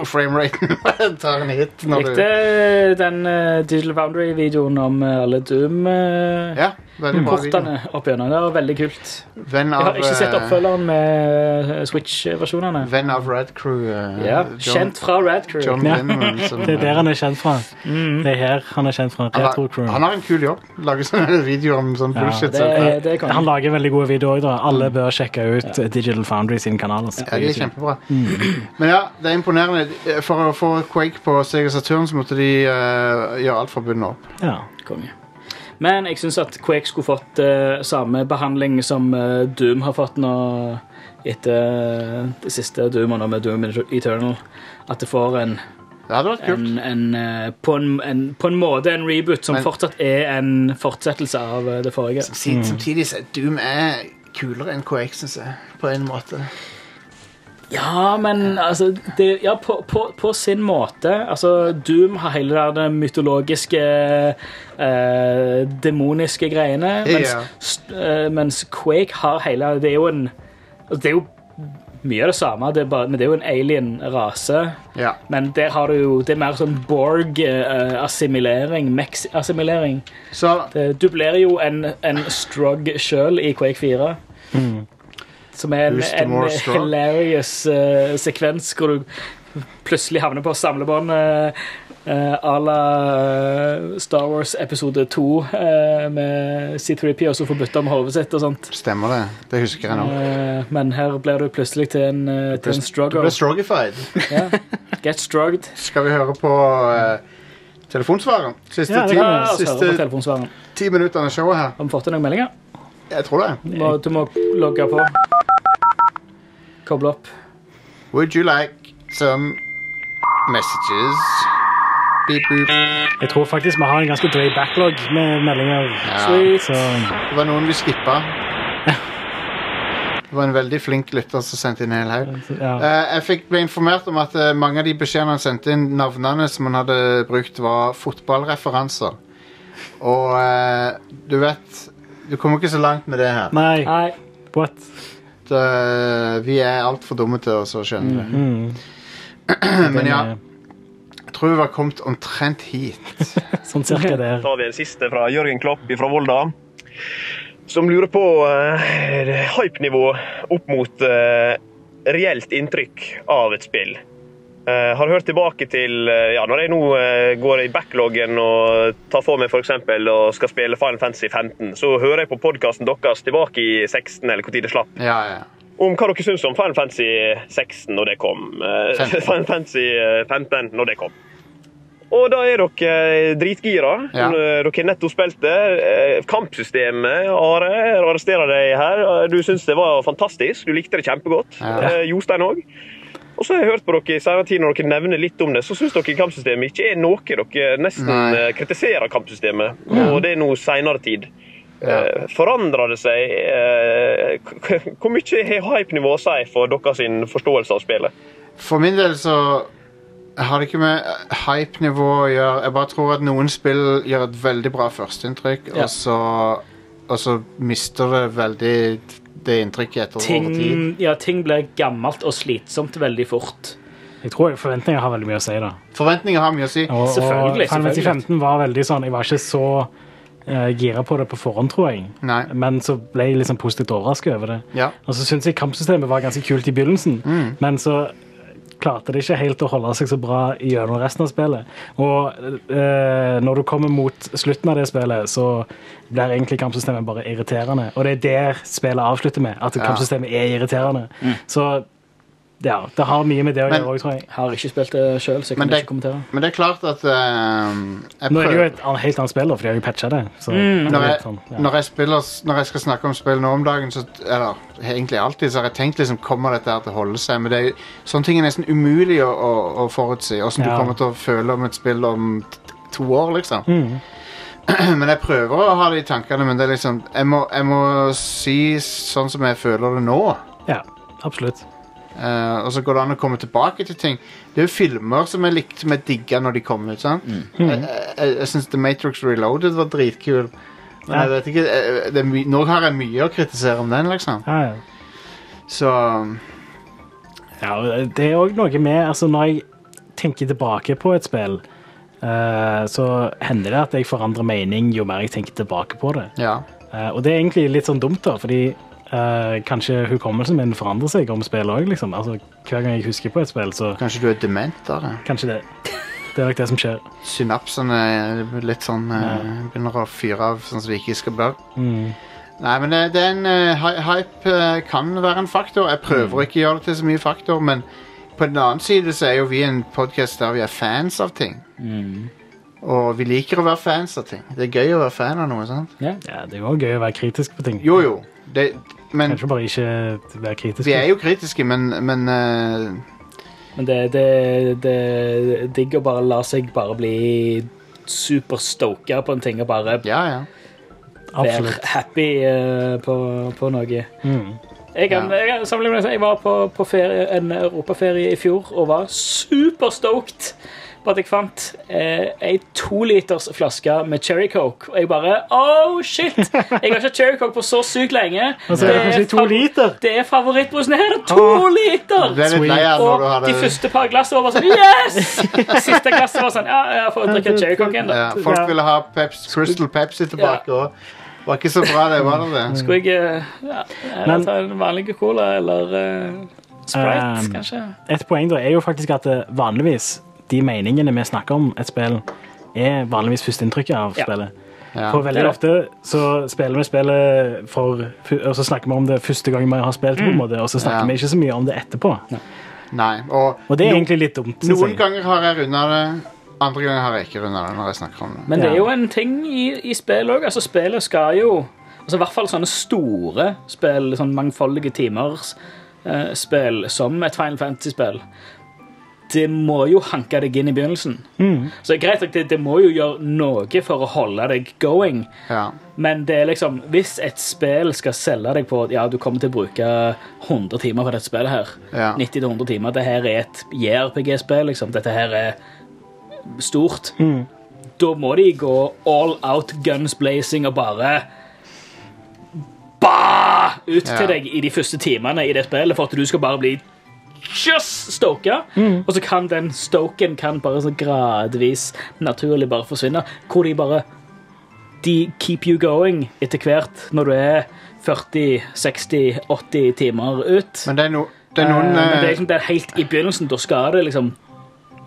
Frameraten [LAUGHS] tar en hit når du Likte den eh, Digital Boundary-videoen om eh, alle Doom-kortene Ja, veldig bra video. opp gjennom. Det var veldig kult. Venn Jeg av, har ikke sett eh, oppfølgeren med eh, Switch-versjonene. venn av Rad Crew. eh, Ja, John- Kjent fra Rad Crew. John Ja. Linman. [LAUGHS] Som, Det er der han er kjent fra. Mm. Det er her han er kjent fra. Han Retro har, Crew. han har en kul jobb. Lager sånne [LAUGHS] videoer om sånn Ja, bullshit. Det, så- det er Han kongen. lager veldig gode videoer. da. Alle Mm. bør sjekke ut Digital Foundry sin kanal. altså. Ja, de er kjempebra. Men ja, det er imponerende. Eh, For å få Quake på Sega Saturn så måtte de eh, gjøre alt fra bunnen opp. Ja. konge. Men jeg syns at Quake skulle fått eh, samme behandling som eh, Doom har fått nå etter det siste Doom og nå med Doom Eternal. At det får en, Det hadde vært kult. en, en, eh, på en, en På en måte en reboot som Men- fortsatt er en fortsettelse av eh, det forrige. Samtidig, Mm. samtidig så er Doom er kulere enn Quake, syns jeg. På en måte. Ja, men altså det, ja, på, på, på sin måte. Altså, Doom har hele det der mytologiske, eh, demoniske greiene. Mens, Ja. st- eh, mens Quake har hele Det er jo en altså, Det er jo mye av det samme, det er bare, men det er jo en alien-rase. Ja. Men der har du jo Det er mer sånn eh, Borg-assimilering. Mex-assimilering. Så Det- Eh, Du blir jo en, en Strug sjøl i Quake 4. Som er en, Who's the more en Strug? hilarious eh, sekvens hvor du plutselig havner på samlebånd eh, eh, à la eh, Star Wars episode 2 eh, med C3P og så får bytte om hodet sitt og sånt. stemmer det. Det husker jeg nå. Eh, men her blir du plutselig til en, uh, til Du en strugger. ble strogified. Ja. [LAUGHS] Get strugged. Skal vi høre på eh, telefonsvareren? Siste, Ja, det ti, kan Ja, altså, hører på siste telefonsvareren. ti minuttene av showet her. Har vi fått noen meldinger? Jeg tror det. Du må, du må logge på. Koble opp. Would you like some messages? Beep, boop. Jeg tror faktisk vi har en ganske drøy backlog med meldinger. Ja. Så Det var noen vi skippa. Det var en veldig flink lytter som sendte inn en hel haug. ja. Eh, jeg fikk ble informert om at eh, mange av de beskjedene han sendte inn, navnene som han hadde brukt, var fotballreferanser. Og eh, du vet Du kommer ikke så langt med det her. Nei, Nei. what? Eh, vi er altfor dumme til oss å skjønne det. Mm. [CLEARS THROAT] Men ja, jeg tror vi var kommet omtrent hit. Sånn [LAUGHS] cirka der. Da har vi en siste fra Jørgen Klopp fra Volda. Som lurer på eh, hypenivå opp mot eh, reelt inntrykk av et spill. Eh, har hørt tilbake til eh, ja, Når jeg nå eh, går i backloggen og tar for meg for eksempel, og skal spille Final Fantasy 15, så hører jeg på podkasten deres tilbake i 16, eller når det slapp Ja, ja. om hva dere syns om Final Fantasy 16 når det kom. eh, 15. [LAUGHS] Final Fantasy eh, 15 når det kom. Og da er dere eh, dritgira. eh, Ja. Dere har nettopp spilt det. Eh, Kampsystemet, Are, jeg arresterer deg her. Eh, Du syns det var fantastisk. Du likte det kjempegodt. Ja. Eh, Jostein òg. Og så har jeg hørt på dere i senere tid når dere nevner litt om det, så syns dere kampsystemet ikke er noe dere nesten Nei. eh, kritiserer kampsystemet, og det er nå seinere tid. Ja. Eh, Forandrer det seg? eh, k- k- Hvor mye har hypenivået å si for deres sin forståelse av spillet? For min del så har det ikke med eh, hype-nivå å gjøre. Jeg bare tror at noen spill gjør et veldig bra førsteinntrykk, Ja. og, så, og så mister det veldig det inntrykket etter Ting, over tid. ja, ting blir gammelt og slitsomt veldig fort. Jeg tror forventninger har veldig mye å si, da. Forventninger har mye å si. Og, og Selvfølgelig, Final Fantasy selvfølgelig. 15 var veldig sånn Jeg var ikke så eh, gira på det på forhånd, tror jeg. Nei. Men så ble jeg liksom positivt overrasket over det. Ja. Mm. Og så syntes jeg kampsystemet var ganske kult i begynnelsen, men så eh, klarte det ikke helt å holde seg så bra gjennom resten av spillet. Og eh, når du kommer mot slutten av det spillet, så blir egentlig kampsystemet bare irriterende. Og det er der spillet avslutter med, at kampsystemet er irriterende. Så ja, det har mye med det å Mm. Men- gjøre òg, tror jeg. Har ikke spilt det sjøl, så jeg Men kan det- ikke kommentere. Men det er klart at eh, jeg Nå er det jo prøver- et annet, helt annet spill, da, for de har jo patcha det. Så det er Mm. når litt jeg, sånn, ja. når, jeg spiller, når jeg skal snakke om spill nå om dagen, så, eller egentlig alltid, så har jeg tenkt liksom, kommer dette her til å holde seg? Men det er, jo- sånne ting er nesten umulig å, å, å forutsi. Hvordan du Ja. kommer til å føle om et spill om t- to år, liksom. Mm. [CLEARS THROAT] Men jeg prøver å ha det i tankene, men det er liksom Jeg må, jeg må si sånn som jeg føler det nå. ja, absolutt. Eh, og så går det an å komme tilbake til ting. Det er jo filmer som jeg likte som jeg digga når de kom ut. sant? Jeg, jeg, jeg syns The Matrix Reloaded var dritkul. Men jeg vet ikke eh, det er my Nå har jeg mye å kritisere om den, liksom. Ja, ja. Så Ja, det er òg noe med altså Når jeg tenker tilbake på et spill, eh, så hender det at jeg forandrer mening jo mer jeg tenker tilbake på det. Ja. Eh, og det er egentlig litt sånn dumt, da, fordi eh, kanskje hukommelsen min forandrer seg om spill òg, liksom. Altså, hver gang jeg husker på et spill, så Kanskje du er dement av det. kanskje det. Det er nok det som skjer. Synapsene er litt sånn eh, begynner å fyre av, sånn som de ikke skal bli. Nei, men eh, det er en eh, hy- hype eh, kan være en faktor. Jeg prøver å ikke gjøre det til så mye faktor, men på den annen side så er jo vi en podkast der vi er fans av ting. Mm. Og vi liker å være fans av ting. Det er gøy å være fan av noe, sant? Ja, det er jo gøy å være kritisk på ting. Jo, jo. Det, men Kanskje bare ikke være kritisk. vi er jo kritiske, men, men eh, Men det, det, det, det er digg å bare la seg bare bli superstoka på en ting og bare Ja, ja. være Absolutt. happy eh, på, på noe. Mm. Jeg kan, Ja. jeg kan sammenligne meg med jeg var på, på ferie, en europaferie i fjor og var superstoked på at jeg fant eh, ei toliters flaske med cherry coke. Og jeg bare Oh, shit! Jeg har ikke cherry coke på så sykt lenge. Altså, det er kanskje to fav- liter. Det er favorittbrusen her. To Du liter! ble litt lei av når du Og har de det første par glassene var bare sånn Yes! Siste glasset var sånn Ja, jeg får drikke cherry coke igjen, da. ja, Folk ville ha Peps, Crystal Pepsi tilbake òg. Var ikke så bra, det. var det det? Skulle jeg eh, ja, eller Men- ta en vanlig cola eller eh, Sprite, Um, kanskje? Et poeng da er jo faktisk at eh, vanligvis de meningene vi snakker om et spill, er vanligvis førsteinntrykket av Ja. spillet. Ja. For veldig Det er ofte så spiller vi spillet for, og så snakker vi om det første gang vi har spilt, Mm. på en måte, og så snakker Ja. vi ikke så mye om det etterpå. Nei. Og Og det no- er egentlig litt dumt. synes noen jeg. ganger har jeg runda det, andre ganger har jeg ikke runda det. når jeg snakker om det. Men det er Ja. jo en ting i, i spill òg. Altså, spillet skal jo altså, I hvert fall sånne store spill, sånn mangfoldige timers eh, spill, som et Final Fantasy-spill. Det må jo hanke deg inn i begynnelsen. Så det er greit nok, det, det må jo gjøre noe for å holde deg going, Ja. men det er liksom Hvis et spill skal selge deg på at ja, du kommer til å bruke 100 timer på dette spillet her, Ja. 90-100 timer, dette her er et JRPG-spill, liksom, dette her er stort, da må de gå all out guns blazing og bare bah! ut Ja. til deg i de første timene i det spillet for at du skal bare bli just stoka, og så kan den stoken kan bare så gradvis naturlig bare forsvinne, hvor de bare de keep you going etter hvert når du er 40, 60, 80 timer ut. Men det er, no, det er Eh, noen men det er eh, liksom det er helt i begynnelsen. Da skal det liksom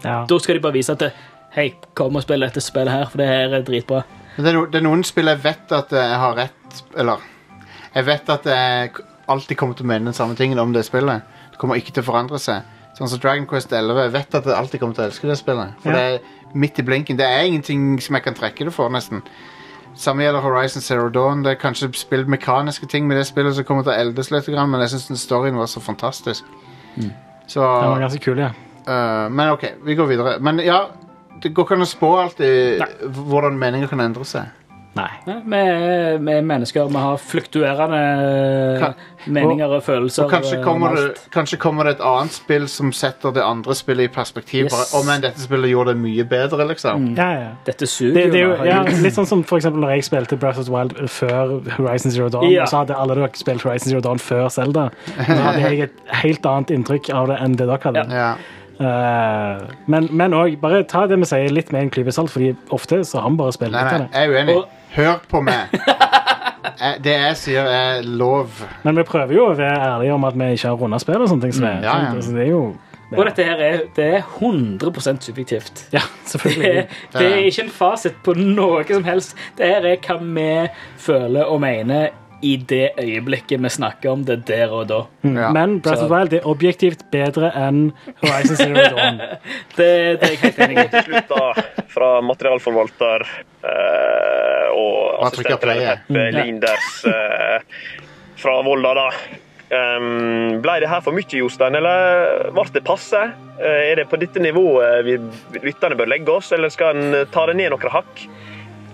Ja. Da skal de bare vise at det, Hei, kom og spill dette spillet her, for det her er dritbra. Men Det er, no, det er noen spill jeg vet at eh, jeg har rett Eller Jeg vet at jeg k- alltid kommer til å mene den samme tingen om det spillet. Det kommer ikke til å forandre seg. Sånn som Dragon Quest 11. Jeg vet at jeg alltid kommer til å elske det spillet. For Ja. det er midt i blinken. Det er ingenting som jeg kan trekke det for, nesten. Samme gjelder Horizon Zero Dawn. Det er kanskje spilt mekaniske ting med det spillet som kommer til å eldes litt, grann, men jeg syns storyen var så fantastisk. Så Den var ganske kul, Mm. ja. øh, Men OK, vi går videre. Men ja, det går ikke an å spå alltid hvordan meninger kan endre seg. Nei. Ja, Vi er vi er mennesker. Vi har fluktuerende Ka- meninger og følelser. Og kanskje eh, kommer, om det, alt. kanskje kommer det et annet spill som setter det andre spillet i perspektiv. Yes. Bare, Å, men dette spillet gjorde det mye bedre, liksom. Ja, ja. Dette suger. Det, det er jo nå, ja, herregud. Litt sånn som for eksempel når jeg spilte Breath of the Wild før Horizon Zero Dawn. Ja. Og så hadde alle dere spilt Horizon Zero Dawn før Zelda. Da hadde jeg et helt annet inntrykk av det enn det dere hadde. Ja. Eh, men- men òg, bare ta det vi sier litt med en klype salt, Fordi ofte så har vi bare spilt Nei, litt av nei, det. jeg er uenig. Og- Hør på meg. Jeg- Det jeg sier, er lov. Men vi prøver jo å være ærlige om at vi ikke har runda spill og sånne ting. som det er. Mm, Ja, ja. sant? Altså, det er jo Og dette her er, det er 100 subjektivt. Ja, [LAUGHS] [LAUGHS] selvfølgelig. Det er ikke en fasit på noe som helst. Det her er hva vi føler og mener i det øyeblikket vi snakker om det der og da. Ja. Men Breath of the Wild er objektivt bedre enn Horizon [LAUGHS] Zero Dawn. Det, det er jeg helt enig i. Slutt da fra materialforvalter eh, og Bare trykker assistent play, ja. Peppe Linders eh, fra Volda, da. Ehm, ble det her for mye, Jostein, eller ble det passe? Eh, er det på dette nivået vi lytterne bør legge oss, eller skal en ta det ned noen hakk?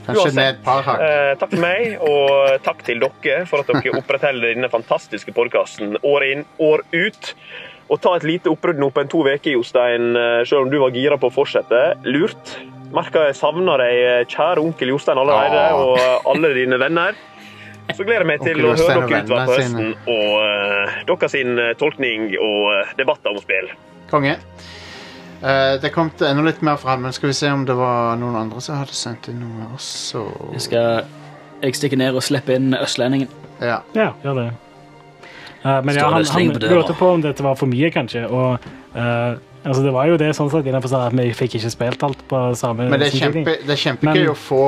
Kanskje uansett. ned et par hakk. Eh, takk for meg, og takk til dere for at dere opprettholder denne fantastiske podkasten år inn, år ut. Og ta et lite oppbrudd nå på en to uker, Jostein, eh, selv om du var gira på å fortsette. Lurt. Merker jeg savner deg, eh, kjære onkel Jostein allerede, Åh. og eh, alle dine venner. Så gleder jeg meg til Onkel å Jostein høre og dere utover vennene på høsten sine. og eh, dere sin eh, tolkning og eh, debatter om spill. Konge. Eh, det kom til enda litt mer fra han, men skal vi se om det var noen andre som hadde sendt inn noe også. [LAUGHS] Jeg skal jeg stikker ned og slipper inn østlendingen. Ja. Ja, gjør det. Eh, men ja, han, Står det han sleng på døra? lurte på om dette var for mye, kanskje. Og eh, altså, det var jo det sånn sett innenfor sånn at vi fikk ikke spilt alt på samme Men det er, samtidig. kjempe, det er kjempegøy å Men- få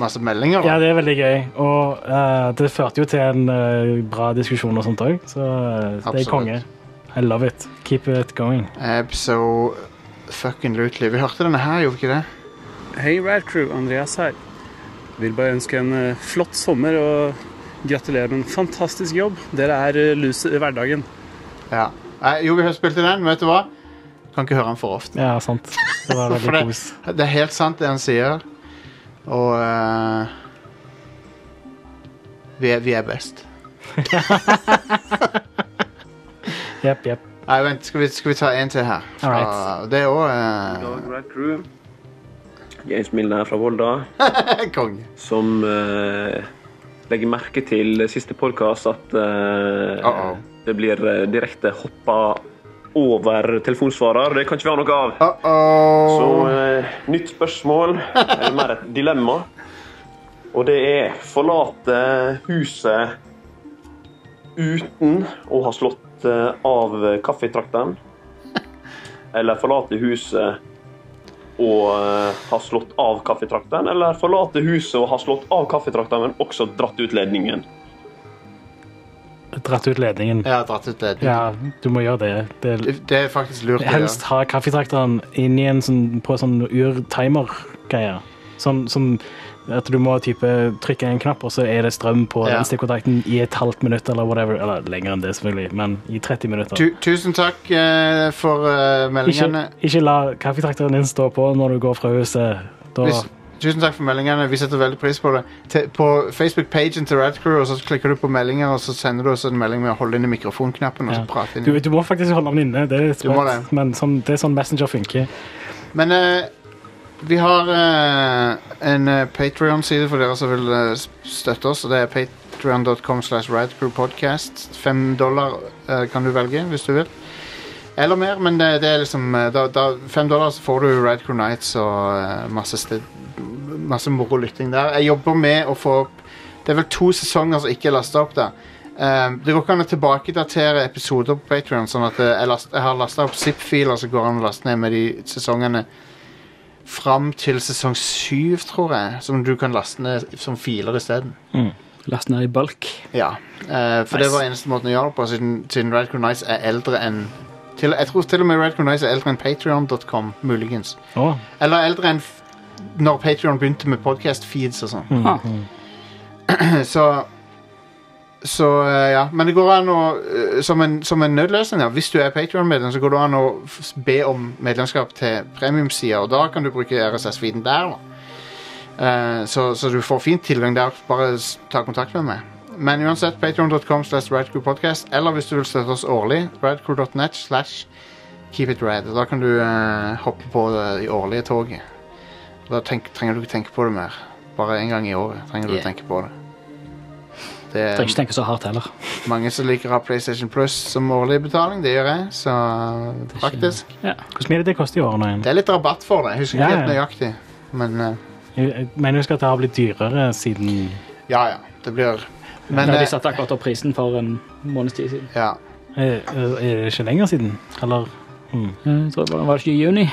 masse meldinger. [LAUGHS] Ja, da. det er veldig gøy. Og eh, det førte jo til en eh, bra diskusjon og sånt òg, så eh, det Absolutt. er konge. I love it. Keep it going. Abso Eh, fucking lootly. Vi hørte denne her, gjorde vi ikke det? Hei, Rad Crew. Andreas her. Vil bare ønske en eh, flott sommer og gratulerer med en fantastisk jobb. Dere er eh, lus i hverdagen. Ja. Eh, jo, vi har spilt i den, men vet du hva? Kan ikke høre den for ofte. Ja, sant. [LAUGHS] Det var For veldig det- kos. Det er helt sant, det han sier. Og eh, vi, er, vi er best. Jepp, jepp. Nei, vent, skal vi, skal vi ta en til her? Fra, Alright. Det er God òg dag, Rad Crew. James Milne her fra Volda, eh, [LAUGHS] konge. som eh, legger merke til siste podkast at eh, Uh-oh. det blir eh, direkte hoppa over telefonsvarer. Det kan ikke være noe av. Uh-oh. Så eh, nytt spørsmål, eller mer et dilemma. Og det er forlate huset uten å ha slått eh, av kaffetrakteren. Eller forlate huset og eh, ha slått av kaffetrakteren. Eller forlate huset og ha slått av kaffetrakteren, men også dratt ut ledningen. Dratt ut ledningen. Jeg har dratt ut det. Ja, du må gjøre det. det det. Det er faktisk lurt å Helst gjøre. ha kaffetrakteren inn i en sånn, på sånn ur-timer-greie. Sånn som at du må type trykke en knapp, og så er det strøm på Ja. den stikkontakten i et halvt minutt eller whatever. Eller lenger enn det, selvfølgelig, men i 30 minutter. Tu, tusen takk eh, for eh, ikke, meldingene. ikke la kaffetrakteren din stå på når du går fra huset. Da, Hvis, tusen takk for meldingene. Vi setter veldig pris på det. Te, på Facebook-pagen til Rad Crew og så klikker du på meldinger, og så sender du oss en melding med å holde inn i mikrofonknappen. og ja. så prate inn. du, du må faktisk holde den inne, det er Du må smart, det. men sånn, det er sånn Messenger funker. Men eh, vi har eh, en uh, Patrion-side for dere som vil eh, s- støtte oss, og det er patreon.com slash radcrewpodcast. Fem dollar eh, kan du velge hvis du vil. Eller mer, men det, det er liksom eh, da, da, Fem dollar så får du Radcrew Nights og eh, masse, sted, masse moro lytting der. Jeg jobber med å få opp Det er vel to sesonger som ikke er lasta opp der. Um, det går ikke an å tilbakedatere episoder på Patreon Sånn at eh, jeg, last, jeg har lasta opp zip-filer som går an å laste ned med de sesongene fram til sesong syv, tror jeg. Som du kan laste ned som filer isteden. Last ned i balk. Ja. eh, for det var eneste måten å gjøre det på, siden, siden Radcrow Nice er eldre enn til, Jeg tror til og med Radcrow Nice er eldre enn Patreon.com muligens. Å, Eller eldre enn f når Patreon begynte med podcast-feeds og sånn. Ah. [CLEARS THROAT] Så så eh, ja, men det går an å eh, Som en, som en nødløsning, ja. Hvis du er Patreon-medlem, så går det an å f- be om medlemskap til premiumsida, og da kan du bruke RSS-feeden der. da. Eh, så, så du får fin tilgang der. Bare s- ta kontakt med meg. Men uansett, patreon.com slash radcrewpodcast, eller hvis du vil støtte oss årlig, radcrew.net slash keepitrad. Da kan du eh, hoppe på det i årlige toget. Da tenk, trenger du ikke tenke på det mer. Bare én gang i året trenger du Yeah. å tenke på det. Det Trenger ikke tenke så hardt heller. mange som liker å ha PlayStation Plus som årlig betaling. Det gjør jeg, så faktisk. Hvor mye er det det koster i året nå igjen? Det er litt rabatt for det. Jeg husker ikke Ja, ja. helt nøyaktig. Men eh, Jeg jeg mener jeg husker at det har blitt dyrere siden ja, ja. Det blir Men Men, eh, de satte akkurat opp prisen for en måneds tid siden. ja. Er eh, er det ikke lenger siden? Eller Jeg tror det var, var det ikke i juni.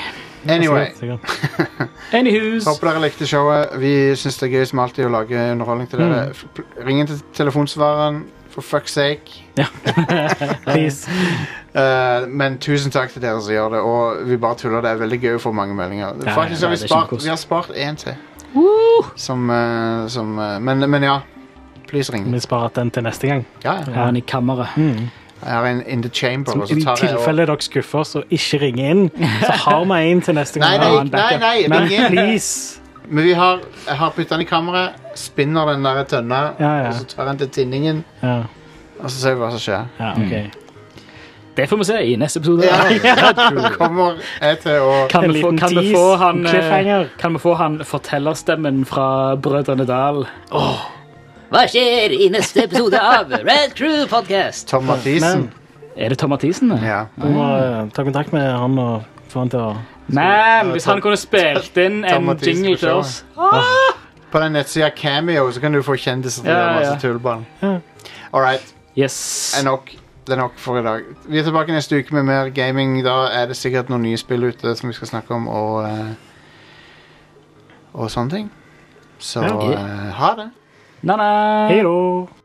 Anyway. Altså, Sikkert. Anyhows. Håper dere likte showet. Vi syns det er gøy som alltid å lage underholdning til Mm. dere. F- pl- Ring inn til telefonsvareren, for fuck's sake. Please. Eh, men tusen takk til dere som gjør det, og vi bare tuller. Det er veldig gøy å få mange meldinger. ja, Faktisk ja, har vi det er spart kjempekos. Vi har spart én til. Som, eh, som eh, men, men ja. Please ring. Vi sparer den til neste gang. Ja, ja. Jeg har den i kammeret. Jeg har en In The Chamber, og så I tar jeg og tilfelle dere skuffer oss og ikke ringer inn, så har vi en til neste gang. Nei, Vi har en nei, nei, backup. nei, Men ring inn. please. Men vi har, jeg har puttet den i kammeret, spinner den der tønna, Ja, ja. og så tar jeg den til tinningen, Ja, og så ser vi hva som skjer. ja Mm. ok. Det får vi se i neste episode. Ja, Da kommer jeg til å Kan, En vi få, liten kan, vi tease, få han, eh, cliffhanger. kan vi få han fortellerstemmen fra Brødrene Dal? Hva skjer i neste episode av Red Crew Podcast? Tom Mathisen. Men Er det Tom Mathisen? det? Ja. du må eh, ta kontakt med han og for han til å Men hvis han kunne spilt inn Tom en Mathisen jingle på til showet. oss På den nettsida Cameo så kan du få kjendiser til å Ja, gjøre ja. masse tullball. All right. Yes. er nok. Det er nok for i dag. Vi er tilbake neste uke med mer gaming. Da er det sikkert noen nye spill ute som vi skal snakke om, og eh, Og sånne ting. Så Ja. eh, ha det. Na-na. Hei da!